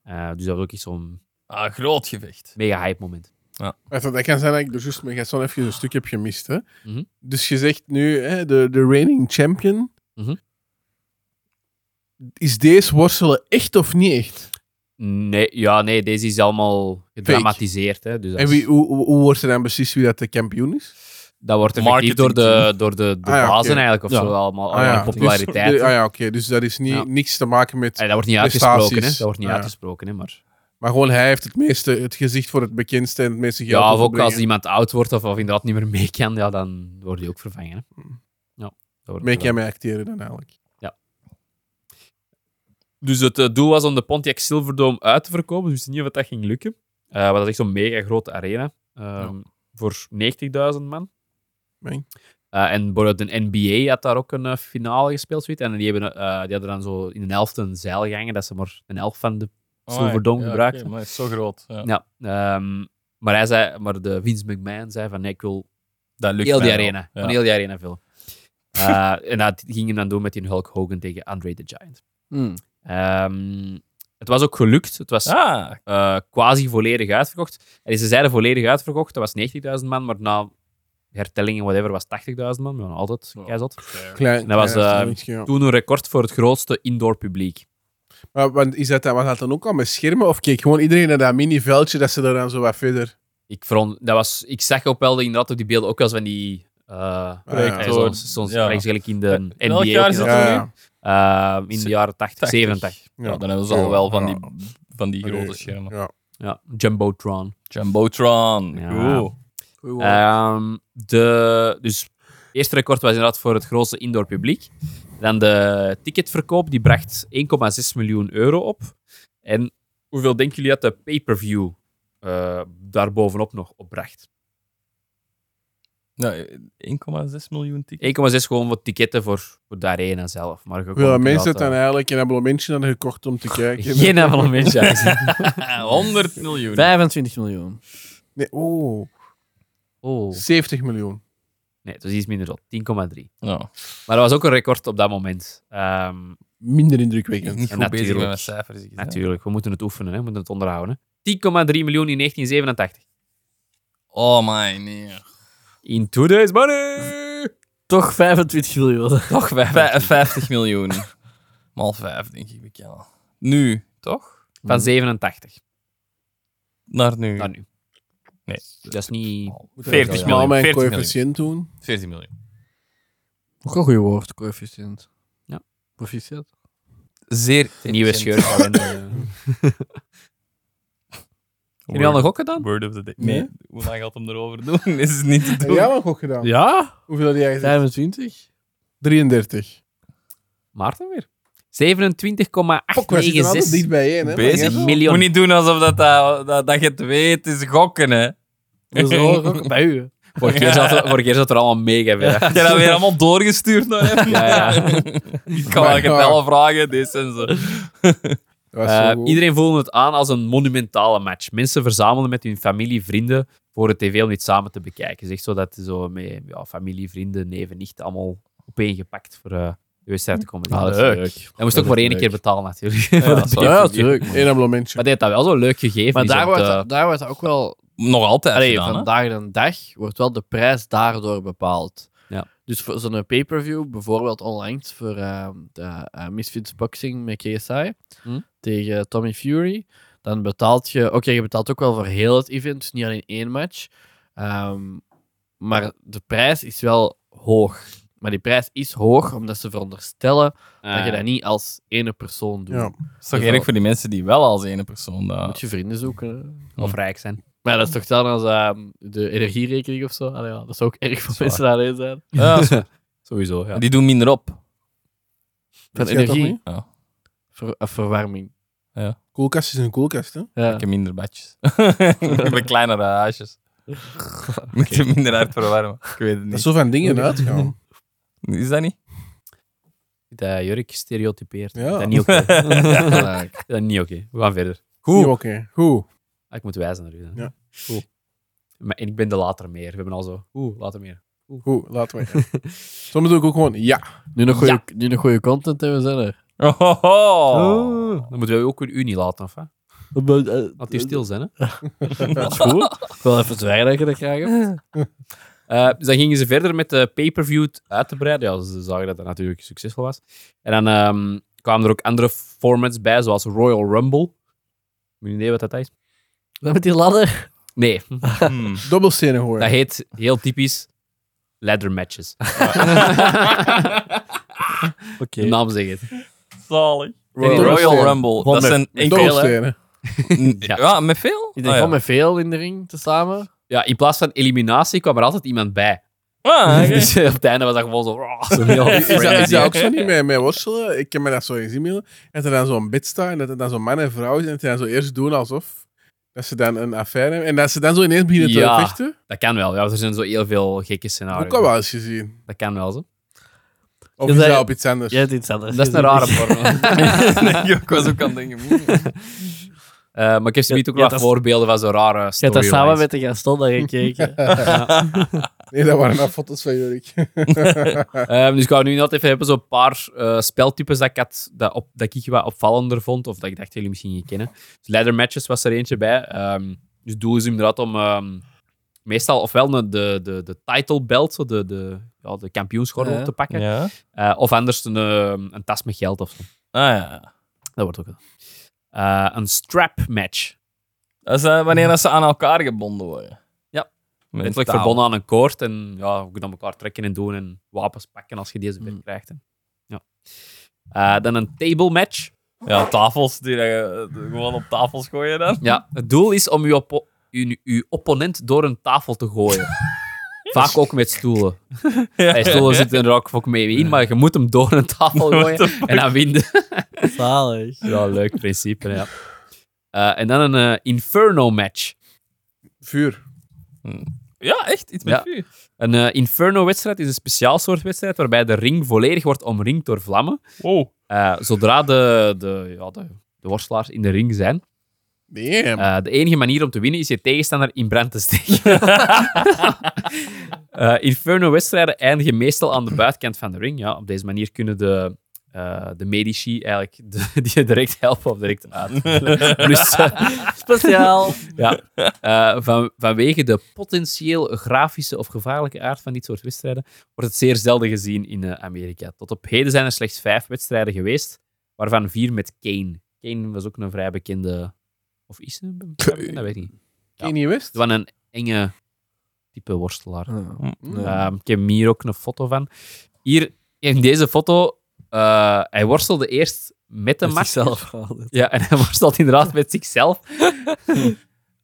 Eh, dus dat was ook iets zo'n Ah, groot gevecht. mega hype moment. Wacht, Dat kan zijn dat ik er juist met Gaston even een stuk heb gemist. Hè? Mhm. Dus je zegt nu, hè, de, de reigning champion. Mhm. Is deze worstelen echt of niet echt? Nee, ja, nee, deze is allemaal gedramatiseerd. Hè, dus dat En is- wie, hoe, hoe- hoe wordt er dan precies wie dat de kampioen is? Dat wordt effectief Marketing door de, door de, de Ah ja, bazen oké. eigenlijk, of Ja. zo, allemaal, Ah, allemaal ja. populariteit. Dus, de- ah ja, oké. Dus dat is niet, Ja. niks te maken met... Allee, dat wordt niet prestaties. uitgesproken, hè. Dat wordt niet Ah ja. uitgesproken, hè, maar... Maar gewoon hij heeft het meeste, het gezicht voor het bekendste en het meeste geld. Ja, of te ook als brengen. iemand oud wordt of, of inderdaad niet meer mee kan, ja, dan wordt hij ook vervangen, hè. Mm. Ja, dat wordt Mee gedaan. kan mij acteren dan eigenlijk. Dus het eh, doel was om de Pontiac Silverdome uit te verkopen, dus niet of dat ging lukken. Eh maar dat is echt zo'n mega grote arena, ehm, voor 90.000 man. Meng. Eh, en bijvoorbeeld de NBA had daar ook een eh, finale gespeeld, zoiets. En die, hebben, eh, die hadden dan zo in een helft een zeilgangen, dat ze maar een helft van de Silverdome Oh, Ah, ja, gebruikt. oké, maar het is zo groot. Ja. Ja, ehm, maar hij zei, maar de Vince McMahon zei van nee, ik wil Dat lukt heel die mij wel. arena, Ja. van heel die arena vullen. Eh, en dat ging hem dan doen met die Hulk Hogan tegen Andre the Giant. Ehm, het was ook gelukt. Het was Ah, eh, quasi volledig uitverkocht. En ze zeiden volledig uitverkocht, dat was 90.000 man, maar na hertellingen, whatever, was 80.000 man. Maar altijd, Oh. keizot. Klein, Dat was, klein eh, afstellingetje, ja. Toen een record voor het grootste indoor publiek. Maar, want is dat dan, was dat dan ook al met schermen? Of keek gewoon iedereen naar dat mini-veldje dat ze daar dan zo wat verder... Ik, veron- dat was, ik zag ook wel inderdaad op die beelden ook wel eens van die eh Projector. Soms, soms Ja. eigenlijk in de NBA. Welk jaar ook is nog. dat dan nu? Ja, Eh, in de jaren 80, 80. 70. Ja, dan hebben ze al wel van die, van die grote Nee, schermen. Ja. Ja, Jumbotron. Jumbotron. Ja. Oeh. Ehm, de, dus het eerste record was inderdaad voor het grootste indoor publiek. Dan de ticketverkoop, die bracht 1,6 miljoen euro op. En hoeveel denken jullie dat de pay-per-view eh, daarbovenop nog opbracht? 1,6 miljoen tickets. 1,6 gewoon wat ticketten voor, voor de arena zelf. Maar je kon Ja, inderdaad, mensen het dan eh, eigenlijk een abonnementje aan gekocht *laughs* om te kijken. Geen *laughs* abonnement, ja. 100 miljoen. 25 miljoen. Nee, oh, Oh. 70 miljoen. Nee, het was iets minder dan 10,3. Ja. Maar dat was ook een record op dat moment. Ehm, Minder indrukwekkend. Niet goed natuurlijk. bezig met mijn cijfers. ik, hè. Natuurlijk, we moeten het oefenen, hè. we moeten het onderhouden. 10,3 miljoen in 1987. Oh my, nee. In today's money! Toch 25 miljoen. Toch 50 *laughs* miljoen. Maal 5, denk ik. ik ja. Nu, toch? Van 87 Naar nu. naar nu. Nee. Dat is niet... 40 miljoen. Maal mijn 40 miljoen. coëfficiënt doen. 14 miljoen. Ook een goed woord, coëfficiënt. Ja. Proficiat. Zeer Nieuwe *laughs* shirt. Heb je al een gok gedaan? Word of the day. Nee. Nee. Hoe lang gaat hem erover *laughs* doen? Is het niet te Heb doen. jij ook gedaan? Ja? Hoeveel had jij gezegd? 25? 33. Maarten weer. Fuck, wij zitten altijd 27,896 dicht bijeen. Hè? Bezig. Maar jij- miljoen. Moet niet doen alsof dat, dat, dat, dat je het weet. Het is gokken, *laughs* hè. *laughs* Dat is ook ook bij u. Vorige keer zat er- vorige keer zat er allemaal mega Ja. ver. Heb je dat weer *laughs* allemaal doorgestuurd naar hem? Ja, ja. Ik kan wel getallen vragen, dit en zo. Dat was Eh, zo goed. iedereen voelde het aan als een monumentale match. Mensen verzamelden met hun familie, vrienden voor de tv om dit samen te bekijken. Zeg zo dat zo met ja, familie, vrienden, neven, nicht allemaal opeengepakt voor eh, de wedstrijd te komen. zien. Ah, Dat dat is is leuk. Hij moest ook is voor één leuk. keer betalen, natuurlijk. *laughs* Ja, dat is wel- Ja, tuurlijk. man. Eén abonnementje. Maar die heeft dat wel zo leuk gegeven. Maar die daar zo'n, wordt, eh, daar wordt ook *laughs* wel... Nog altijd Allee, gedaan, hè? vandaag de dag wordt wel de prijs daardoor bepaald. Ja. Dus voor zo'n pay-per-view, bijvoorbeeld onlangs voor ehm, de eh, Misfits Boxing met KSI Hm? tegen Tommy Fury, dan betaalt je... Oké, je betaalt ook wel voor heel het event, dus niet alleen één match. Ehm, maar de prijs is wel hoog. Maar die prijs is hoog omdat ze veronderstellen dat je eh, dat niet als ene persoon doet. Ja. Het is toch eerlijk voor die mensen die wel als ene persoon Moet *laughs* dat... je vrienden zoeken. hè. Of rijk zijn. Ah. Hm. Maar dat is toch dan als ehm, de energierekening of zo? Allee, ja, dat zou ook erg voor mensen daarin zijn. Ja, zo- Sowieso, ja. die doen minder op. Van Weet jij dat energie. niet? Ja. Ver, eh, verwarming. Koelkast is een koelkast, hè? Ja. Ik heb minder badjes. *laughs* ik heb kleinere huisjes. Moet je minder hard verwarmen. Ik weet het Dat is niet. zo van dingen uitgaan. Is dat niet? Dat Jurk stereotypeert. Ja. Dat is *laughs* niet oké. *laughs* dat is niet oké. We gaan verder. *laughs* Goed. Goed. Oké, goed. Ah, ik moet wijzen naar u. hè. Ja. Goed. Maar, en ik ben de later meer. We hebben al zo... Oeh, later meer. Goed, laten we. Soms doe ik ook gewoon ja. Nu nog goede nu nog goeie content hebben, zijn er. Oh, ho, ho. Oh. Dan moeten we ook een unie laten, of hè? eh, Laat hier stil zijn, hè? Dat is goed. Ik wil even zwijgen dat je dat graag hebt. Eh, dus dan gingen ze verder met de pay-per-view uit te breiden. Ja, ze zagen dat dat natuurlijk succesvol was. En dan ehm, kwamen er ook andere formats bij, zoals Royal Rumble. Moet je idee wat dat is? Dan met die ladder. Nee, Hmm. Dobbelstenen hoor. dat heet heel typisch ladder matches. *laughs* Oké. De naam zegt het. Zalig. Royal Royal, Ah, Rumble. Rumble. Dat Honderd. zijn echt veel, hè? Dobbelstenen. Ja. met veel? Ik denk Ah, gewoon ja. met veel in de ring te samen. Ja, in plaats van eliminatie kwam er altijd iemand bij. *laughs* Ah, oké. Dus eh, op het einde was dat gewoon zo... *laughs* zo *laughs* heel Is dat, is crazy. dat ook zo niet met, met worstelen? Ik kan me dat zo eens inbeelden. Dat er dan zo'n bed staat en dat er dan zo'n man en vrouw is en dat die dan zo eerst doen alsof dat ze dan een affaire hebben. En dat ze dan zo ineens beginnen Ja. te vechten. Dat kan wel. Ja, er zijn zo heel veel gekke Ook scenario's. al wel eens gezien. Dat kan wel zo. Of Is is dat- dat op iets anders? Jij hebt iets anders. Dat is een rare vorm. Nee, ik was ook aan het denken. hmm. Eh, maar ik heb ze niet ook Ja, wel dat is- voorbeelden van zo'n rare Je hebt dat storylines. samen met de Gaston naar *laughs* gekeken. Nee, dat waren nou foto's van *laughs* Jurik. Ehm, dus ik wou nu net even hebben zo'n paar eh, speltypes dat ik, had, dat, op, dat ik wat opvallender vond, of dat ik dacht jullie misschien niet kennen. Dus ladder matches was er eentje bij. Ehm, dus het doel is inderdaad om ehm, meestal ofwel de, de, de, de title belt, zo de, de, ja, de kampioensgordel Ja. te pakken, Ja. Eh, of anders een, ehm, een tas met geld of zo. Ah ja. Dat wordt ook gedaan. Eh, een strap match. Dat is, eh, wanneer dat ze aan elkaar gebonden worden. Ja. Letterlijk verbonden aan een koord en ja, we kunnen elkaar trekken en doen en wapens pakken als je deze weer Mm. krijgt. hè. Ja. Eh, dan een table match. Ja, tafels die eh, gewoon op tafels gooien *laughs* dan. Ja, het doel is om je oppo- uw- uw opponent door een tafel te *laughs* gooien. Vaak ook met stoelen. Bij stoelen zit er ook ook mee in, maar je moet hem door een tafel gooien en *laughs* dan winnen. Zalig. Ja, leuk principe, ja. Eh, en dan een eh, Inferno match. Vuur. Ja, echt. Iets met Ja. vuur. Een eh, Inferno-wedstrijd is een speciaal soort wedstrijd waarbij de ring volledig wordt omringd door vlammen. Wow. Eh, zodra de, de, ja, de, de worstelaars in de ring zijn. Damn. Eh, de enige manier om te winnen is je tegenstander in brand te steken. Eh, Inferno-wedstrijden eindigen meestal aan de buitenkant van de ring. Ja, op deze manier kunnen de, eh, de Medici eigenlijk de, *laughs* die je direct helpen of direct uit. Plus, eh, *laughs* Speciaal. ja, eh, van, vanwege de potentieel grafische of gevaarlijke aard van dit soort wedstrijden wordt het zeer zelden gezien in eh, Amerika. Tot op heden zijn er slechts vijf wedstrijden geweest, waarvan vier met Kane. Kane was ook een vrij bekende... Of is ze een vrij bekende? Dat weet ik niet. Ken je West? Het was een enge type worstelaar. Mm. Ehm, ik heb hem hier ook een foto van. Hier in deze foto, eh, hij worstelde eerst met de masker. Ja, en hij *laughs* worstelt inderdaad *laughs* met zichzelf.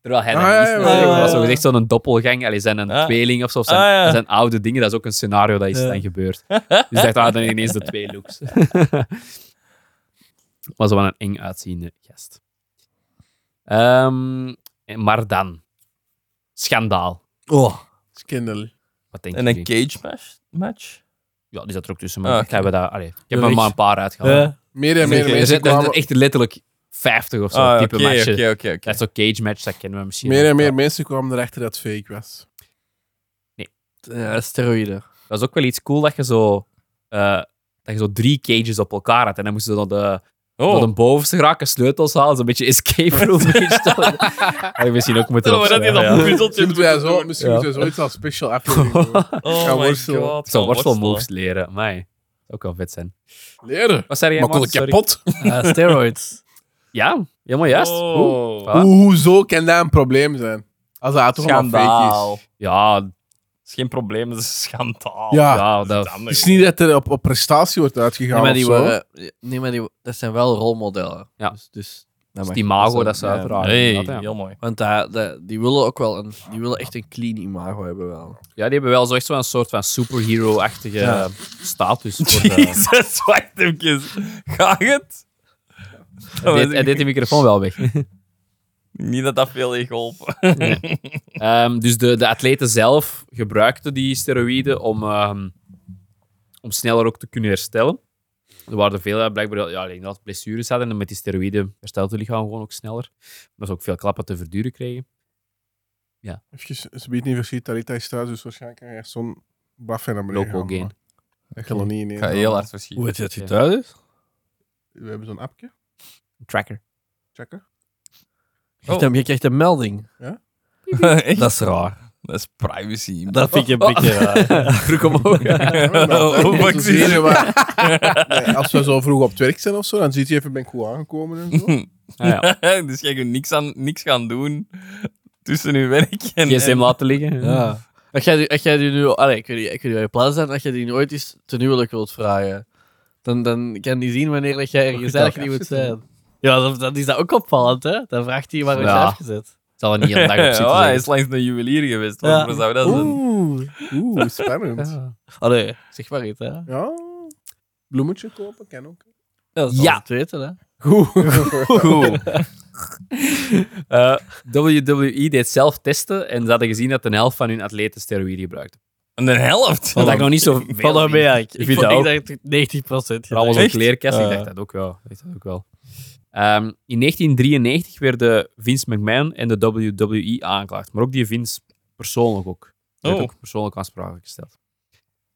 Terwijl hij dat Ah, niet ja, is. ja, natuurlijk. ja, ja, Maar ja. Zo gezegd zo'n doppelgang. Allee, zijn een Ah. tweeling of zo. Of zijn, Ah, ja. dat zijn oude dingen. Dat is ook een scenario dat is Ja. dan *laughs* gebeurd. Dus ik dacht, ah, dan ineens de twee looks. *laughs* maar zo wel een eng uitziende gast. Ehm, en- maar dan. Schandaal. Oh. Scandal. Wat denk En je? een cage match? match? Ja, die zat er ook tussen. Ah, Maar ik oké. heb, daar, allee, ik heb Ja, er ik- maar een paar uitgehaald. Dus Ja. Meer en meer Zeker. Er mensen zijn er zijn kwamen... echt letterlijk 50 of zo. type Ah, oké, matchen. oké, oké, oké. Dat is zo'n cage match, dat kennen we misschien. Meer en wel. meer mensen kwamen erachter dat het fake was. Ja, steroïden. eh. Dat is ook wel iets cool dat je zo, eh, dat je zo drie cages op elkaar had. En dan moesten ze naar de, Oh. naar de bovenste geraken sleutels halen. Zo'n beetje escape room. Had ik misschien ook moeten Oh, maar dat je opschrijven. dat ja. puzzeltje Misschien moeten wij zo, misschien Ja. moeten wij zoiets als special aflevering doen. Oh gaan my worstelen. god. Ik zou gaan worstelmoves leren. Mij. Zou ook wel vet zijn. Leren. Wat zei jij, Makkelijk Maarten? kapot. Eh, steroids. Sorry. Ja, helemaal juist. Oeh. Oh. Voilà. Hoe- Hoezo kan dat een probleem zijn? Als dat toch allemaal fake Schandaal. is. Het Ja, d- Ah, is geen probleem, het is schandaal. Ja. ja, dat... Het Het is niet dat er op, op prestatie wordt uitgegaan Nee, maar, die of zo. waren, nee, maar die, dat zijn wel rolmodellen. Ja. Dus, dus, dat is mag- die mago, dat ze ja. uiteragen. Hey, inderdaad, ja. heel *laughs* mooi. Want daar- daar- die willen ook wel een, die willen echt een clean imago hebben wel. ja, die hebben wel zo echt zo'n soort van superhero-achtige Ja. status. *laughs* Voor de... Jezus, wacht even. Ga het? Dat Hij was deed- Hij deed de microfoon wel weg. Niet dat dat veel heeft geholpen. Ehm, dus de, de atleten zelf gebruikten die steroïden om, ehm, om sneller ook te kunnen herstellen. Er waren er veel dat blijkbaar ja, inderdaad blessures hadden. En met die steroïden herstelt het lichaam gewoon ook sneller. Maar ze ook veel klappen te verduren kregen. Even, ze biedt niet verschiet, Tarita is thuis, dus waarschijnlijk kan je echt zo'n buff in beneden Local gaan, gain. maar Dat kan nog niet in één Ik ga gaan. heel hard verschieten. weet je dat je thuis is? We hebben zo'n appje. Tracker. Checken. Oh. Je krijgt een melding. *laughs* Echt? Dat is raar. Dat is *laughs* privacy. Dat vind ik Oh. een beetje raar. Druk omhoog. *laughs* Oh, Om fuck, te zie je. zien waar- dus Nee, Als we zo vroeg op het werk zijn of zo, dan ziet je even, ben ik goed aangekomen en zo. *laughs* Ah, dus jij kunt niks, aan, niks gaan doen tussen je werk *laughs* en... GSM laten liggen. Ja. Als jij, die- als jij die nu, allee, ik weet niet, ik weet niet waar je plannen zijn, als jij die nu ooit eens ten huwelijk wilt vragen, dan, dan kan die zien wanneer dat jij ergens moet eigenlijk dat niet moet afzetten? zijn. Ja, dan, dan is dat ook opvallend, hè? Dan vraagt hij waar hij is Ja. afgezet. Ik zal er niet een dag *laughs* op zitten. Ja, hij is zeggen. langs een juwelier geweest. Ja. Waarom zou dat zijn? Oeh, oeh, spannend. Ja. Allee, zeg maar iets, hè? Ja, Ja, bloemetje kopen, kan ook. dat zal Ja. het weten, hè? Goed. Eh, WWE deed zelf testen en ze hadden gezien dat een helft van hun atleten steroïden gebruikte. En de helft. Dat ik nog niet zo Van veel daarmee eigenlijk. Ik Ik vind dat ook. vond echt 90 procent. Maar allemaal zo'n Echt? kleerkast. Eh. Ik dacht dat ook wel. Ik dacht dat ook wel. Ehm, in 1993 werden Vince McMahon en de WWE aangeklaagd. Maar ook die Vince persoonlijk ook. Hij werd Oh. ook persoonlijk aansprakelijk gesteld.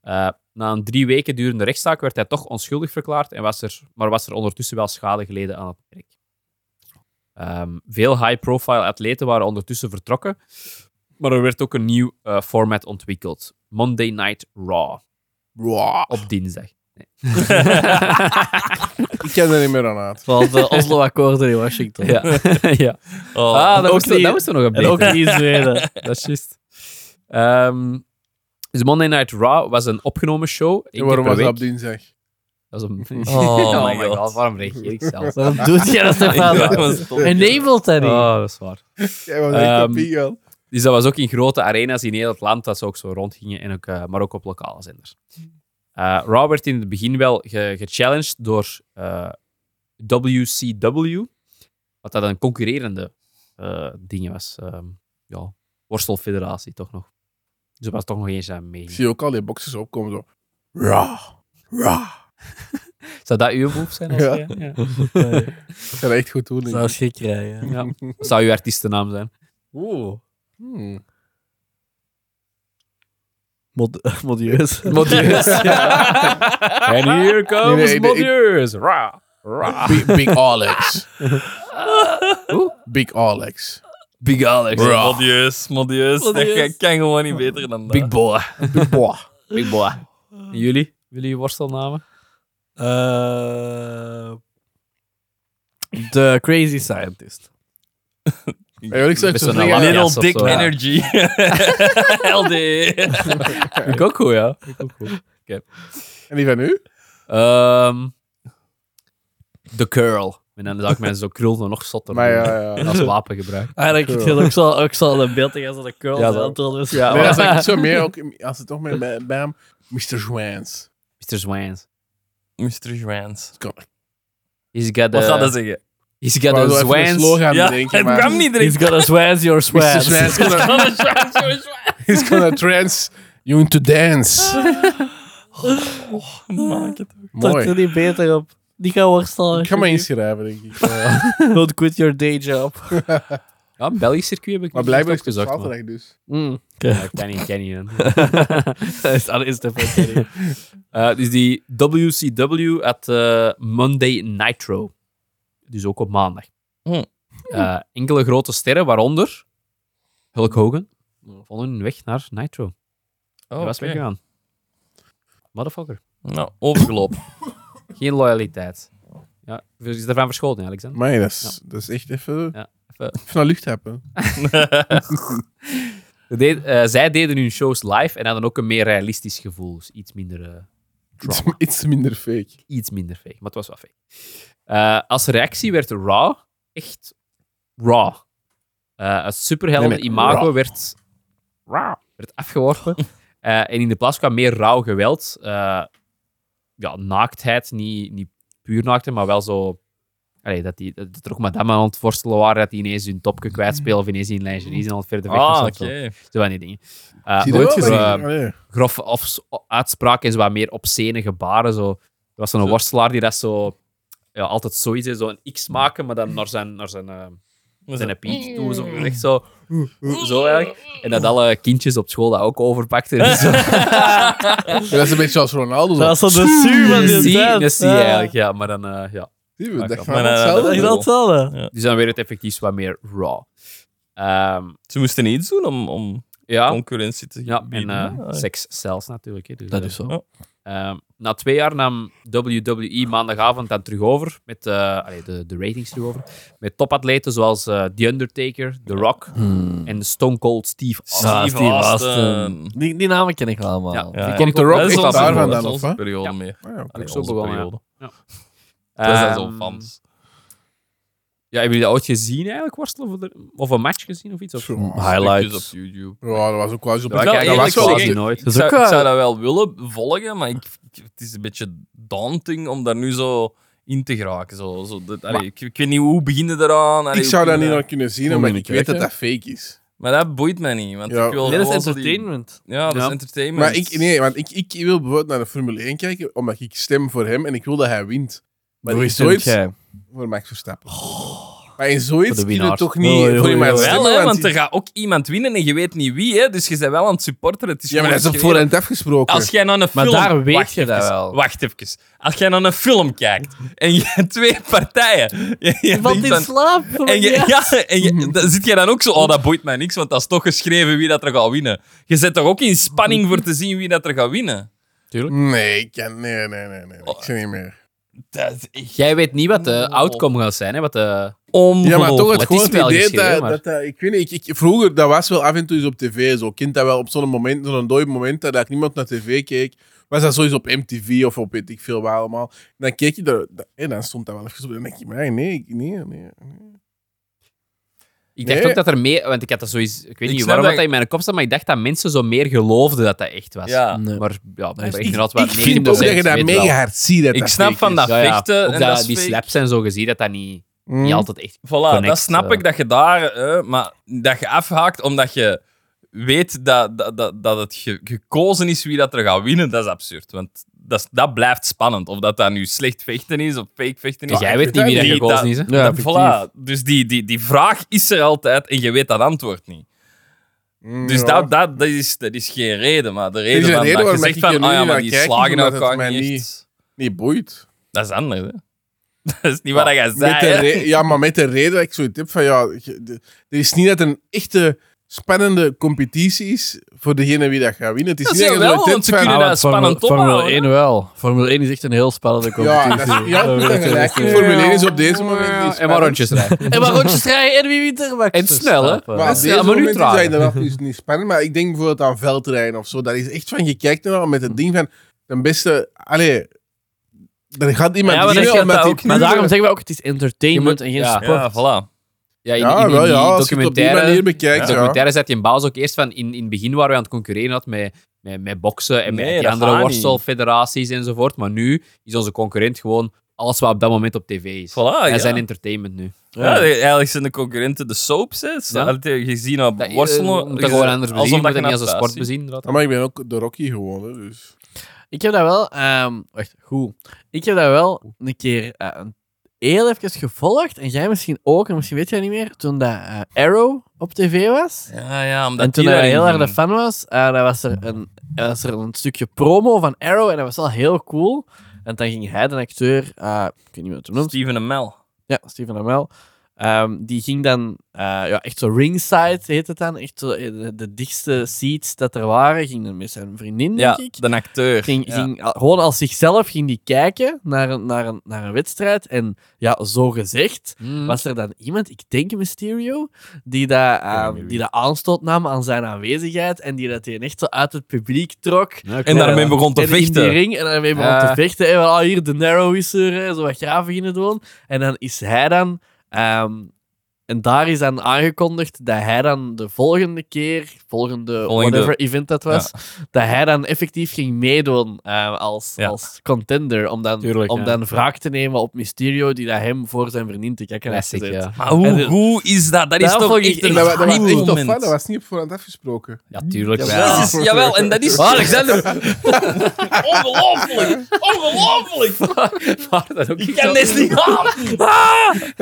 Eh, na een drie weken durende rechtszaak werd hij toch onschuldig verklaard, en was er, maar was er ondertussen wel schade geleden aan het merk. Ehm, veel high-profile atleten waren ondertussen vertrokken, maar er werd ook een nieuw eh, format ontwikkeld. Monday Night Raw, Wow. op dinsdag. *laughs* *laughs* Ik ken er niet meer aan uit. Zoals de Oslo-akkoorden in Washington. *laughs* Ja. ja. Oh. Ah, dat ook moest, *laughs* er- die- dat moest er nog een En ook beetje. *laughs* niet in Zweden. Dat is juist. Ehm, dus Monday Night Raw was een opgenomen show. Eén En keer waarom per was dat op week. dinsdag? Dat was een... Oh, *laughs* my god. waarom reageer ik zelf? Waarom doet jij dat, Dat Stefan? was stom. Enabled dat niet. Oh, dat is waar. Jij was echt Ehm, op Eagle. Dus dat was ook in grote arena's in heel het land dat ze ook zo rondgingen, en ook, eh, maar ook op lokale zenders. Eh Raw werd in het begin wel ge- gechallenged door eh, WCW, wat dat een concurrerende eh ding was. Ehm, ja, worstelfederatie toch nog. Dus er was toch nog eens aan mee. Ik zie ook al die boxers opkomen zo. Ra, ra. Zou dat uw move zijn? Als Ja. jij- ja. Ik ga dat echt goed doen. denk ik. Zou schrik krijgen. Ja. Wat Zou uw artiestennaam zijn? Oeh. Hmm. Mod- Modieus. *laughs* Modieus. En hier comes nee, ik- Modieus. Ra, ra. Big, big *laughs* Alex. Oeh. Big Alex. Big Alex. Ra. Modieus, modieus. Dat Modieus. kan gewoon niet beter dan dat. Big boy. Big boy. Big boy. En jullie? Jullie worstelnamen? Eh, De Crazy Scientist. Hey, ik zeg Best zo wel zeggen, een lange- Little Ja, of Dick zo, ja. Energy. LD. *laughs* Ik ook goed, ja. Ik ook goed. En die van nu? Ehm, the curl. En dan zou ik mensen zo krul dan nog zotter Maar eh, doen. ja, *laughs* ja. Als wapen gebruiken. Eigenlijk, ik wil ook zo, ook zo een beeld tegen als dat een curl Ja, ja, dat- antwoord is. Nee, dat is eigenlijk zo meer ook, als het toch meer bij, bij hem, Mr. Zwans. Mr. Zwans. Mr. Zwans. He's Wat got gaat the, dat zeggen? he's Ik got wou the zo even een Zwans. slogan Ja, het bedenken, maar- kwam niet erin. He's got a swaz, your Mr. swaz. *laughs* Zwans. *laughs* He's gonna trance you into dance. Maak het. Dat Mooi. er niet beter op. Die gaan worstelen. Ik ga me inschrijven, denk ik. Eh, Don't quit your day job. Ja, Belgisch circuit heb ik maar niet blijkbaar is echt het op opgezocht, maar- zaterdag dus. Ja, ik ken niet, ik ken niet. *laughs* hè. Dat is alles te veel. Eh, dus die WCW at eh, Monday Nitro. Dus ook op maandag. Hmm. Eh, enkele grote sterren, waaronder Hulk Hogan, vonden hun weg naar Nitro. Oh, Hij was oké. weggegaan. Motherfucker. Nou, *laughs* overgelopen. Geen loyaliteit. Ja, is daarvan verschoten, Alexander? Maar dat is, dat is echt even, Ja, even- even naar lucht hebben. Ze deed- eh, zij deden hun shows live en hadden ook een meer realistisch gevoel. Dus iets minder... eh, Iets, iets minder fake. iets minder fake, maar het was wel fake. Eh, als reactie werd Raw echt Raw. Eh het superhelden Nee, nee, imago raw. werd, werd afgeworpen. *laughs* Eh, en in de plaats kwam meer rauw geweld. Eh, ja, naaktheid, niet, niet puur naaktheid, maar wel zo... Allee, dat, die, dat er ook madame aan het worstelen waren, dat die ineens hun topje kwijtspelen of ineens in lingerie zijn aan het verder vechten. ah, of oké. zo. Zo van die dingen. Eh, Zie je nooit dat wel? Oh, zo, Maar- eh, Allee. grove afs- uitspraken en zo wat meer obscene gebaren. Zo. Er was zo'n worstelaar die dat zo... Ja, altijd zoiets, hè, zo'n X maken, maar dan naar zijn, naar zijn, eh, Was zijn dat- piet toe. Zo, echt zo, zo eigenlijk. En dat alle kindjes op school dat ook *laughs* overpakten. en Zo. Ja, dat is een beetje zoals Ronaldo. zo. *laughs* Dat is zo de su van Dat die zie je, tijd. dat zie je dus eigenlijk, ja. Maar dan, eh, ja. Zie je, dat Maar- gaan maar- Dat is hetzelfde. wel hetzelfde. Dus dan werd het effectief wat meer raw. Ehm, Ze moesten iets doen om, om ja, concurrentie te Ah. ja, en bieden. eh, Ah, seks zelfs natuurlijk. Hè, dus, eh, zo. Ehm, na twee jaar nam WWE maandagavond dan terug over, met eh, allee, de, de ratings terug over, met topatleten zoals eh, The Undertaker, The Rock Hmm. en Stone Cold Steve Austin. Ah, Steve Steve Austin. Austin. Die, die namen ken ik wel allemaal. Ja. Ja, ja. Komt The Rock Dat is echt onze- dat daarvan dan, is of onze wat? periode Ja. mee. Ah, ja, oké. Allee, Onze zo begonnen, periode. Ehm, Dat zijn zo'n fans. Ja, hebben jullie dat ooit gezien eigenlijk, worstelen? Voor de- of een match gezien of iets? Of? Zo. Stukjes Highlights. op YouTube. Ja, dat was ook wel eens op Ja, Dat ik kan heb dat eerlijk was wel zeggen, eens- die nooit. Ik is ook, zou, ik eh, zou dat wel willen volgen, maar ik, ik- het is een beetje daunting om daar nu zo in te geraken. Zo, zo, dat, allee, ik, ik weet niet hoe beginnen eraan. allee, Ik hoe zou dat niet beginnen- nog kunnen zien, Moet omdat je ik niet weet dat kijken. dat fake is. Maar dat boeit mij niet, want Ja. ik wil Nee, dat gewoon is zo die- *laughs* entertainment. Ja, dat Ja. is entertainment. Maar ik, nee, want ik, ik wil bijvoorbeeld naar de Formule 1 kijken, omdat ik stem voor hem en ik wil dat hij wint. Maar Hoe in is het? zoiets... jij? Voor Max Verstappen. maar in zoiets Voor de kun je winnaar. toch niet Oei, voor oei, iemand oei. Wel, stemmen, hè, want want er gaat ook iemand winnen en je weet niet wie, hè, dus je bent wel aan het supporteren. Het is Ja, maar gewoon dat is op geschreven. voorhand afgesproken. Als jij naar een Maar film... daar weet wacht je dat even, wel. Wacht even. Als jij naar een film kijkt en je hebt twee partijen... *laughs* Je, je Wat denkt in dan- slaap? en je, *laughs* ja, en Mhm. je, dan zit jij dan ook zo... Oh, dat boeit mij niks, want dat is toch geschreven wie dat er gaat winnen. Je zit toch ook in spanning voor te zien wie dat er gaat winnen? Nee, ik kan... Oh. Nee, nee, nee, nee. Ik zie niet meer. Dat is echt... Jij weet niet wat de Oh. outcome gaat zijn, hè? Wat de, Ja, maar toch het, ongelooflijk. gewoon is het wel idee geschreven, dat, maar- dat, dat- Ik weet niet, ik, ik- vroeger, dat was wel af en toe eens op tv. Zo kind dat wel op zo'n moment, zo'n dooi moment, dat eigenlijk niemand naar tv keek. Was dat sowieso op MTV of op weet ik veel waar allemaal. En dan keek je er... dat- en dan stond dat wel even op. En dan denk je, maar nee, ik- nee, nee. nee. Ik dacht Nee. ook dat er meer... Want ik had dat zoiets... Ik Ik weet niet snap waarom dat dat, in mijn kop zat, maar ik dacht dat mensen zo meer geloofden dat dat echt was. Ja. Nee. Maar ja, maar ik, inderdaad wel ik vind ook 90% dat je dat weet mega wel. hard ziet. Dat Ik dat snap fake van is. dat Ja, ja. vechten Ook en dat, dat is die fake. slaps en zo gezien, dat dat niet, Mm. niet altijd echt... Voilà, dat Connect, snap eh. ik dat je daar, hè, maar dat je afhaakt omdat je weet dat, dat, dat, dat het ge- gekozen is wie dat er gaat winnen, dat is absurd. Want dat, is- dat blijft spannend. Of dat dat nu slecht vechten is of fake vechten is. Dus jij weet niet wie dat Die- gekozen dat- is, hè? Ja, dat- effectief. voilà. Dus die, die, die vraag is er altijd en je weet dat antwoord niet. Mm, Dus ja. dat, dat, dat, is, dat is geen reden, maar de reden een van reden dat je waarom zegt ik van, hier ah ja, niet maar naar die kijk, slagen omdat het elkaar mij niet niet- echt. Niet boeit. Dat is anders, hè. *laughs* Dat is niet wat jij Met de zei, hè. re- ja, maar met de reden dat ik zoiets heb van ja, je- de- er is niet dat een echte spannende competitie is voor degene wie dat gaat winnen. Het is Dat niet is dat je wel, zoiets want ze hebt van- kunnen Ah, dat want spannend Formule ophouden, 1 wel. Formule 1 is echt een heel spannende Ja, competitie. dat is, ja, dat is gelijk. Formule 1 is op deze moment niet En maar spannend. *laughs* rondjes rijden. *laughs* En maar rondjes rijden en wie wint er? Max En snel, hè? Verstappen. Maar op Ja, deze maar nu moment is trager. dat inderdaad dus niet spannend. Maar ik denk bijvoorbeeld aan veldrijden of zo. Dat is echt van, je kijkt ernaar met het ding van, de beste, allee, dan gaat iemand Ja, maar dat winnen gaat omdat dat die ook niet. Maar pure- daarom zeggen we ook, het is entertainment Je en moet- geen ja. sport. Ja, voilà. Ja, in, in, Ja, in wel, die ja, als je het op die manier documentaire... bekijkt, ja. documentaire zet je in baas ook eerst van in, in het begin waar we aan het concurreren hadden met, met, met boksen en Nee, met die dat andere gaat niet. worstelfederaties enzovoort. Maar nu is onze concurrent gewoon alles wat op dat moment op tv is. Voilà, Ah, Wij ja. zijn entertainment nu. Ja, eigenlijk zijn de concurrenten de soaps. Hè. Ze Ja. hadden tegen gezien op Dat, worstelen. je moet dat gewoon anders bezien. Je alsof moet dat je niet als een naast sport ziet. bezien. inderdaad. Ja, Maar ik ben ook de Rocky gewonnen, dus... Ik heb dat wel... ehm, wacht, goed. Ik heb dat wel een keer eh, een- heel even gevolgd. En jij misschien ook, en misschien weet jij niet meer. Toen dat eh, Arrow op tv was. Ja, ja, omdat en toen die hij daarin heel erg gingen. de fan was, eh, dan was er, een, dan was er een stukje promo van Arrow. En dat was wel heel cool. En dan ging hij, de acteur... eh, ik weet niet meer wat hij noemt. Steven en Mel. Ja, Steven Amell. Ehm, die ging dan eh, ja, echt zo ringside, heet het dan. Echt zo, eh, de, de dichtste seats dat er waren. Ging dan met zijn vriendin, Ja, denk ik. de acteur. Ging, ja. ging, al- gewoon als zichzelf ging die kijken naar een, naar, een, naar een wedstrijd. En ja, zo gezegd Hmm. was er dan iemand, ik denk Mysterio, die dat, ehm, die dat aanstoot nam aan zijn aanwezigheid. En die dat die echt zo uit het publiek trok. En daarmee begon te En in die vechten. ring en daarmee begon Ja. te vechten. En al hier, de narrow is er, hè, zo wat graven gingen doen. En dan is hij dan... ehm, en daar is dan aangekondigd dat hij dan de volgende keer, volgende, Volgende. whatever event dat was, dat hij dan effectief ging meedoen eh, als, Ja. als contender. Om dan, Tuurlijk, om ja. dan wraak te nemen op Mysterio, die dat hem voor zijn vriendin te kijken had Classic, gezet. ja. Maar hoe, hoe is dat? Dat is Dat toch vond ik echt echt- een Dat, wa- dat was echt moment. tof, hè. dat was niet op voorhand afgesproken. Ja, tuurlijk Ja, wel. Jezus, jawel, en dat is... Alexander! *laughs* Ongelooflijk! Ongelooflijk! *laughs* Maar dat ook Ik niet kan zo- dit niet aan!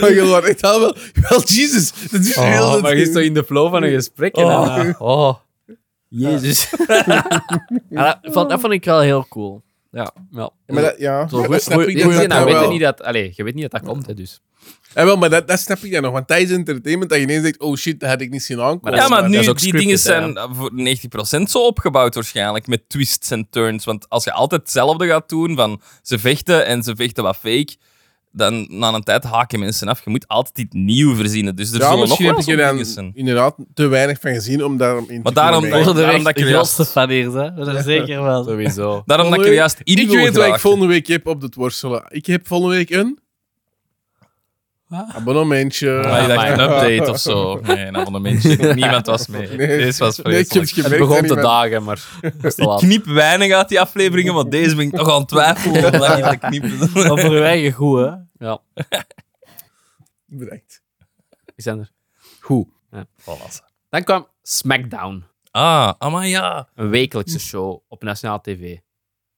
Maar je wordt echt al wel... Wel, Jesus, dat is heel... Oh, dat maar je is ding. zo in de flow van een gesprek. En dan, eh, oh. *laughs* Jezus. Ja, dat, vond, dat vond ik wel heel cool. Ja, Ja. Maar dat, ja, Zo, dat goed- snap goed- ik goed- dat goed- dat nou, dan weet wel. je niet dat, allee, je weet niet dat dat komt, hè, dus. Ja, wel, maar dat, dat snap ik dan nog. Want tijdens entertainment dat je ineens denkt, oh shit, dat had ik niet zien aankomen. Ja, maar dat is nu, ook die scripted, dingen hè. zijn eh, voor 90% zo opgebouwd waarschijnlijk, met twists en turns. Want als je altijd hetzelfde gaat doen, van ze vechten en ze vechten wat fake, dan na een tijd haken mensen af. Je moet altijd iets nieuw verzinnen. Dus er ja, zullen nog misschien wel heb ik zo'n er dingen dan zijn. inderdaad te weinig van gezien om daarom in te Maar daarom- kunnen Ja, mee. daarom Volgende week dat ik er de juist- grootste van hier, hè. Dat is zeker wel. Sowieso. Daarom dat ik er Volgende juist in Ik wil weet wat ik geraken. volgende week heb op het worstelen. Ik heb volgende week een... Abonnementje. Maar je dacht Ah, een update of zo. *laughs* Nee, een *laughs* abonnementje. Niemand was mee. Nee. Deze was Nee, ik heb vreselijk. het Het gemerkt begon aan te iemand. dagen, *laughs* maar was te Ik laat. knip weinig uit die afleveringen, maar deze ben ik toch aan het twijfelen om dat niet te knippen. *laughs* Maar voor uw eigen goed, *laughs* hè. Ja, Bedankt. we zijn er. Goed. Dan kwam Smackdown, Ah, maar ja. een wekelijkse Hm. show op Nationaal TV.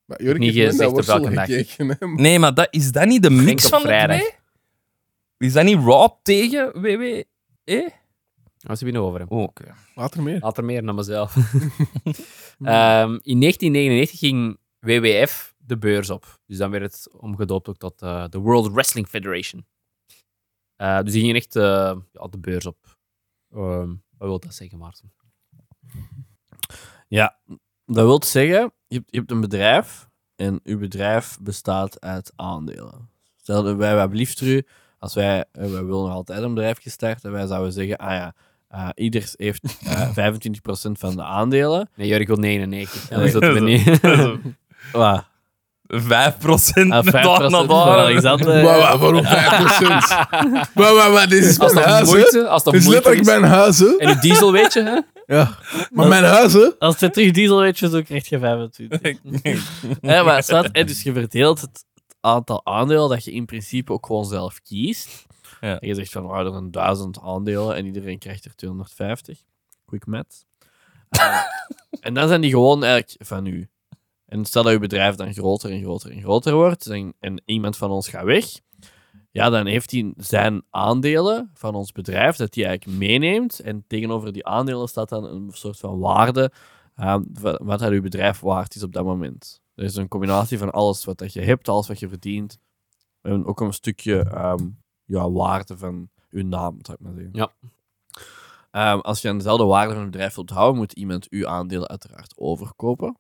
Maar Jorik Niet heeft gezegd naar op welke worstelen dag. gekeken. hè. Nee, maar dat, is dat niet de Denk mix op van de vrijdag. twee? Is dat niet Raw tegen E? WWE? Wat heb je nog over hem? Oh, oké. Later meer. Later meer naar mezelf. *laughs* Ehm, in 1999 ging WWF de beurs op. Dus dan werd het omgedoopt ook tot eh, de World Wrestling Federation. Eh, dus die gingen echt eh, ja, de beurs op. Ehm, wat wil dat zeggen, Maarten? Dat wil zeggen, je hebt, je hebt een bedrijf en uw bedrijf bestaat uit aandelen. Stel dat wij, wij blieft u, als wij, eh, wij willen nog altijd een bedrijf gestart en wij zouden zeggen, ah ja, eh ieder heeft eh, 25% van de aandelen. Nee, Jurk wil Dus 99. En dan zitten we dat niet... *laughs* Wat? 5 procent Ah, 5% naar van daar. Alexander. Maar waar, waarom Eh. 5%? *laughs* maar waar, waar, dit is Als mijn dat huis, hè? moeite, als dat Dit is moeite letterlijk is. mijn huis, hè? En het diesel, weet je, hè? Ja. Maar mijn huis, hè? Als het terug diesel weet je, zo krijg je 25. *laughs* Hè, *laughs* maar staat, hè, dus je verdeelt het het aantal aandelen dat je in principe ook gewoon zelf kiest. Ja. En je zegt van, oh, er zijn duizend aandelen en iedereen krijgt er 250. Quick math. Eh, en dan zijn die gewoon eigenlijk van u. En stel dat uw bedrijf dan groter en groter en groter wordt en, en iemand van ons gaat weg, ja, dan heeft hij zijn aandelen van ons bedrijf dat hij eigenlijk meeneemt. En tegenover die aandelen staat dan een soort van waarde Ehm, wa- wat dat uw bedrijf waard is op dat moment. Er is een combinatie van alles wat dat je hebt, alles wat je verdient. En ook een stukje ehm, ja, waarde van uw naam, zou ik maar zeggen. Ja. Ehm, als je aan dezelfde waarde van het bedrijf wilt houden, moet iemand uw aandelen uiteraard overkopen.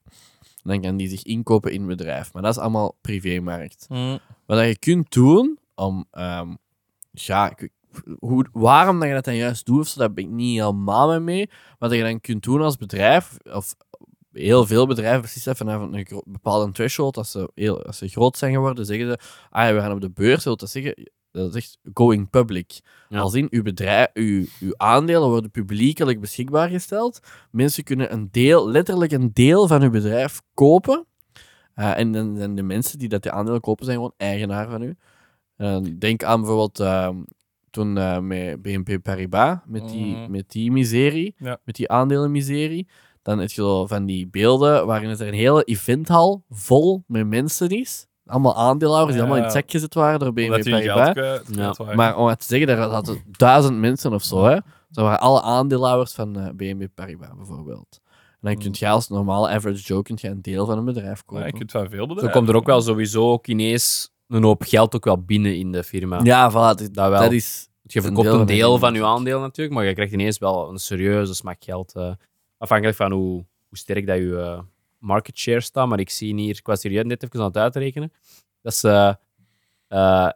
En dan kan die zich inkopen in het bedrijf. Maar dat is allemaal privémarkt. Wat dat je kunt doen om. ehm, ja, ik- hoe, waarom dat je dat dan juist doet, of zo, daar ben ik niet helemaal mee mee. Wat dat je dan kunt doen als bedrijf, of heel veel bedrijven, precies dat, vanaf een gro- bepaalde threshold, als ze, heel, als ze groot zijn geworden, zeggen ze: ah ja, we gaan op de beurs. Dat wil dat zeggen, dat is echt going public. Ja. Als in uw, bedrijf, uw, uw aandelen worden publiekelijk beschikbaar gesteld. Mensen kunnen een deel, letterlijk een deel van uw bedrijf kopen. Eh, en dan zijn de mensen die dat de aandelen kopen, zijn gewoon eigenaar van u. Eh, denk aan bijvoorbeeld ehm, toen eh, met BNP Paribas, met die, Mhm. met die miserie, Ja. met die aandelenmiserie. Dan heb je zo van die beelden waarin het er een hele eventhal vol met mensen is. Allemaal aandeelhouders die Ja. allemaal in het zak gezet waren door BNP Omdat die hun geld Paribas. kwijt. Ja. dat is waar. Maar om het te zeggen, daar hadden duizend mensen of zo. Hè? Dat waren alle aandeelhouders van eh BNP Paribas bijvoorbeeld. En dan kun je als normale average Joe kunt je een deel van een bedrijf kopen. Ja, je kunt van veel Zo bedrijven. komt er ook wel sowieso ook ineens een hoop geld ook wel binnen in de firma. Ja, voilà, dit- Dat wel. dat is Je verkoopt een deel van je aandeel natuurlijk, maar je krijgt ineens wel een serieuze smak geld. eh, afhankelijk van hoe, hoe sterk dat je eh, market share staat. Maar ik zie hier, ik was hier net even aan het uitrekenen, dat ze eh,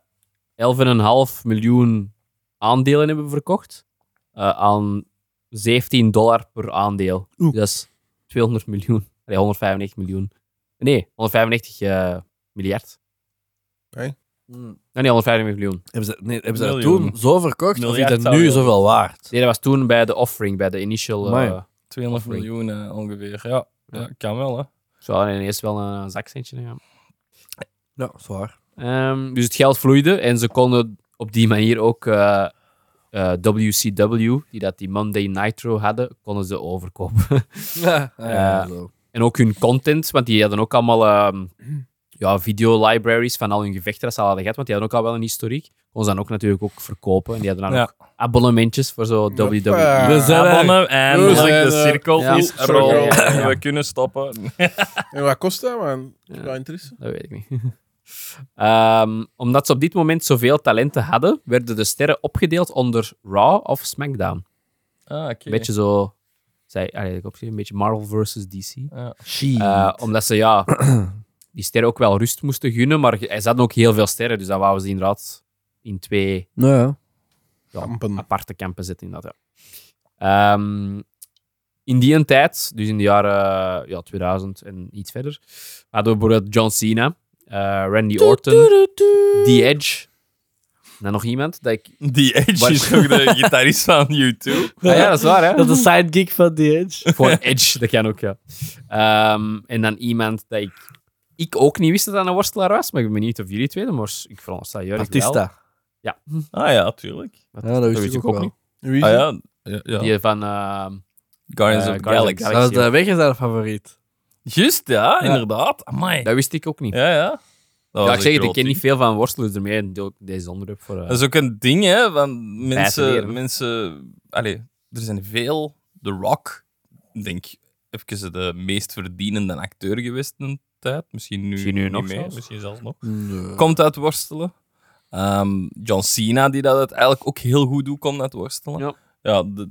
11,5 miljoen aandelen hebben verkocht eh, aan 17 dollar per aandeel. Oeh. Dat is 200 miljoen. Nee, 195 miljoen. Nee, 195 eh, miljard. Ah, Mm. Nee, nee, 195 miljoen. Hebben ze, nee, hebben ze dat Miljoen. toen zo verkocht? Miljard of is dat zou nu je- zoveel waard? Nee, dat was toen bij de offering, bij de initial... eh, Amai. 200 Offering. miljoen eh, ongeveer. Ja. ja, kan wel, hè. Zo, ineens wel een, een zakcentje. hè, Ja. Ja, zwaar. Ehm, dus het geld vloeide en ze konden op die manier ook eh, eh, WCW, die dat die Monday Nitro hadden, konden ze overkopen. *laughs* Ja, ja, en ook hun content, want die hadden ook allemaal ehm ja, video libraries van al hun gevechten dat ze al hadden gehad, want die hadden ook al wel een historiek. Konden ze dan ook natuurlijk ook verkopen. En die hadden dan Ja. ook abonnementjes voor zo E. WWE. Hoppa. zijn Abonnen en We zijn de er. cirkel Ja. is Cirkel. *laughs* rond. Ja, ja. We kunnen stoppen. En wat kost dat, man? Ja, interesse. Dat weet ik niet. *laughs* Ehm, omdat ze op dit moment zoveel talenten hadden, werden de sterren opgedeeld onder Raw of SmackDown. Ah, oké. Een beetje zo. Zij, allee, ik opschrijf, een beetje Marvel versus DC. Ja. Eh, omdat ze ja, die sterren ook wel rust moesten gunnen, maar ge- ze hadden ook heel veel sterren. Dus dan wouden ze inderdaad in twee Nou ja. ja, Hm. Kampen. aparte kampen zitten. Inderdaad, ja. Ehm, in die tijd, dus in de jaren ja, 2000 en iets verder, hadden we bijvoorbeeld John Cena, eh, Randy Orton, The Edge. En dan nog iemand dat ik... Die Edge Waar- is ook de gitarist van U2. Ah ja, dat is waar, hè? Dat is de sidekick van die Edge. Gewoon Edge, dat kan ook, ja. Ehm, en dan iemand dat ik... Ik ook niet wist dat dat een worstelaar was, maar ik ben benieuwd of jullie het weten, maar ik veronderstel Jurk wel. Batista. Ah ja, tuurlijk. Wat Ja, dat wist weet ik ik ook ook wel. niet. Wie is Ah het? ja, ja, ja. Die van... ehm, Guardians eh, of the Guardians Galaxy. Dat was de weg is haar favoriet. Juist, ja, inderdaad. Amai. Dat wist ik ook niet. Ja, Ja, ja. Dat was ik een zeg het, ik groot ken ding. niet veel van worstelaars, daarmee en deel ik deze onderwerp voor... eh, Dat is ook een ding, hè, van leren. mensen... mensen allee, er zijn veel... The Rock, ik denk even de meest verdienende acteur geweest in een tijd. Misschien nu, Misschien nu niet nog meer, zelfs. misschien zelfs nog. Nee. Komt uit worstelen. Ehm, John Cena, die dat het eigenlijk ook heel goed doet, komt uit worstelen. Ja. Ja, de-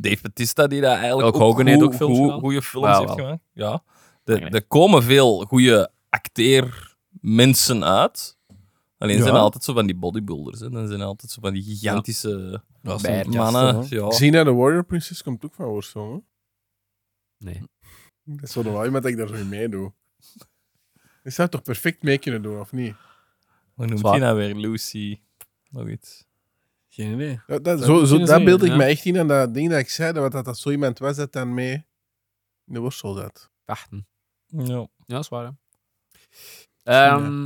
Dave Bautista, die dat eigenlijk Hulk ook, Hogan heeft ook films gedaan. goede films Wauw, heeft wauw. gemaakt. Ja. Eigenlijk. Er- er komen veel goede acteermensen uit. Hè, Alleen zijn Ja. altijd zo van die bodybuilders. Hè. Dan zijn altijd zo van die gigantische Dat is bijer- een mannen. gasten, Ja. Xena nou de Warrior Princess komt ook van Warzone. hè? Nee. Dat is wel normaal iemand dat ik daar zo mee doe. Je zou toch perfect mee kunnen doen, of niet? Hoe noemt Zwaar. die nou weer? Lucy. Nog iets. Geen idee. Ja, dat, Zou zo, ik zo, kunnen dat zien, beeld ik ja. me echt in aan dat ding dat ik zei, dat dat, dat zo iemand was dat dan mee in de worstel zat. Wachten. Ja. Ja, dat is waar. hè. Ehm,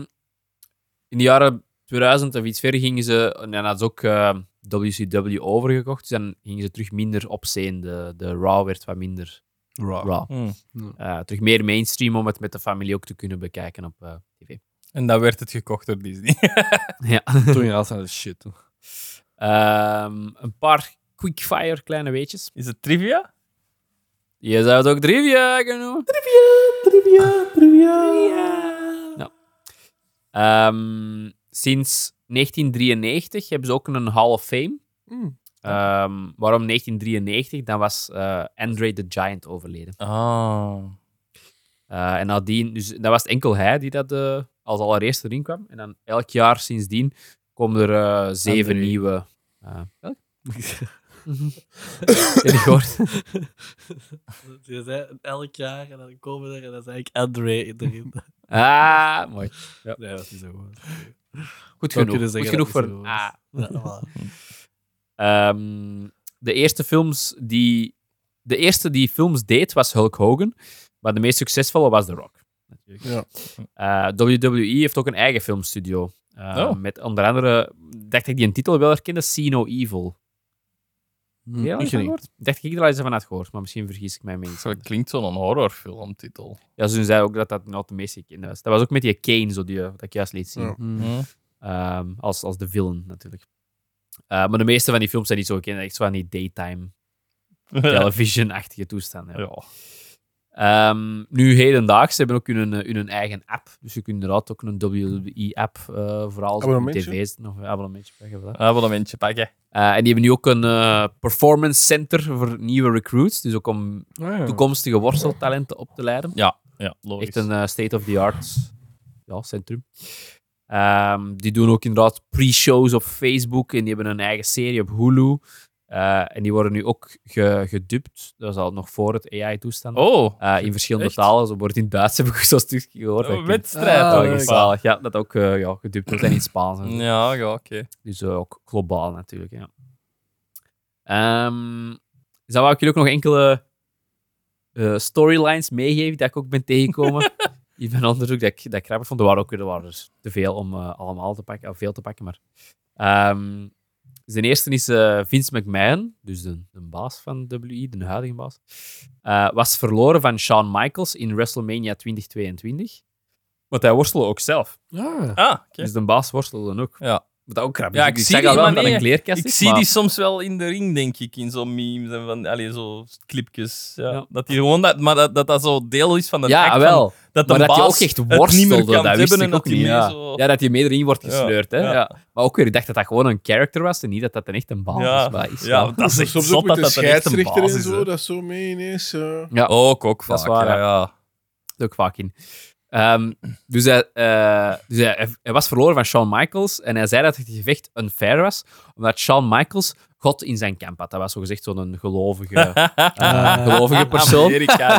in de jaren 2000 of iets verder gingen ze, en dan hadden ze ook eh, WCW overgekocht, dus dan gingen ze terug minder op scene. De, de Raw werd wat minder Raw. Hm. Eh, terug meer mainstream om het met de familie ook te kunnen bekijken op eh, tv. En dan werd het gekocht door Disney. *laughs* Ja. Toen je altijd aan de shit. hoor. Ehm, een paar quickfire kleine weetjes. Is het trivia? Je zou het ook trivia kunnen noemen. Trivia, trivia, trivia. Ja. Ehm, sinds 1993 hebben ze ook een Hall of Fame. Mm. Ehm, waarom 1993? Dan was eh, Andre the Giant overleden. Ah. Eh, en nadien, dus dat was enkel hij die dat eh, als allereerste erin kwam. En dan elk jaar sindsdien komen er eh, zeven André. nieuwe. eh *laughs* welk? Heb je die gehoord? Je zei elk jaar en dan komen er en dan zei ik André erin. Ah, mooi. Nee, dat is zo goed. Goed Zou genoeg. kunnen Goed zeggen genoeg voor dat Ah, een het A. Ja, *laughs* voilà. Ehm, de eerste films die... De eerste die films deed was Hulk Hogan. Maar de meest succesvolle was The Rock. Ja. Eh, WWE heeft ook een eigen filmstudio. Eh, Oh. Met onder andere, dacht ik die een titel wel herkende, See No Evil. Hm, Heb je daar al eens van gehoord? Dacht ik er al eens van had gehoord, maar misschien vergis ik mij mee. Zo klinkt zo'n horrorfilmtitel. Ja, ze zei ook dat dat nooit de meest gekende was. Dat was ook met die Kane, zo die, eh, dat ik juist liet zien. Ja. Hm. Ehm, als, als de villain, natuurlijk. Eh, maar de meeste van die films zijn niet zo gekend. Echt zo van die daytime Hm? television-achtige toestanden. Ja. Ehm, nu, hedendaags, ze hebben ook hun, eh, hun eigen app. Dus je kunt inderdaad ook een WWE-app, eh vooral als op Abonnementje. tv's nog een abonnementje pakken. voilà. Abonnementje pakken. Eh, en die hebben nu ook een eh, performance center voor nieuwe recruits. Dus ook om toekomstige worsteltalenten op te leiden. Ja, logisch. Echt een eh, state-of-the-art ja, centrum. Ehm, die doen ook inderdaad pre-shows op Facebook en die hebben een eigen serie op Hulu. Eh, en die worden nu ook ge- gedubt. Dat is al nog voor het AI-toestand. Oh, eh, in verschillende echt? Oh, talen. Zo wordt in het Duits, heb ik Ah, zo'n stukje gehoord. een Dat wedstrijd. klinkt- dan Ja, is dat. zalig. Ja, dat ook eh, ja, gedubt wordt en in het Spaans. en zo. Ja, ja oké. Dus eh, ook globaal natuurlijk. Ja. Ehm, dus dan wou ik jullie ook nog enkele eh, storylines meegeven die ik ook ben tegengekomen. in mijn onderzoek dat ik, dat ik grappig vond. Er waren ook er waren dus te veel om eh, allemaal te pakken, of veel te pakken. Maar, Ehm, zijn eerste is eh, Vince McMahon, dus de, de baas van WI, de huidige baas, eh, was verloren van Shawn Michaels in WrestleMania 2022. Want hij worstelde ook zelf. Ah, oké. Dus de baas worstelde ook. Ja. Wat dat ook grappig Ja, is. ik ik zie zag die, al wel maar dat dat nee, een kleerkast Ik is, zie maar- die soms wel in de ring, denk ik, in zo'n memes en van, allee, zo clipjes. Ja. Ja. Dat die gewoon dat, maar dat, dat dat zo deel is van de Ja, wel. dat de maar dat je baas ook echt het niet meer worstelde, kan dat wist hebben ik en dat ook die niet. mee Ja. zo- ja, dat je mee erin wordt Ja, gesleurd. hè? ja. Ja. Maar ook weer, ik dacht dat dat gewoon een character was en niet dat dat een echt een baas Ja, was. Maar dat is ja, wel- dat *laughs* is echt Dus Soms zot ook met dat de dat een echt een scheidsrechter en baas is. zo, hè. dat is zo mee ineens. eh. Oh. Ook, ook vaak. Dat is waar, ja, hè. ja. *laughs* zit ook vaak in. Ehm, dus hij, eh, dus hij, hij- hij was verloren van Shawn Michaels en hij zei dat het gevecht unfair was, omdat Shawn Michaels God in zijn kamp had. Dat was zogezegd zo'n gelovige, Ah, eh, *laughs* gelovige persoon.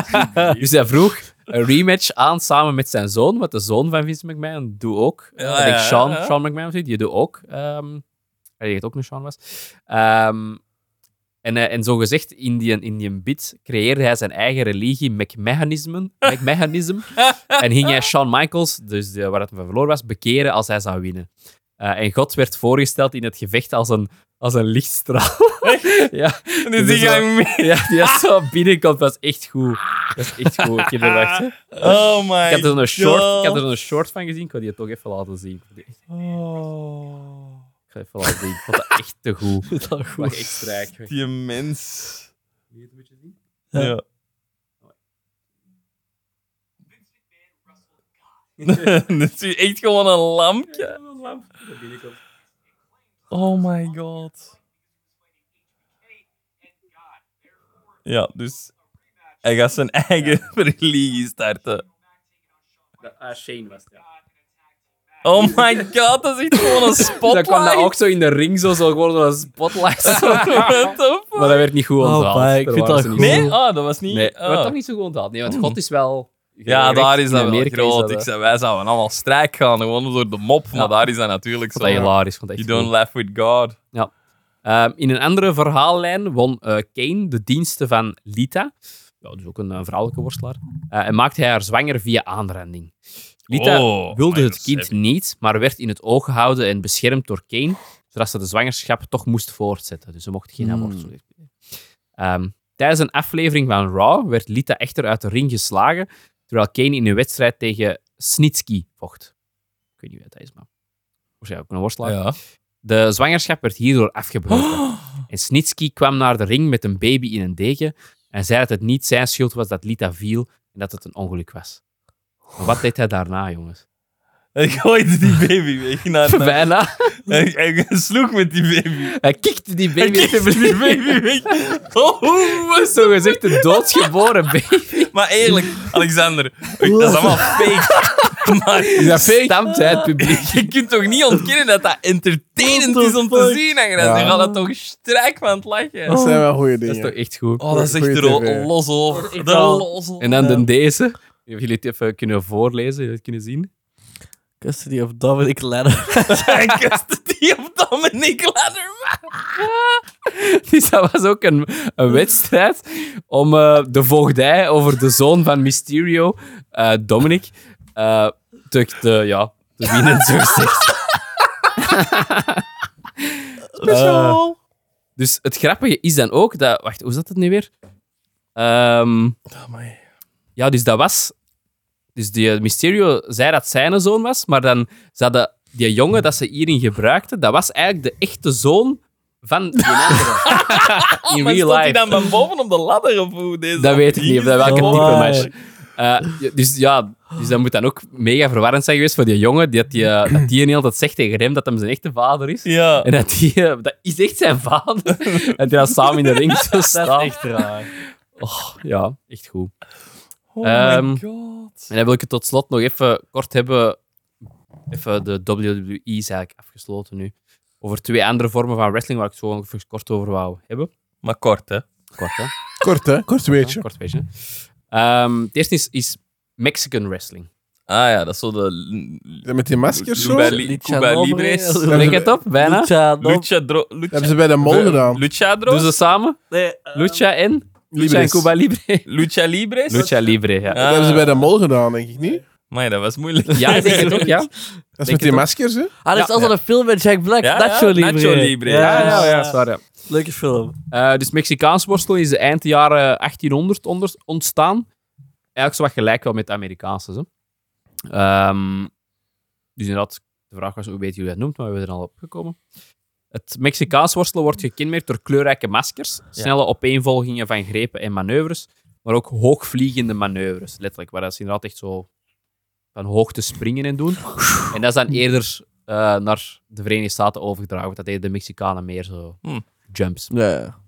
*laughs* dus hij vroeg een rematch aan samen met zijn zoon, want de zoon van Vince McMahon doet ook. eh, Ja, ik denk ja, Shawn, ja. Shawn McMahon of zoiets, die doet ook. ehm hij heet ook nog Shawn was. Ehm, en, eh, en zo gezegd, in die, in die bid creëerde hij zijn eigen religie, *laughs* McMechanismen, McMechanism. en ging hij Shawn Michaels, dus de, waar het hem van verloren was, bekeren als hij zou winnen. Eh, en God werd voorgesteld in het gevecht als een, als een lichtstraal. *laughs* ja, Dus die is wel- gaan mee. *laughs* ja, die als zo binnenkomt, was echt goed. Dat is echt goed, ik heb er *laughs* wacht. Ik *laughs* Oh my had er een short, God. ik had er een short van gezien, ik wil die toch even laten zien. Ik wil die echt- Oh. Ik ga even laten zien, ik vond dat echt te goed. Dat is wel Ik was goed. echt strijk. Die mens. Ja. Ja. *laughs* Dat is echt gewoon een lampje. Oh my god. Ja, dus hij gaat zijn eigen religie starten. Shane was ja. Oh my god, *laughs* dat is echt gewoon een Dan kwam dat spotlight. ook zo in de ring, zo, zo gewoon door een spotlight. *laughs* What the fuck? *laughs* Maar dat werd niet goed Oh, onthaald. bye, ik Daar vind waren dat ze niet goed. zo- Nee? Ah, dat was niet... Nee, ah. dat werd toch niet zo goed onthaald. Nee, want God is wel... Ja, daar is dat wel meer groot. Ik zei, wij zouden allemaal strijk gaan, gewoon door de mop. Maar daar is dat natuurlijk Dat zo. dat hilarisch vond. You don't laugh with God. Ehm, in een andere verhaallijn won eh, Kane de diensten van Lita. Ja, dus ook een eh, vrouwelijke worstelaar. Eh, en maakte hij haar zwanger via aanranding. Lita Oh, wilde my het kind God. niet, maar werd in het oog gehouden en beschermd door Kane, zodat ze de zwangerschap toch moest voortzetten. Dus ze mocht geen abort verlenen. Ehm, tijdens een aflevering van Raw werd Lita echter uit de ring geslagen, terwijl Kane in een wedstrijd tegen Snitsky vocht. Ik weet niet wie dat is, maar waarschijnlijk ook een worstelaar. Ja. De zwangerschap werd hierdoor *gasps* afgebroken. Oh, En Snitsky kwam naar de ring met een baby in een deken en zei dat het niet zijn schuld was dat Lita viel en dat het een ongeluk was. Maar wat deed hij *laughs* daarna, *laughs* jongens? Hij gooide die baby weg *laughs* naar... naar- Bijna. Hij, hij sloeg met die baby. Hij kikte die Hij baby. kiest die *laughs* baby weg. Oh, Zo gezegd een doodgeboren baby. maar eerlijk, Alexander, dat is allemaal *laughs* fake. Maar Is dat fake? Stamt uit het publiek. je *laughs* kunt toch niet ontkennen dat dat entertainend is om te zien, Agnes? Ja. Je gaat dat toch strijk van het lachen. Dat zijn wel goede Dat is toch dingen. echt goed. Oh, dat is echt Goeie er al- TV. los over. Ah, wel. Er *laughs* los over. En dan de deze. Hebben jullie het even kunnen voorlezen? Jullie het kunnen zien? Custody of Dominic Ladder. Hij kuste die op Dominic Letterman. Dus dat was ook een, een wedstrijd om eh, de voogdij over de zoon van Mysterio, eh, Dominic, eh, te, te- ja, te *laughs* winnen, zo gezegd. Eh, Speciaal. dus het grappige is dan ook dat... Wacht, hoe zat het nu weer? Ehm, ja, dus dat was... Dus die Mysterio zei dat zijn een zoon was, maar dan ze hadden die jongen dat ze hierin gebruikten, dat was eigenlijk de echte zoon *laughs* van die andere. In Maar real stond hij life. dan van boven op de ladder of hoe? Deze Dat weet ik niet, of dat welke type Oh, my. match. Eh, ja, dus ja, dus dat moet dan ook mega verwarrend zijn geweest voor die jongen, die, dat die, eh, dat die een hele tijd zegt tegen hem dat hem zijn echte vader is. Ja. En dat die, eh, dat is echt zijn vader. *laughs* en die dat samen in de ring zo Dat staan. is echt raar. Ja, echt goed. Oh Ehm, my god. En dan wil ik het tot slot nog even kort hebben. Even de WWE is eigenlijk afgesloten nu. Over twee andere vormen van wrestling waar ik het zo nog even kort over wou hebben. Maar kort, hè. Kort, hè? Kort, hè? Kort weetje. Kort beetje. Ehm, het eerste is, is Mexican wrestling. Ah ja, dat is zo de... Met die maskers zo? Cuba, Dat li Lucha Cuba Libre. Libres. Lucha Denk het op, bijna. Lucha, Dom- Lucha... Dro Lucha... hebben ze bij de mol gedaan. Luchadros? Doe ze samen. Nee, eh, Lucha en? Lucha en Libres. Cuba *laughs* Libre. Lucha Libres? Lucha Libre, ja. Ja. Dat hebben ze bij de mol gedaan, denk ik niet? Maar dat was moeilijk. Ja, ik denk het ook, ja. Dat is Denk met die het maskers, hè? Ah, dat is altijd een film met Jack *laughs* Black. Ja, Nacho ja, Libre. Nacho Libre. Ja, ja, ja. dat is waar, ja. Leuke film. Eh, dus Mexicaans worstelen is eind de jaren 1800 onder- ontstaan. Eigenlijk zo wat gelijk wel met de Amerikaanse. Zo. Ehm, dus inderdaad, de vraag was hoe weet jullie dat noemt, maar we zijn er al opgekomen. Het Mexicaans worstelen wordt gekenmerkt door kleurrijke maskers, snelle opeenvolgingen van grepen en manoeuvres, maar ook hoogvliegende manoeuvres, letterlijk. Waar dat ze inderdaad echt zo van hoogte springen en doen. En dat is dan eerder eh, naar de Verenigde Staten overgedragen, want dat deden de Mexicanen meer zo Hmm. jumps. Ja.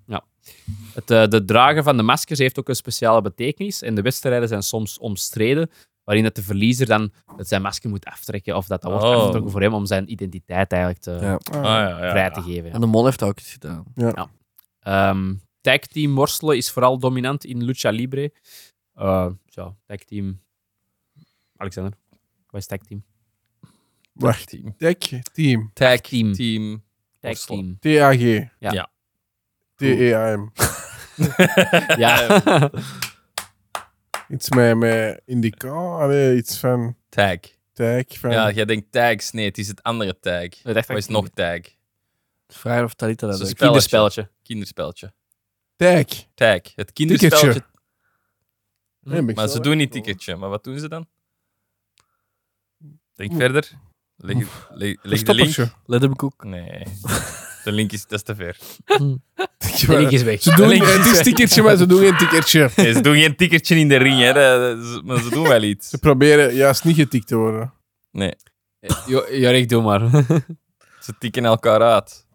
Het, eh, de dragen van de maskers heeft ook een speciale betekenis. En de wedstrijden zijn soms omstreden, waarin dat de verliezer dan het zijn masker moet aftrekken. Of dat dat wordt Oh. afgetrokken voor hem om zijn identiteit eigenlijk te, Ja. Ah, ja, ja. vrij te geven. ja. En de mol heeft dat ook iets gedaan. Ehm tag team worstelen is vooral dominant in Lucha Libre. Eh zo, tag team. Alexander, wat is tag team? Wacht. Team. Tech Team. Tag team. Team. Tag worstelen. team. T-A-G. Ja. Ja. T-E-A-M. *laughs* Ja, Iets met, met indica. Allee, iets van Tag. tech. Van... Ja, jij denkt tags. Nee, het is het andere tag. dat dacht Wat is ik nog tag? Vraag of Talita dat Ze doet. spelen- kinderspelletje. Kinderspeltje. Tag. Tag. Het kinderspeltje. Nee, ben ik Maar zo ze weg. doen niet ticketje. Maar wat doen ze dan? Denk verder. Leg, leg, leg de link. Verstoppertje. Let him cook. Nee. De link is, dat is te ver. De link is weg. Ze doen, het is tikkertje, maar ze doen geen tikkertje. Nee, ze doen geen tikkertje in de ring, hè. Dat- dat is- maar ze doen wel iets. Ze proberen juist niet getikt te worden. Nee, *laughs* Jo- Jorik, doe Nou, maar. ze tikken elkaar uit.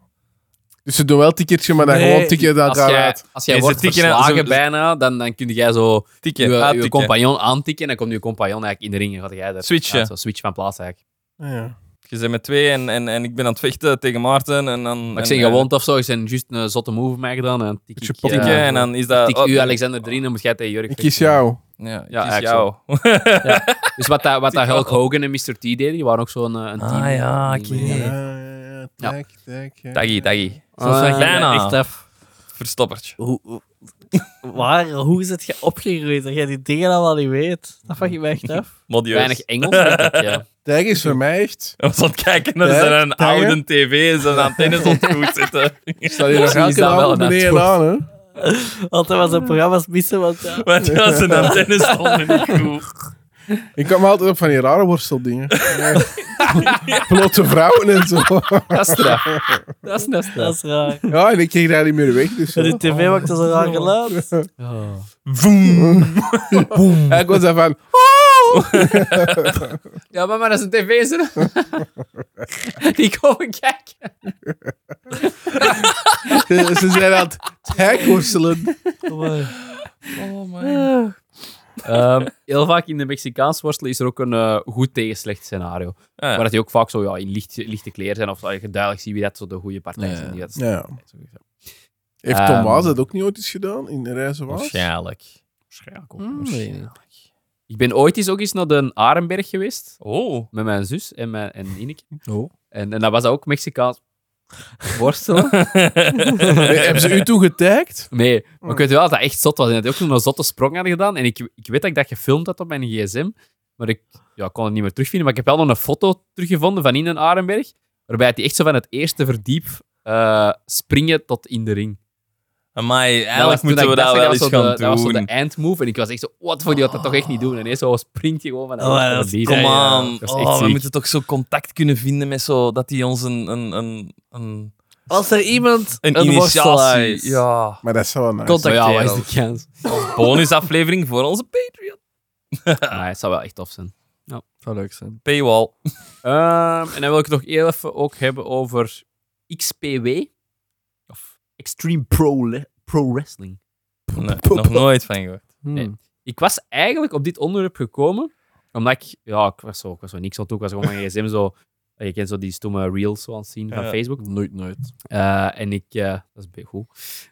Dus ze doen wel tikkertje, maar dan Nee, gewoon tikken dat als jij, daaruit. als jij Nee, ze wordt tikken- verslagen ze- ze- bijna, dan, dan kun jij zo je, Tikken, je uittikken. compagnon aantikken en dan komt je compagnon eigenlijk in de ring en gaat jij daar Switchen. Ja, zo switch van plaats eigenlijk. Ah, Ja. Je bent met twee en, en, en ik ben aan het vechten tegen Maarten. En dan, eh, Maar ik en- zeg en- gewoon of zo, je zijn juist een zotte move op mij gedaan. En tik ik, Tikken, eh, en dan is dat... tik oh, u Alexander 3 en dan moet jij tegen Jurk Ik kies jou. Ja, ik Ja, kies eigenlijk jou. Dus wat, dat, wat dat Tik- Hulk Hogan en Mr. T deden, die waren ook zo'n eh, een team. Ah ja, Die- oké. Ja, Ja. tak, tak, ja. Daggy, daggy. Zo zag Ah, je bijna. echt af. Verstoppertje. Hoe, hoe- waar, hoe is het je opgegroeid dat jij die dingen allemaal niet weet? Dat vraag je me echt af. Modieus. Weinig Engels, denk ik, ja. Tag is voor mij echt. We was aan het kijken naar Ja, zijn taggen. oude tv, zijn antennes op het goed *laughs* zitten. Ik sta hier nog Misschien is elke dat wel avond een beneden aan, hè? Altijd was zijn programma's missen, want ja, Want ja, *laughs* zijn antennes stonden niet goed. Ik kwam altijd op van die rare worsteldingen. *laughs* Ja. Blote vrouwen en zo. Dat is straf. Dat is net dat is raar. Ja, en ik kreeg daar niet meer weg. Dus En ja. die tv Oh. maakt dat zo'n raar *laughs* geluid. *laughs* Ja, ik was daar van. Ja, maar, maar dat is een tv hè. *laughs* Die komen kijken. eh, Ze zijn aan het tag worstelen. Oh Ehm, heel vaak in de Mexicaans worstelen is er ook een eh, goed tegen slecht scenario. Ja. Maar dat die ook vaak zo ja, in licht, lichte kleren zijn. Of dat je duidelijk ziet wie dat zo de goede partij Ja. is. en die dat- Ja. Heeft Ehm. Thomas dat ook niet ooit eens gedaan in de reizen was? Waarschijnlijk. Waarschijnlijk ook. Mm, Waarschijnlijk. nee. Ik ben ooit eens ook eens naar de Arenberg geweest. *laughs* Oh. Met mijn zus en, mijn, en Ineke. Oh. En, en dat was ook Mexicaans worstelen. Nee, hebben ze u toen getagd? *laughs* Nee, maar ik weet wel dat dat echt zot was. En dat hij ook nog een zotte sprong had gedaan. En ik, ik weet dat ik dat gefilmd had op mijn gsm. Maar ik ja, ik kon het niet meer terugvinden. Maar ik heb wel nog een foto teruggevonden van in een Arenberg. Waarbij hij echt zo van het eerste verdiep eh, springen tot in de ring. *laughs* Amai, Dat was- eigenlijk toen moeten we ik dat zag, wel was eens zo gaan de- doen. Dat was zo de eindmove. En ik was echt zo, wat voor die had dat toch echt niet doen. En ineens zo springt hij gewoon van het Oh, eerste dat- verdiep. Kom Ja, aan. Dat is echt oh, we ziek. moeten toch zo contact kunnen vinden met zo... Dat hij ons een... Een, een, een, Als er iemand een, een, worstelaar initiatie... is. Ja. Maar dat is wel nice. Kot- Maar ja, wat contacteren. is de kans? Bonusaflevering voor onze Patreon. Maar Ah, het zou wel echt tof zijn. Zou leuk zijn. Paywall. Ehm, en dan wil ik het nog heel even ook hebben over XPW. Of Extreme Pro, Le- Pro Wrestling. *laughs* Nee, nog nooit van gehoord. Nee. Hmm. Ik was eigenlijk op dit onderwerp gekomen, omdat ik... Ja, ik was zo, ik was zo niks aan toe. Ik was gewoon mijn *laughs* gsm zo... Je kent zo die stomme reels zo aan het zien van Ja. Facebook. Nooit, nooit. Eh, en ik... eh, dat is bij goed.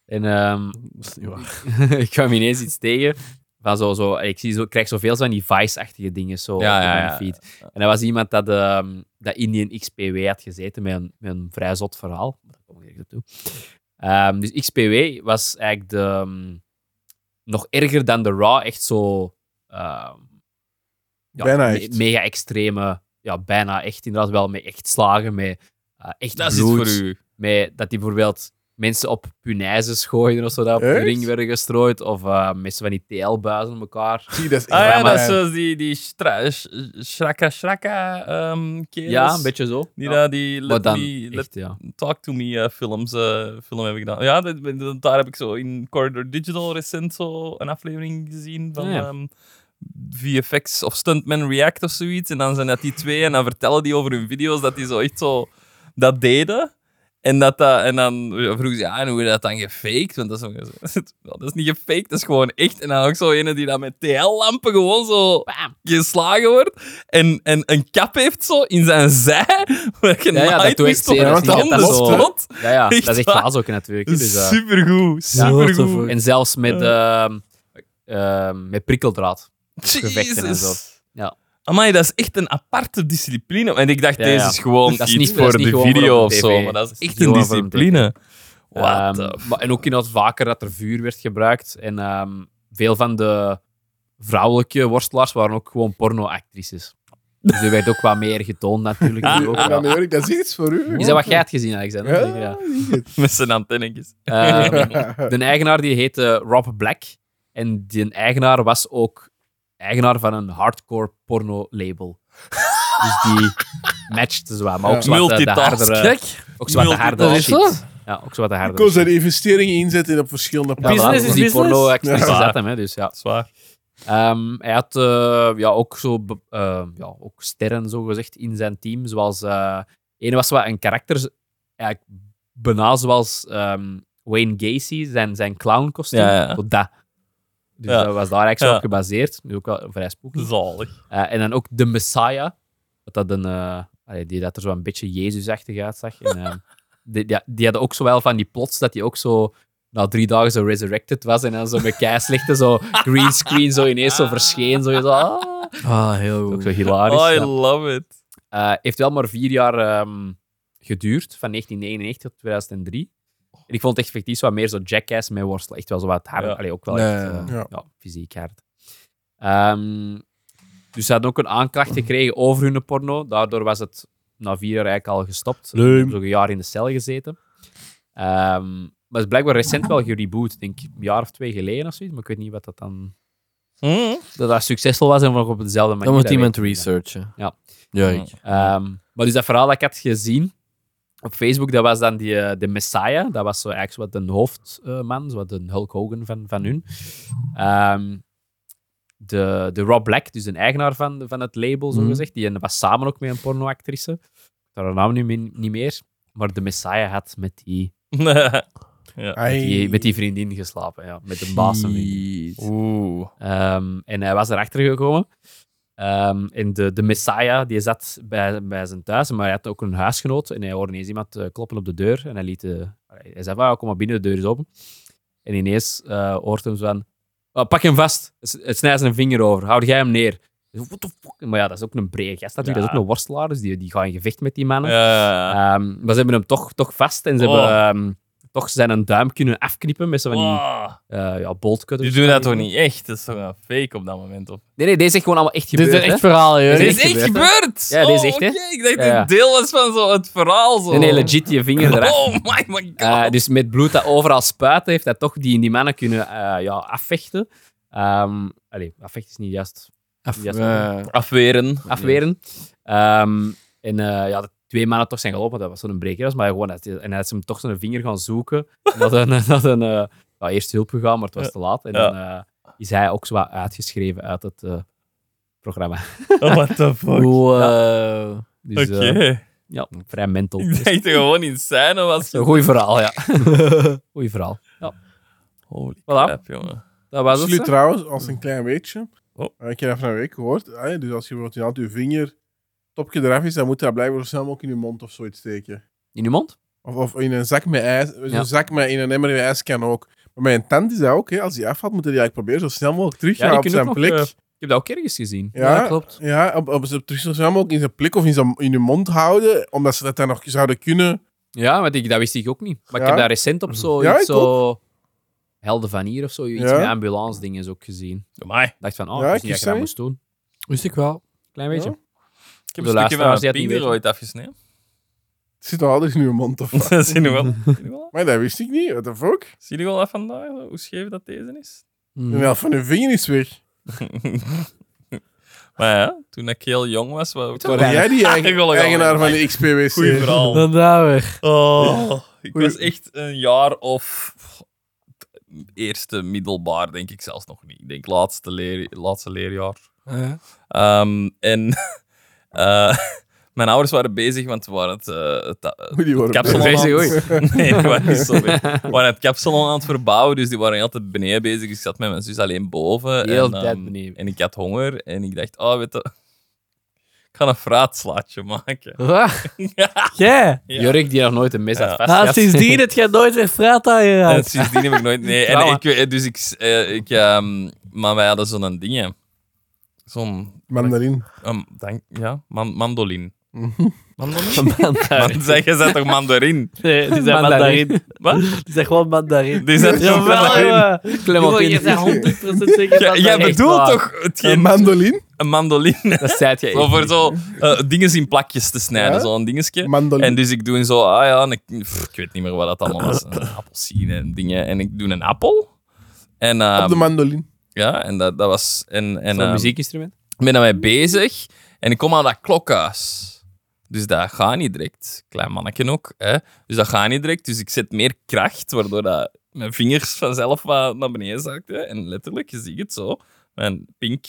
En ehm, Dat is niet waar. *laughs* ik kwam ineens iets tegen. Van zo, zo, ik, zie zo, ik krijg zoveel van die Vice-achtige dingen zo Ja, op ja, mijn ja. feed. En er was iemand dat, ehm dat Indian XPW had gezeten met een, met een vrij zot verhaal. Daar kom ik direct op toe. Ehm, dus XPW was eigenlijk de, ehm, nog erger dan de Raw. Echt zo... ehm, ja, Bijna me- echt. mega extreme... Ja, bijna echt. Inderdaad wel met echt slagen, met eh, echt Dat is iets bloed voor u. met dat die bijvoorbeeld mensen op punaises gooiden of zo, dat op de Echt? ring werden gestrooid, of eh mensen van die TL-buizen op elkaar. Zie, dat is Ah ja, Ja, echt dat is nice. zo die, die stra- sh- shraka shraka ehm kerels. Ja, een beetje zo. Die, Ja. daar die let, Maar dan, me- let echt, ja. Talk to Me eh, films, eh, film hebben gedaan. Ja, dat- dat- daar heb ik zo in Corridor Digital recent zo een aflevering gezien van Ah, ja. ehm, VFX of Stuntman React of zoiets. En dan zijn dat die twee en dan vertellen die over hun video's dat die zo echt zo dat deden. En, dat dat, en dan vroeg ze, ja, en hoe heb je dat dan gefaked? Want dat is, zo- *laughs* dat is niet gefaked, dat is gewoon echt. En dan ook zo ene die dan met TL-lampen gewoon zo geslagen wordt. En, en een kap heeft zo in zijn zij. Waar je Ja, ja, dat nooit doe ik wist hoe zeer. dat Ja, want handen dat klopt, hè. stond. Ja, ja, dat is Echt echt waar? glazen ook natuurlijk. hè, Dus, eh, Supergoed, supergoed. en zelfs met, ehm, ehm, met prikkeldraad. gevechten en zo. Jezus. Ja. Amai, dat is echt een aparte discipline. En ik dacht, Ja, deze ja. is gewoon Dat is iets niet- dat voor is niet de gewoon voor video op of tv. zo, maar dat is echt een Gewoon voor op discipline. What Ehm, the f- maar, en ook inderdaad vaker dat er vuur werd gebruikt. En ehm, veel van de vrouwelijke worstelaars waren ook gewoon pornoactrices. Dus er werd ook wat meer getoond *laughs* natuurlijk. Dus Ah, Ook, Ja, ja. dan hoor ik, dat is iets voor u. eh, Is dat wat jij hebt gezien, Alexander? Ja, Ja. Met zijn antennetjes. *laughs* Ehm, de eigenaar die heette Rob Black. En die eigenaar was ook eigenaar van een hardcore porno label. Dus *laughs* die matchte zwaar, maar ook zo wat de, de Multitask. hardere, ook zo wat de hardere Multitask. shit. Ja, ook zo wat de *laughs* Ik kon hardere zijn shit. investeringen inzetten op verschillende Ja, plaatsen. voilà, Business is dus die business. porno Ja. actrices zat hem, hè, dus ja. Zwaar. Ehm, hij had eh, ja, ook zo be- eh, ja, ook sterren zo gezegd in zijn team. Zoals eh ene was wat een karakter, z- eigenlijk bijna zoals ehm, Wayne Gacy, zijn, zijn clown kostuum. Ja, ja. Dat. Dus Ja. dat was daar eigenlijk zo Ja. op gebaseerd. Nu ook wel vrij spooky. Zalig. Eh, en dan ook de Messiah. Dat dat een, eh, allee, die dat er zo een beetje Jezusachtig uitzag. En, ehm, die, die, die hadden ook zo wel van die plots dat hij ook zo na drie dagen zo resurrected was en dan zo met keislichten zo green screen zo ineens zo verscheen. Zo, zo, ah. Ah, heel Ook goed. zo hilarisch. Oh, I ja. love it. *laughs* Eh, heeft wel maar vier jaar ehm, geduurd, van 1999 tot 2003. En ik vond het echt effectief wat meer zo jackass met worstelen. Echt wel zo wat hard. Ja. Allee, ook wel Nee, echt eh, ja. ja. fysiek hard. Ehm, dus ze hadden ook een aanklacht gekregen over hun porno. Daardoor was het na vier jaar eigenlijk al gestopt. Ze hebben zo'n jaar in de cel gezeten. Ehm, maar het is blijkbaar recent wel gereboot. Ik denk een jaar of twee geleden of zoiets. Maar ik weet niet wat dat dan... Dat dat succesvol was en nog op dezelfde manier... Dan moet dat iemand weet ik niet. researchen. Ja. Ja, ik. Ehm, maar dus dat verhaal dat ik had gezien op Facebook, dat was dan die, eh, de Messiah. Dat was zo eigenlijk zo wat de hoofdman, zo wat de Hulk Hogan van, van hun. Ehm, de, de Rob Black, dus een eigenaar van, van het label, zo gezegd, die was samen ook met een pornoactrice. Ik weet haar naam nu min- niet meer. Maar de Messiah had met die, met die, met die vriendin geslapen. Ja, met de baas van die. Oeh. Ehm, en hij was erachter gekomen. Ehm, en de, de Messiah die zat bij, bij zijn thuis, maar hij had ook een huisgenoot. En hij hoorde ineens iemand eh, kloppen op de deur. En hij, liet, eh, hij zei: van, "Ah, Kom maar binnen, de deur is open. En ineens eh hoort hem zo van: "Ah, Pak hem vast, S- het snijdt zijn vinger over, houd jij hem neer. Hij zo, What the fuck? Maar ja, dat is ook een brede gast natuurlijk. Dat is ook een worstelaar, dus die, die gaat in gevecht met die mannen. Ja. Ehm, maar ze hebben hem toch, toch vast en ze Oh. hebben ehm, toch zijn een duim kunnen afknippen met zo'n van die Wow. eh, ja, boltcutters. Die doen dat toch niet echt? Dat is toch een fake op dat moment? Of... Nee, nee, deze is gewoon allemaal echt Dit gebeurd. is hè? echt verhaal, Dit joh. is echt Oh, gebeurd! Ja, dit is echt, hè? oké. Ik dacht Ja, ja. dat deel was van zo het verhaal. Zo. Nee, nee, legit je vinger eraf. Oh my, my god. Eh, dus met bloed dat overal spuit, heeft hij toch die, die mannen kunnen eh, ja, afvechten. Ehm allee, afvechten is niet juist. Af- Ja, eh, Afweren. Afweren. Ehm, en eh, ja, de twee mannen toch zijn gelopen, dat was zo'n breker. was, Maar gewoon, dat- en hij is hem toch zo'n vinger gaan zoeken. *laughs* Dat een, dat een eh, ja, eerste hulp gegaan, maar het was te laat. En dan eh, is hij ook zo wat uitgeschreven uit het eh, programma. *laughs* *laughs* What the fuck? Wow. Dus Oké. eh, ja, vrij *laughs* mental. Ik dacht er gewoon in scène was. Een goeie verhaal, *laughs* ja. Goeie verhaal. Ja. Holy Voilà. crap, jongen. Dat was het. Absoluut hè? trouwens, als een klein beetje. Oh. Eh, Ik heb dat van een week gehoord. Ah, ja, dus als je bijvoorbeeld inderdaad je vinger topje eraf is, dan moet je dat blijkbaar zo snel mogelijk in je mond of zoiets steken. In uw mond? Of, of in een zak met ijs. Zo'n Ja. zak met in een emmer met ijs kan ook. Maar mijn tand is dat ook. Hè. Als die afvalt, moet hij die eigenlijk proberen zo snel mogelijk terug Ja, gaan die op kunnen zijn ook plek. nog, eh, Ik heb dat ook ergens gezien. ja, Ja, klopt. ja, op, op, op, terug zo snel mogelijk in zijn plek of in, zijn, in je mond houden. Omdat ze dat dan nog zouden kunnen. Ja, maar ik, dat wist ik ook niet. Maar Ja? ik heb daar recent op zo, Ja, iets ik zo Helden van Hier of zo, iets Ja? met ambulance dingen is ook gezien. Amai. Ik dacht van, oh, Ja, ik wist ik niet dat je zei. dat moest doen. Wist ik wel. Klein beetje. *laughs* Ik heb De een stukje luisteraars die van het mijn niet pinger weten. ooit afgesneden. *laughs* Het zit nog altijd in je mond. Of wat. Zien jullie wel? *laughs* Zien jullie wel? maar dat wist ik niet. What the fuck? Zien jullie wel af vandaag? zo, Hoe scheef dat deze is? *laughs* Hm. De helft van je vinger is weg. maar ja, toen ik heel jong was, was Waar jij *laughs* die eigen- Eigenlijk al eigenaar van lang. de XPWC? Goeie verhaal. Dan daar weer. Oh, ik Goeie- was echt een jaar of eerste middelbaar, denk ik zelfs nog niet. Ik denk laatste, leer, laatste leerjaar. Ehm, en *laughs* eh, mijn ouders waren bezig, want we waren het, eh, *laughs* het, Hoe die worden kapsalon aan bezig, het- Nee, we waren niet zo bezig. We waren het kapsalon aan het verbouwen, dus die waren altijd beneden bezig. Dus ik zat met mijn zus alleen boven. Heel en, de ehm, tijd beneden. En ik had honger en ik dacht, oh, weet je, ik ga een fraatslaatje maken. Ja. Ja. *laughs* Jurk, die nog nooit een mes had Ja. Ah, vastgehad. *laughs* sindsdien dat jij nooit echt fruit aan je En raakt. sindsdien heb ik nooit. Nee, en Trauma. ik, weet- dus ik. eh, ik ehm, maar wij hadden zo'n ding. hè. Zo'n. Mandarin. ehm, dank- ja, man- mandolin. Mhm. Mandolin? Man- zeg, je zegt toch mandarin? Nee, eh, die zijn Mandarin. mandarin. Wat? *laughs* Die zijn gewoon mandarin. *laughs* Die zijn toch Jawel, mandarin? jongen. Clementine. Je bent 100% zeker Ja, dat jij dat echt bedoelt waar. toch Een hetgeen, Eh, mandolin? een mandolin? *laughs* Dat zei je Zo echt voor niet. zo eh, dingen in plakjes te snijden, Ja? zo'n dingetje. Mandolin. En dus ik doe zo, ah ja, en ik, pff, ik weet niet meer wat dat allemaal was. Een appelsine en dingen. En ik doe een appel. En, ehm, Op de mandolin. ja, en dat, dat was. En, en, Zo'n ehm, muziekinstrument. Ik ben daarmee bezig en ik kom aan dat klokhuis. Dus dat gaat niet direct. Klein mannetje ook. Hè? Dus dat gaat niet direct. Dus ik zet meer kracht, waardoor dat mijn vingers vanzelf wat naar beneden zakten. En letterlijk, je ziet het zo. Mijn pink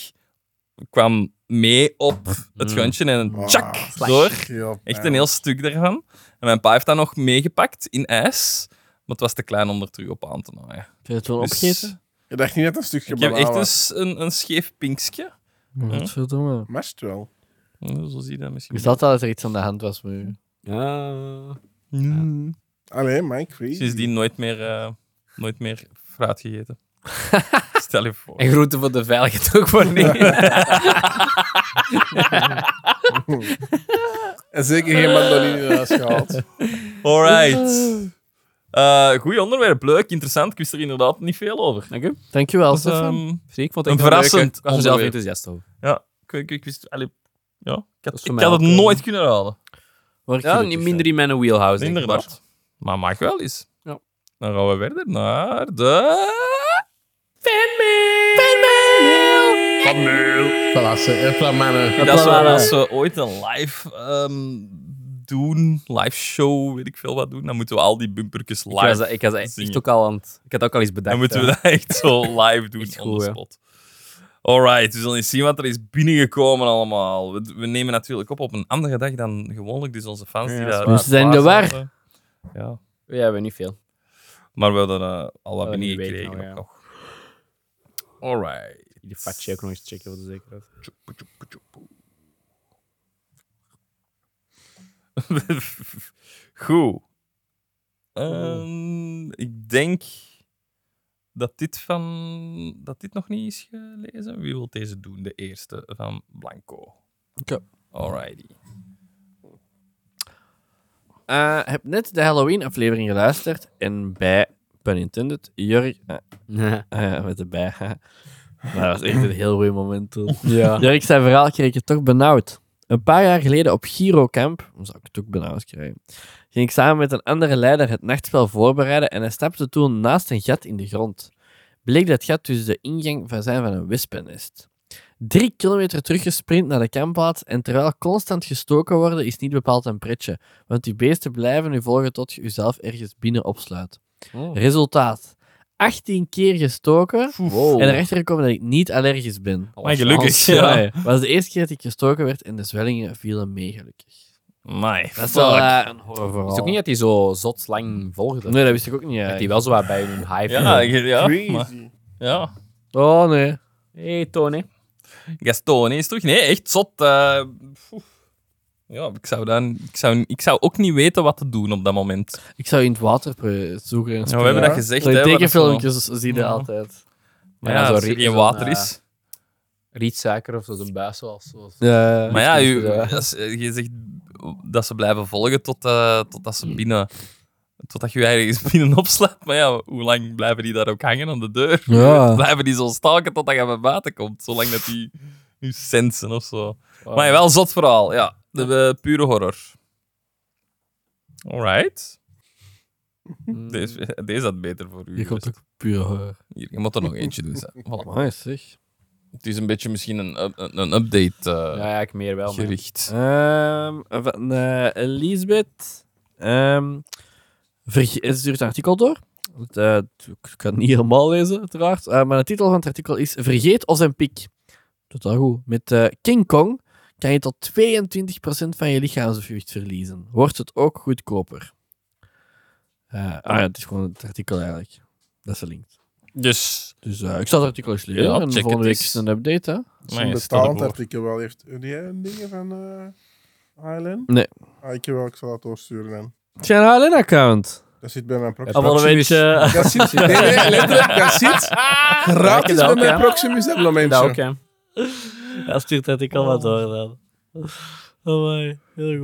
kwam mee op het guntje en tjak, Wow. door. Ah, Ja, Echt een heel stuk daarvan. En mijn pa heeft dat nog meegepakt in ijs. Maar het was te klein om er terug op aan te naaien. Heb je het wel Dus opgegeten? Ik dacht niet dat dat een stukje ik heb echt banaan een, was. Mm. s- een, een scheef pinkje. Godverdomme. Mest wel. Ja, zo zie je dat misschien. Ik zat al dat er iets aan de hand was met u. Mm. Allee, Mike, crazy. Sindsdien nooit meer, eh, nooit meer fruit *laughs* gegeten. Stel je voor. *laughs* En groeten voor de veiligheid ook voor niet. En zeker geen mandoline Eh. eruit gehaald. Alright. Eh goed onderwerp, leuk, interessant. Ik wist er inderdaad niet veel over. Dank u. Dankjewel, Dat is, Stefan. ehm, Zie, ik vond Een het echt wel verrassend leuk. Ik was er zelf onderwerp. enthousiast over. ik, ik, ik wist... allee, ja, ik had, is ik voor mij had het ook, eh, nooit kunnen raden. Word Ja, gelukkig, niet dus, minder in mijn wheelhouse. denk ik maar. Inderdaad. Maar mag wel eens. Ja. Dan gaan we verder naar de... Fanmail! Klasse, airplane. Dat is wel eh, als we ooit een live ehm, doen, live show, weet ik veel wat doen, dan moeten we al die bumpertjes Ik was, live. dat- ik was echt zingen. ook al aan het... Ik had ook al iets bedacht. Dan moeten we ja. dat echt *laughs* zo live doen Echt on goed, the hè. spot. Alright, we zullen eens zien wat er is binnengekomen allemaal. We, we nemen natuurlijk op op een andere dag dan gewoonlijk, dus onze fans die daar... Dus ze zijn de klaar war. zaten. Ja, We hebben niet veel. maar we hadden eh, al wat Oh, die binnengekregen weten ook we, ja. nog. Alright. Die fatje ook nog eens checken voor de zekerheid. *laughs* Goed. Ehm, ik denk dat dit, van, dat dit nog niet is gelezen. Wie wil deze doen? De eerste van Blanco. Oké. Alrighty. Eh, heb net de Halloween-aflevering geluisterd en bij, pun intended, Jurk... eh, *laughs* eh, met de bij. dat was echt een heel mooi moment toen. *laughs* ja. Jurk zijn verhaal kreeg ik het toch benauwd. Een paar jaar geleden op Girocamp, dan zou ik het ook benauwd krijgen, ging ik samen met een andere leider het nachtspel voorbereiden en hij stapte toen naast een gat in de grond. Bleek dat gat dus de ingang van zijn van een wispennest. Drie kilometer teruggesprint naar de kampplaats en terwijl constant gestoken worden is niet bepaald een pretje, want die beesten blijven u volgen tot je uzelf ergens binnen opsluit. Resultaat. 18 keer gestoken en erachter gekomen dat ik niet allergisch ben. Maar gelukkig. Ja. Ja. Dat was de eerste keer dat ik gestoken werd en de zwellingen vielen mee, gelukkig. Amai, Dat is fuck. wel eh, een horror Het is ook niet dat hij zo zot lang volgde. Nee, dat wist ik ook niet Dat hij eigenlijk. wel zo wat bij hem hype. Ja, ik- ja, maar- Crazy. ja. Oh, nee. Hey, Tony. Gaston is terug. Nee, echt zot. eh, poeh. ja, ik zou, dan, ik, zou, ik zou ook niet weten wat te doen op dat moment. Ik zou in het water pro- zoeken en Ja, we hebben dat gezegd. In hè, wat is zo- tekenfilmpjes zie je Ja. dat altijd. Maar Ja, ja, zo als er ri- geen zo'n, water eh, is. Rietsuiker of zo, zo'n buis zoals. zoals. Ja. Maar ja, u, Ja. als- eh, je zegt dat ze blijven volgen tot, eh, totdat ze binnen... Totdat je je ergens *laughs* binnen opslaat. Maar ja, hoe lang blijven die daar ook hangen aan de deur? Ja. Blijven die zo staken totdat je bij buiten komt? Zolang dat *laughs* die nu sensen of zo. Maar ja, wel een zot verhaal, ja. De eh, pure horror. Alright. Hm, Deze, deze had beter voor u. Je komt ook puur horror. Hier, je moet er nog eentje doen. *laughs* Sam. Voilà. Mooi zeg. Het is een beetje misschien een, up- een, een update eh, Ja, ja, ik meer wel. maar- gericht. Ehm, van eh, Elisabeth. Ehm, verge- ze stuurt een artikel door. Het, eh, ik kan het niet helemaal lezen, uiteraard. Eh, maar de titel van het artikel is Vergeet Os en Piek. Doet dat goed. Met eh, King Kong kan je tot 22% van je lichaamsgewicht verliezen. Wordt het ook goedkoper? Eh, ah ja, het is gewoon het artikel eigenlijk. Dat is de link. Dus, Dus eh, ik zal het artikel eens lezen. Ja, check en volgende het week eens. is een update, hè? Zo'n betaald artikel wel heeft. Heb jij een ding van eh Island? Nee. Ah, ik heb wel, ik zal dat doorsturen dan. Het is een account Dat zit bij mijn proxy. Ja, Allemaal een Proximus. eh, *laughs* beetje... Dat zit, nee, nee, letterlijk, dat *laughs* zit gratis dat bij ook, mijn hè? Proximus Dat ook, abonnementje. *laughs* hè. Hij stuurt dat ik al wat door dan. Oh my, heel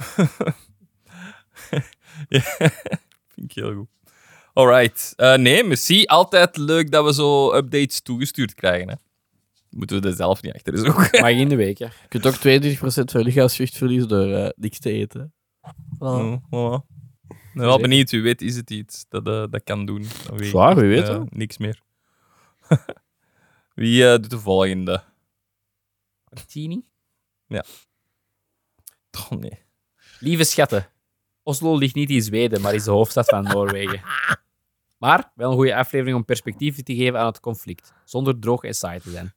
goed. Vind ik heel goed. Alright. Eh, nee, merci. Altijd leuk dat we zo updates toegestuurd krijgen. Hè. Moeten we er zelf niet achter zoeken. Maar in de week, hè. Je kunt ook 22% van je lichaamsgewicht verliezen door eh, niks te eten. Mm. Voilà. Ja, Oh, voilà. Ik ben wel benieuwd. Wie weet is het iets dat eh, dat kan doen. Dan weet ik Zwaar, wie echt, weet, eh, hè. Niks meer. *laughs* Wie eh, doet de volgende? Martini. Oh, nee. Lieve schatten. Oslo ligt niet in Zweden, maar is de hoofdstad van Noorwegen. Maar wel een goede aflevering om perspectief te geven aan het conflict. Zonder droog en saai te zijn.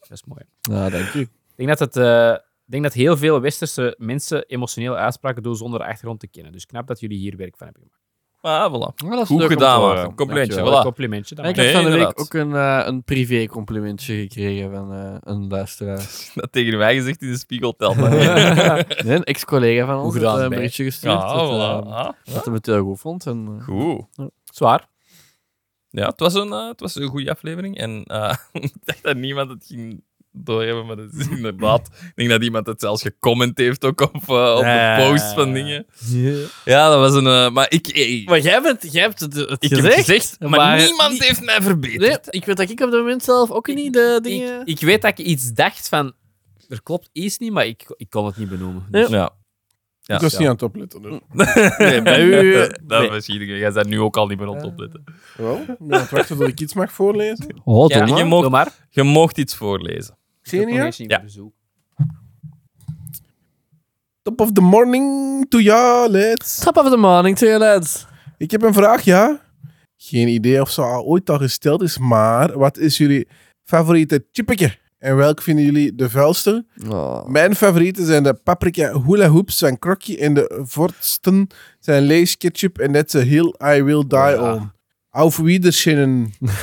Dat is mooi. Ja, dank u. Ik denk dat, het, eh, ik denk dat heel veel westerse mensen emotionele uitspraken doen zonder de achtergrond te kennen. Dus knap dat jullie hier werk van hebben gemaakt. Maar Ah, voilà. *laughs* Maar dat is Goed leuk om gedaan, te man. horen. Complimentje, Dankjewel. voilà. Complimentje dan. Ja, ik Nee, heb van de week inderdaad. ook een, eh, een privé-complimentje gekregen van eh, een luisteraar. Dat tegen mij gezegd in de spiegel telt. Ah, dat *laughs* niet. Nee, een ex-collega van ons heeft gedaan, eh, een bij. berichtje gestuurd Ja, dat, voilà. eh, Ah, dat hij het heel goed vond. En, eh, Goed. Zwaar. Ja, het was een, eh, het was een goede aflevering. En eh, *laughs* ik dacht dat niemand het ging doorhebben, maar dat is inderdaad... Ik denk dat iemand het zelfs gecomment heeft ook op, eh, op de Ah. Ja. post van dingen. Ja, dat was een... eh, maar ik... eh, Maar jij, bent, jij hebt het, het ik heb gezegd. het gezegd, maar, maar niemand niet- heeft mij verbeterd. Nee, ik weet dat ik op dat moment zelf ook niet de dingen... Ik, ik weet dat ik iets dacht van... Er klopt iets niet, maar ik, ik kon het niet benoemen. Dus- Ja. Ja, ik was ja. niet aan het opletten. Dus. *laughs* Nee, bij u, eh, Dat, dat was iedereen. Jij bent nu ook al niet meer aan het opletten. Wel, *laughs* ik ben aan het wachten tot ik iets mag voorlezen. Oh, Ja, je, Doe mocht, maar. je mocht iets voorlezen. Xenia? Ja. Top of the morning to ya, let's. Top of the morning to you, lads. Ik heb een vraag, ja. Geen idee of ze al ooit al gesteld is, maar wat is jullie favoriete chippetje? En welk vinden jullie de vuilste? Oh. Mijn favorieten zijn de paprika hula hoops van Crocky en de Vortsten zijn Lay's ketchup en that's a hill I will die on. Auf Wiedersehen. *laughs* Dus,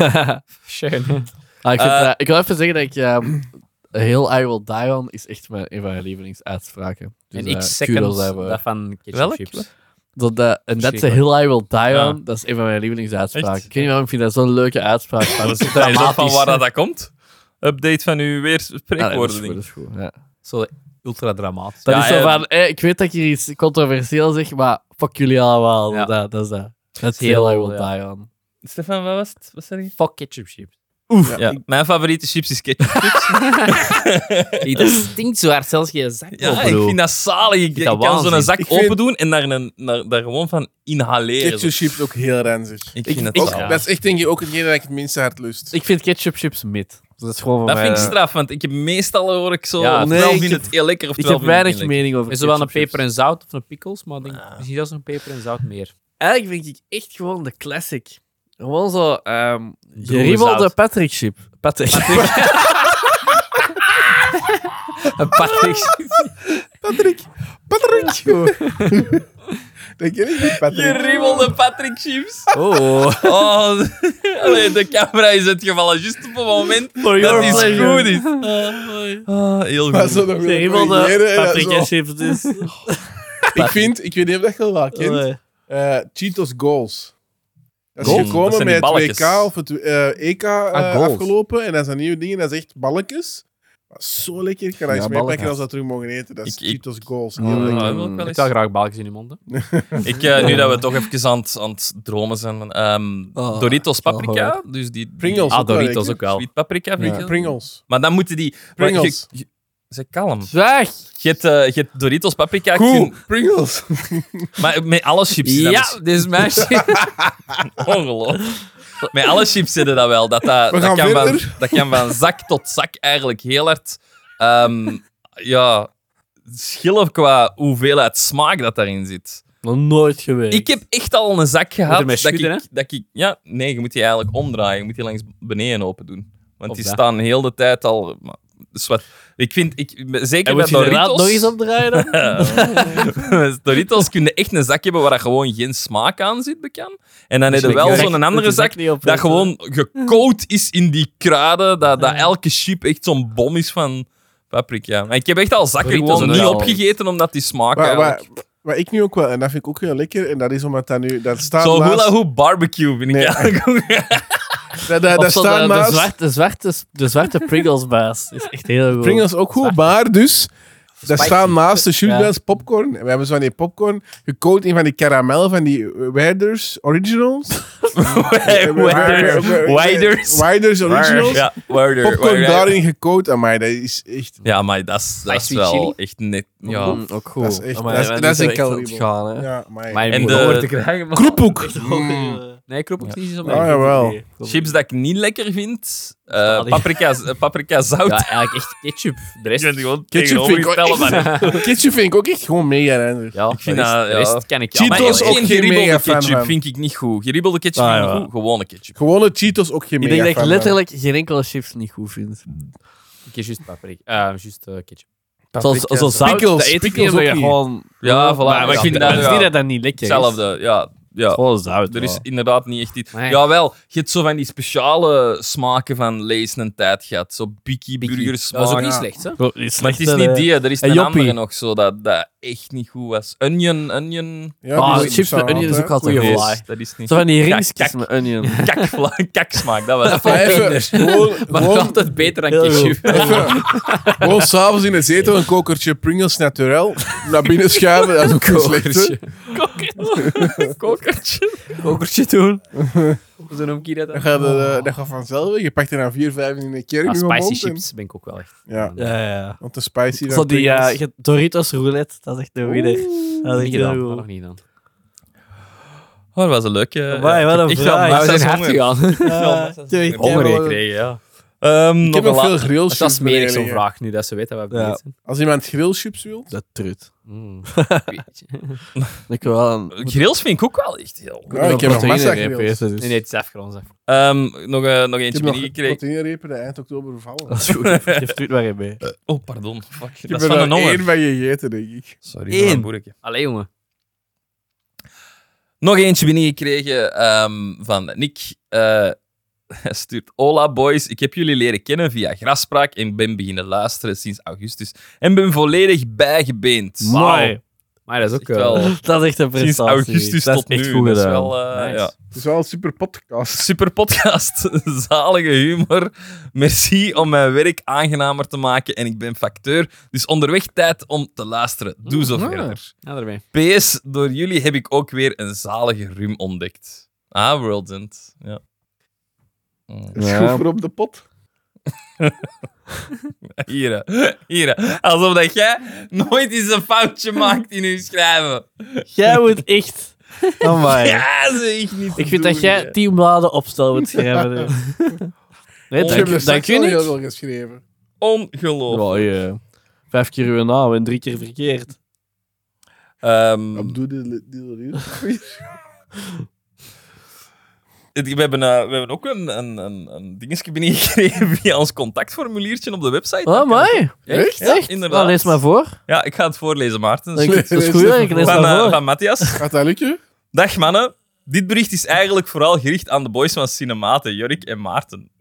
Ah, ik, vind, Eh, eh, ik wil even zeggen dat ik... ehm, *clears throat* Heel I Will Die On is echt mijn, een van mijn lievelingsuitspraken. Dus, en eh, ik second kudos daarvoor. dat van ketchup Welk? chips. Dat, dat, en dat is Verschrikkelijk. Hill I Will Die Ja. On. Dat is een van mijn lievelingsuitspraken. Echt? Ik weet niet waarom ik vind dat zo'n leuke uitspraak. Maar *laughs* Dat dat is is dat van dramatisch. waar dat komt. Update van uw weer Ah, nee, dat is spreekwoorden. goed, ding. dat is goed, ja. Zo ultra dramatisch. Dat Ja, is zo en- van, eh, ik weet dat ik hier iets controversieel zeg, maar fuck jullie allemaal. Ja. Dat, dat is dat. Dat is Heel, Hill I Will ja. Die On. Stefan, wat was het? Wat zeg je? Fuck ketchup chips. Ja, Mijn favoriete chips is ketchup. *laughs* Hey, dat stinkt zo hard, zelfs je zak *laughs* Ja, open ik doet. vind dat zalig. Oh, Ik, vind dat ik kan zo'n waanzin. zak Ik vind- open doen en daar, een, naar- daar gewoon van inhaleren. Ketchup chips ook heel ranzig. Ik vind het Ook, zalig. Dat is echt denk ik ook hetgene dat ik het minste hard lust. Ik vind ketchup chips mid. Dus dat is gewoon van Dat mij. vind ik eh, straf, want ik heb meestal hoor ik zo... Ja, Ja, nee, ofwel ik vind heb- het heel eh, lekker, Ik ofwel heb vind ik het weinig niet mening over Is er wel een ketchup chips. peper en zout of een pickles, maar ik denk, misschien zelfs een peper en zout *laughs* meer. Eigenlijk vind ik echt gewoon de classic. Gewoon zo... ehm zout. Geribelde Patrick chip. Patrick. *laughs* Een Patrick Patrick! Patrick! dat ken ik niet, Patrick. lekker. Je riemelde Patrick chips. Oh. Oh, allee, de camera is uitgevallen, juist op het moment dat your die pleasure. goed is. Ah, heel Maar zo goed. nog willen corrigeren Geribelde en dat Patrick zo. chips. Dus. Ik vind, ik weet niet of dat je dat wel kent, Nee. eh, Cheetos Goals. Dat is Goals? Dat gekomen zijn bij die het balletjes. WK of het eh, EK eh, Ah, goals. afgelopen. En dat zijn nieuwe dingen. Dat is echt balletjes. Dat is zo lekker. Ik kan dat Ja, eens meepakken balletjes. als we dat terug mogen eten. Dat is Ik- ik- Cheetos Goals. Oh, Heel lekker. Ah, dat wil ik wel Ik eens. zou graag balkjes in je mond. hè. Ik, eh, nu dat we toch even aan het, aan het dromen zijn. van, ehm, Oh, Doritos wel paprika. Dus die, die Ah, Pringles Ah, ook wel Doritos lekker. ook wel. Sweet paprika. vind ik Ja, wel. Pringles. Maar dan moeten die... maar Pringles. je- je- Zeg kalm. Zeg! Je hebt, eh, je hebt Doritos paprika. Cool, kun- *laughs* Pringles. Maar met alle chips. dat Ja, is dit is mijn shit. *laughs* Ongelooflijk. Met alle chips zitten dat wel. Dat, dat, We dat, gaan kan van, verder. dat kan van zak tot zak eigenlijk heel hard ehm, ja, schillen qua hoeveelheid smaak dat daarin zit. Nog nooit geweest. Ik heb echt al een zak gehad ermee dat schudden, ik, dat ik... Ja, nee, je moet die eigenlijk omdraaien. Je moet die langs beneden open doen. Want Of die dat. staan heel de tijd al... maar- Dus wat, ik vind... Ik, zeker En bij moet je Doritos... inderdaad nog eens *laughs* opdraaien dan? Eh, *laughs* Doritos kunnen echt een zak hebben waar dat gewoon geen smaak aan zit, bekan. En dan heb je Dus wel ik- zo'n andere dat zak niet op- dat gewoon gecoat is in die kruiden, dat, dat elke chip echt zo'n bom is van paprika. Maar ik heb echt al zakken Doritos gewoon ook niet wel. opgegeten omdat die smaak Waar, waar, eigenlijk... waar ik nu ook wel... En dat vind ik ook heel lekker. En dat is omdat dat nu... Dat staat Zo naast... hula hoop barbecue vind ik *laughs* Nee. eigenlijk ook. Dat, dat, Of dat zo eh, staat de, de, naast... zwarte, zwarte, de zwarte Pringles-baas. Is echt heel goed. Pringles ook goed, maar dus... Daar staan naast de Sugar Ja. Daddy's popcorn. En we hebben zo van die popcorn gecoat in van die karamel van die Wijders *laughs* Originals. Wider. Wijders. Widers. Widers Originals. Ja, wider, Popcorn wider. daarin gecoat. Amai, dat is echt... Ja, maar dat is, dat is Spicy chili? wel echt net... Ja. Mm, ook goed. Dat is echt- Amai, dat is- wij dat is moeten een echt aan het calorie gaan, hè. Ja, amai. Maar je En moet de- dat hoor te krijgen, man. Kroephoek. Mm. Mm. Nee, kroep ook niet zo Ah, jawel. Chips dat ik niet lekker vind. eh, paprika, eh, paprika zout. Ja, eigenlijk echt ketchup. De rest, Ketchup vind, ik ook echt, *laughs* ketchup vind ik ook echt gewoon mega ranzig. ja, ik vind vind de rest, dat, ja. de rest ken ik maar Cheetos echt Maar ook geen geen geribbelde mega fan ketchup van. vind ik niet goed. Geribbelde ketchup Ah, vind ik ja. goed. Gewone ketchup. Gewone Cheetos ook geen Ik mega denk dat ik fan letterlijk geen enkele chips niet goed vind. Ik heb juist paprika. Eh, juist eh, ketchup. Zoals zoals zout, Pickles, dat eet ik pickles niet, omdat ook je niet. gewoon... Ja, voilà. Maar, maar Ja, ik vind ja. dat, dat niet dat dat niet lekker is. Hetzelfde. Ja, ja. Gewoon zout. Er ja. is inderdaad niet echt iets. Nee. Jawel, je hebt zo van die speciale smaken van lees en tijd gehad. Zo bikkie, burgers. Dat was ook niet ja. slecht, hè? Goed, die Maar het slechte, is niet eh, die, er is en een Joppie. andere nog zo dat, dat echt niet goed was. Onion, onion. Ja, Ah, die is chips met zaad, onion is hè. ook altijd Nee, goed. dat is niet. Zo van die Ja, ringsjes kak. *laughs* met onion. Kakvla- Kaksmaak, dat was Maar even, gewoon, Maar gewoon, altijd beter dan Heel ketchup. even, gewoon s'avonds in de zetel een kokertje Pringles naturel naar binnen schuiven, dat is ook niet slecht. hè. Kokertje. Kokertje doen. Hoe zijn omkie dat? Dat gaat, eh, dat gaat vanzelf. Je pakt er na 4, 5 in de kerk. Ah, in je spicy mond chips ben ik ook wel echt. En, ja, Ja, ja, ja. want de spicy. Zo dan die Pringles. eh, je- Doritos roulette, dat is echt de winnaar. Dat is Niet echt gedaan. heel dat goed. Nog niet dan. Oh, dat was een leuke. Amai, wat een ik vraag. ga Maar we massa honger. gegaan. Ja, twee Honger keer. gekregen, ja. Ehm, Ik nog heb een nog la- veel grillchips. Dat is smerig, beneden zo'n liggen. vraag nu, dat ze weten wat we Ja. bezig zijn. Als iemand grillchips wil, Ah, Dat trut. Mm. Ik wil wel een... Grills vind ik ook wel echt heel. goed. Ja, ik heb nog proteïne massa erin grillchips. vergeten, dus. Nee, nee, het is afgerond. zeg. Ehm, nog, eh, nog ik eentje heb nog binnengekregen. proteïnerepen die eind oktober bevallen. Dat is *laughs* goed. Geef trut maar in mee. Oh, pardon. Fuck, Ik dat heb is er van al een één honger. van gegeten, denk ik. Sorry, dat is Eén. een boerkje. Allee, jongen. Nog eentje binnengekregen ehm, van Nick. Eh, *laughs* hij stuurt: Hola boys, ik heb jullie leren kennen via Graspraak en ben beginnen luisteren sinds augustus. En ben volledig bijgebeend. Mooi. Maar dat is Dat ook eh, is echt wel- wel... Dat is echt een Sinds prestatie. augustus dat is tot nu. echt goed dat is gedaan. wel, eh, Nice. ja. Het is wel een super podcast. Super podcast, *laughs* zalige humor. Merci om mijn werk aangenamer te maken en ik ben facteur, dus onderweg tijd om te luisteren. Doe zo Ah. Mm, verder. Ja, daarmee. PS, door jullie heb ik ook weer een zalige rum ontdekt. Ah, World End. Ja. Mm. Het is Ja. goed voor op de pot. *laughs* Hier, hè. hier. hè. Alsof dat jij nooit eens een foutje maakt in je schrijven. Jij moet echt... Amai. Ja, zeg niet. te Ik vind doen, dat jij hè. tien bladen opstel moet schrijven. hè. Nee, Ik Ik heb er dank, dank straks je al heel niet. veel geschreven. Ongelooflijk. Wel, je- Vijf keer uw naam en drie keer verkeerd. Ehm, Abdul Dillerud. het- we, hebben, eh, we hebben ook een, een, een, een dingetje binnengekregen *laughs* via ons contactformuliertje op de website. Oh, mooi. Echt? Ja, Echt? inderdaad. Nou, lees maar voor. Ja, ik ga het voorlezen, Maarten. Dat is- dat is lees goed, het hè? ik lees van, maar eh, voor. van Matthias. Gaat dat lukken? Dag mannen. Dit bericht is eigenlijk vooral gericht aan de boys van Cinematen, Jorik en Maarten.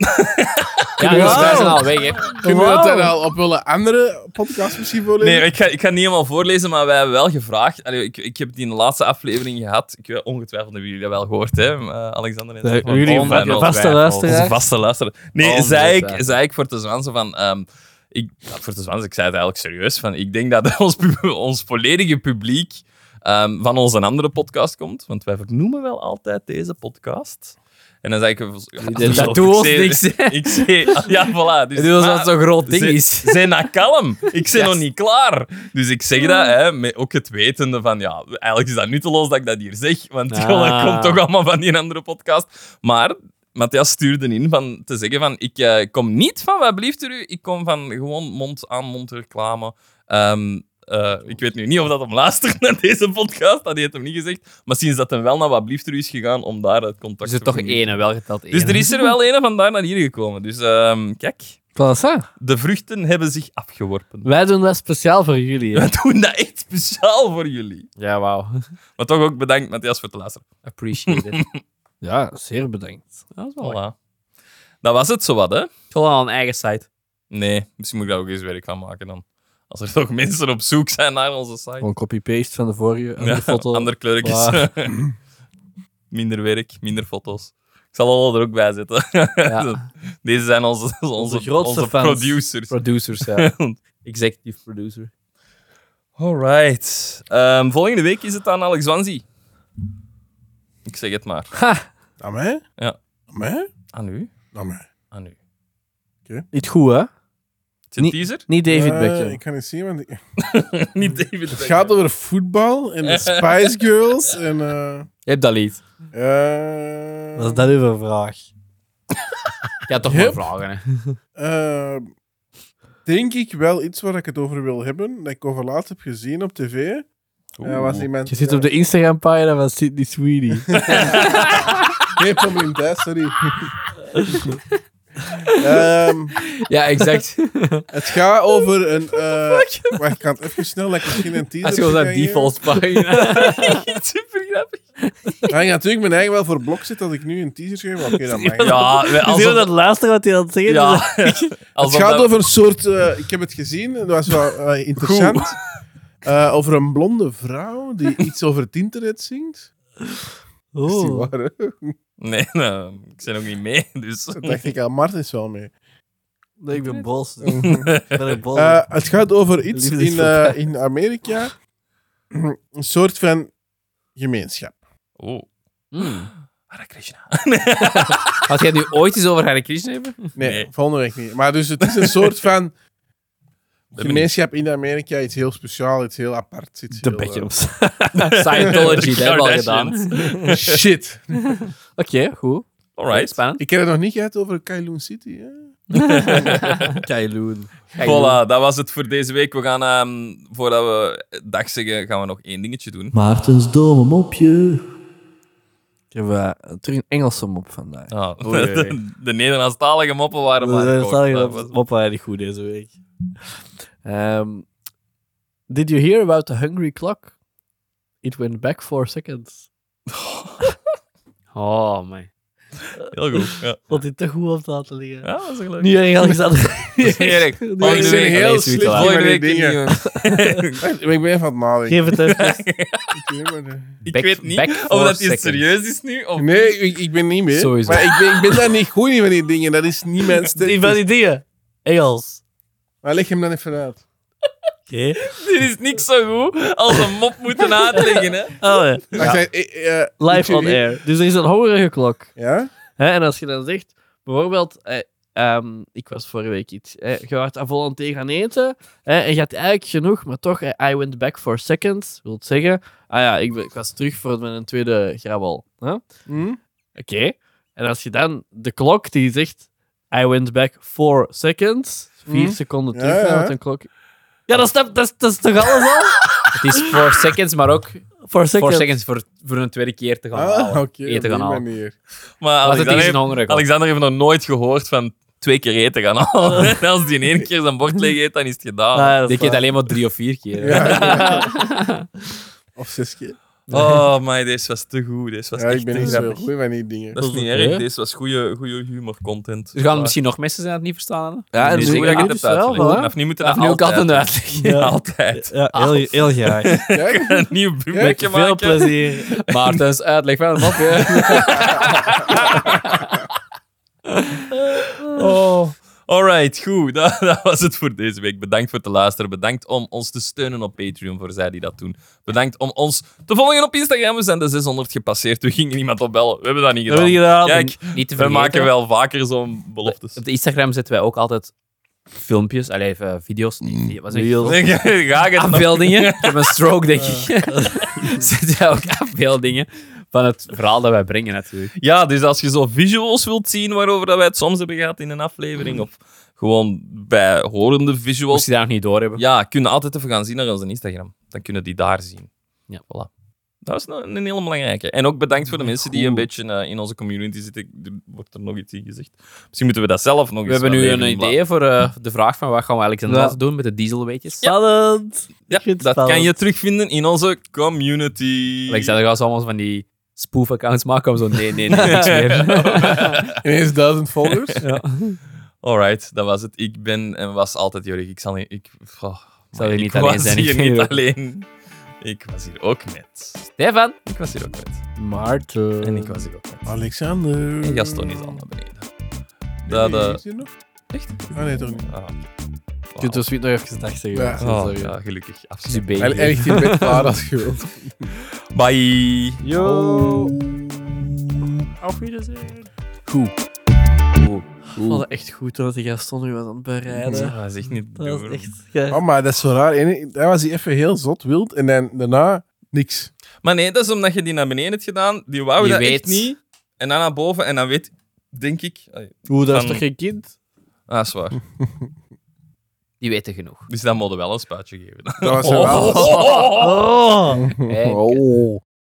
Ja, dus wij zijn al weg, hè. Kunnen we dat dan al op wel een andere podcast misschien voorlezen? Nee, ik ga, ik ga niet helemaal voorlezen, maar wij hebben wel gevraagd. Allee, ik, ik heb het in de laatste aflevering gehad. Ik weet ongetwijfeld hebben jullie dat wel gehoord, hè, eh, Alexander en Stefan. Jullie Ongetwijfeld. vaste Onze luisteraar. vaste luisteraar. Nee, zei ik, Ongetwijfeld. zei ik voor de Zwansen van... ehm, ik, ja, voor de Zwansen, ik zei het eigenlijk serieus. Van, ik denk dat *laughs* ons, pub- ons volledige publiek ehm, van onze andere podcast komt. Want wij vernoemen wel altijd deze podcast. En dan zei ik... ja, dat doet ik ons zei- niks, hè. *laughs* Ik zei... Ja, voilà. Dus, Het is maar- dat zo'n groot ding ze- is. Zijn dat kalm? Ik ben Ja. nog niet klaar. Dus ik zeg dat, hè, met ook het wetende van, ja, eigenlijk is dat nutteloos dat ik dat hier zeg, want *laughs* Ah. joh, dat komt toch allemaal van die andere podcast. Maar Matthias stuurde in van te zeggen van, ik eh, kom niet van wat blieft er u, ik kom van gewoon mond-aan-mond reclame. Ehm, eh, ik weet nu niet of dat hem luistert naar deze podcast, dat heeft hem niet gezegd. Maar sinds dat hem wel naar wat blieft er u is gegaan om daar het contact Dus er toch verminderen. één, wel geteld één. Dus er is er wel een vandaar naar hier gekomen. Dus ehm, kijk. Plaza. De vruchten hebben zich afgeworpen. Wij doen dat speciaal voor jullie. hè. We doen dat echt speciaal voor jullie. Ja, wauw. Maar toch ook bedankt, Matthias, voor het luisteren. Appreciate it. Ja, zeer bedankt. Dat is wel leuk. Voilà. Dat was het zowat, hè? Gewoon al een eigen site. Nee, misschien moet ik daar ook eens werk van maken dan. Als er toch mensen op zoek zijn naar onze site. Gewoon copy-paste van de vorige andere Ja, *laughs* foto. Ander kleurtjes. *laughs* minder werk, minder foto's. Ik zal alle er ook bij zetten. *laughs* Dus, Ja. Deze zijn onze, onze, onze grootste fans. producers. Producers, *laughs* ja. Executive producer. Alright. Ehm, volgende week is het aan Alex Wanzi. Ik zeg het maar. Aan mij? Ja. Aan mij? Aan u? Aan mij. Aan u. Niet goed, hè? Is het een Niet- teaser? Niet David Eh, Beckham. Ik kan niet zien, want ik- Niet David het gaat over voetbal en de Spice Girls en... eh, Je hebt dat lied. eh, Wat is dat uw vraag? Ik had toch Yep. maar vragen, hè. eh, denk ik wel iets waar ik het over wil hebben, dat ik over laatst heb gezien op tv. Ja, was iemand, Je zit op de Instagram-pagina van Sydney *laughs* Sweeney. Nee, probleem thuis, sorry. Ehm, Ja, exact. het gaat over een... eh wacht, ik kan het even snel, dat ik misschien een teaser Als je gewoon kan zijn geven. default pagina. Super grappig. Ga ik Ah, natuurlijk mijn eigen wel voor blok zit dat ik nu een teaser schrijf. Oké, dan mag ik. Ja, we- Is dat alsof, het laatste wat hij aan het zeggen ja, is? *laughs* alsof het gaat dat- over een soort. eh, ik heb het gezien, dat was wel eh, interessant. Eh, over een blonde vrouw *laughs* die iets over het internet zingt. Dat is niet Oh. waar, hè? Nee, *laughs* nou, ik ben ook niet mee, dus... Dat dacht ik aan Martin is wel mee. Nee, ik ben boos. Eh, ik ben een boos. Eh, het gaat over iets Oh. Liefde is in, voorbij. eh, in Amerika. Een soort van gemeenschap. *laughs* Oh. Hmm. Hare Krishna. Had jij nu ooit eens over Hare Krishna *laughs* hebben? Nee, Nee. volgende week niet. Maar dus het is een soort *laughs* van ben gemeenschap in Amerika. Iets heel speciaal, iets heel apart. Iets De heel, eh, Beckhams. Scientology, dat hebben we al gedaan. Oké, *laughs* eh, Shit. goed. Alright. Spannend. Ik heb het nog niet gehad over Kowloon City. Hè? Kailoon. Voilà, dat was het voor deze week. We gaan, ehm, voordat we dag zeggen, gaan we nog één dingetje doen. Maartens domme mopje. Ik heb eh, terug een Engelse mop vandaag. oei, oei. de, Ah, *laughs* de Nederlandstalige moppen waren maar Dat kort. staat hier Dat op- was- op weinig goed deze week. Ehm, did you hear about the hungry clock? It went back four seconds. Oh, man. Heel goed. Ja, Vond dit te goed om te laten liggen. ja dat is *laughs* leuk. Nu erg *laughs* alles aan Erik, Ik volgende ben week. heel Allee, zoiets slecht wel. in Volgende mijn week een dingen. nieuwe. *laughs* Ik ben even aan het nadenken. Geef het uit. Ik weet maar, Ik Back- weet niet back of four dat iets seconds. serieus is nu. Of eh, Nee, ik, ik ben niet meer. Sowieso. Maar ik ben, ik ben daar niet goed in van die dingen. Dat is niet mijn Die van stuk. die dingen. Engels. Maar leg hem dan even uit. Oké. *laughs* Dit is niks zo goed als een mop moeten uitleggen. Hè. Oh, ja. Wacht, eh, eh, eh, moet Live je- on air. Dus er is een hongerige klok. Ja? Hè? En als je dan zegt, bijvoorbeeld, eh, ehm, ik was vorige week iets. hè, je was aan volonté gaan eten. hè, en je had eigenlijk genoeg, maar toch, eh, I went back for seconds. Wil zeggen, ah ja, ik, ben- ik was terug voor mijn tweede grabbel. hè. Hm? Oké. En als je dan de klok die zegt, I went back four seconds. Vier Mhm. Hm. seconden Ja, terug, ja. ja, een klok. Ja, dat is, dat, is, dat is toch alles al? *laughs* Het is 4 seconds, maar ook Four 4 seconds. Nou seconds voor, voor een tweede keer te gaan Ah, halen. oké. op eten die gaan halen. manier. Maar Was Alexander het eens een heeft, hongerige klok? Alexander heeft nog nooit gehoord van twee keer eten gaan *laughs* halen. En als die in één keer zijn bord leeg eet, dan is het gedaan. Ah, dat is Die keert waar. alleen maar drie of vier keer. hè. Ja, ja. Of zes keer. Oh, maar deze was te goed. Deze was Ja, echt ik ben te niet zo grappig. goed van die dingen. Dat is niet oké. erg. Deze was goede, goede humor-content. Er Dus gaan misschien nog mensen zijn dat het niet verstaan hebben. Ja, en nu zo- zeker dat ja, ik dus het heb wel, uitgelegd. voilà. Vanaf nu moeten we Vanaf dat nu ook altijd altijd uitleggen. *laughs* Ja, Ja. altijd. Ja, heel, heel *laughs* graag. Kijk, Een nieuw Kijk, buurtje maken. Veel plezier. *laughs* Maartens, uitleg wel een mopje. Oh. Alright, goed. *laughs* Dat, dat was het voor deze week. Bedankt voor het luisteren. Bedankt om ons te steunen op Patreon voor zij die dat doen. Bedankt om ons te volgen op Instagram. We zijn de 600 gepasseerd. We gingen niemand opbellen. We hebben dat niet gedaan. Kijk, *laughs* Niet te we vergeten. maken wel vaker zo'n beloftes. Op de Instagram zetten wij ook altijd filmpjes, alleen even video's. Mm, Niet, was Reels. *laughs* Ga ik het nog- *laughs* afbeeldingen. Ik heb een stroke, denk ik. *laughs* Zet jij ook afbeeldingen van het verhaal dat wij brengen, natuurlijk. Ja, dus als je zo visuals wilt zien waarover dat wij het soms hebben gehad in een aflevering, of gewoon bij horende Moest visuals, je daar nog niet door hebben. ja, kunnen altijd even gaan zien naar onze Instagram. Dan kunnen die daar zien. Ja. Voilà. Dat is nou een, een hele belangrijke. En ook bedankt voor de mensen die een beetje eh, in onze community zitten. Er wordt er nog iets in gezegd. Misschien moeten we dat zelf nog We eens hebben nu wel een even idee voor eh, de vraag van wat gaan we Alexander Ja. laten doen met de dieselweetjes. Spannend. Ja, Ik vind het dat kan spannend. je terugvinden in onze community. Alexander gaat zo allemaal van die spoof-accounts maken om zo nee, nee, nee, niks meer. ineens duizend volgers. Alright, dat was het. Ik ben en was altijd Jorik. Ik zal niet. Ik, oh, zal hier ik niet alleen was zijn, ik *laughs* Hier vind niet het ook. alleen. Ik was hier ook met. *laughs* Stefan! Ik was hier ook met. Maarten. En ik was hier ook met. Alexander. En Gaston is al naar beneden. Dat, Nee, eh, is die er nog? echt? Ah, nee, toch niet. Ah, Je kunt dus niet nog even dag zeggen. Ja. oh, Sorry. ja, gelukkig. Absoluut. Zubé. En echt in bed klaar *laughs* als je wilt. Bye. Yo. Ik vond het echt goed dat die Gaston nu was aan het bereiden. Ja, dat is echt niet te Dat doen. was echt... Ja. Oh, maar dat is zo raar. Eén- Hij was hier even heel zot, wild. En dan daarna niks. Maar nee, dat is omdat je die naar beneden hebt gedaan. Die wou Die Oh, dat echt weet. niet. En dan naar boven. En dan weet, denk ik... Ah, Hoe, dat is Van- toch geen kind? Ah, dat is waar. Die *laughs* weten genoeg. Oh. Dus dan moet je wel een spuitje geven. Eh, Dat was wel. Oh. Oh.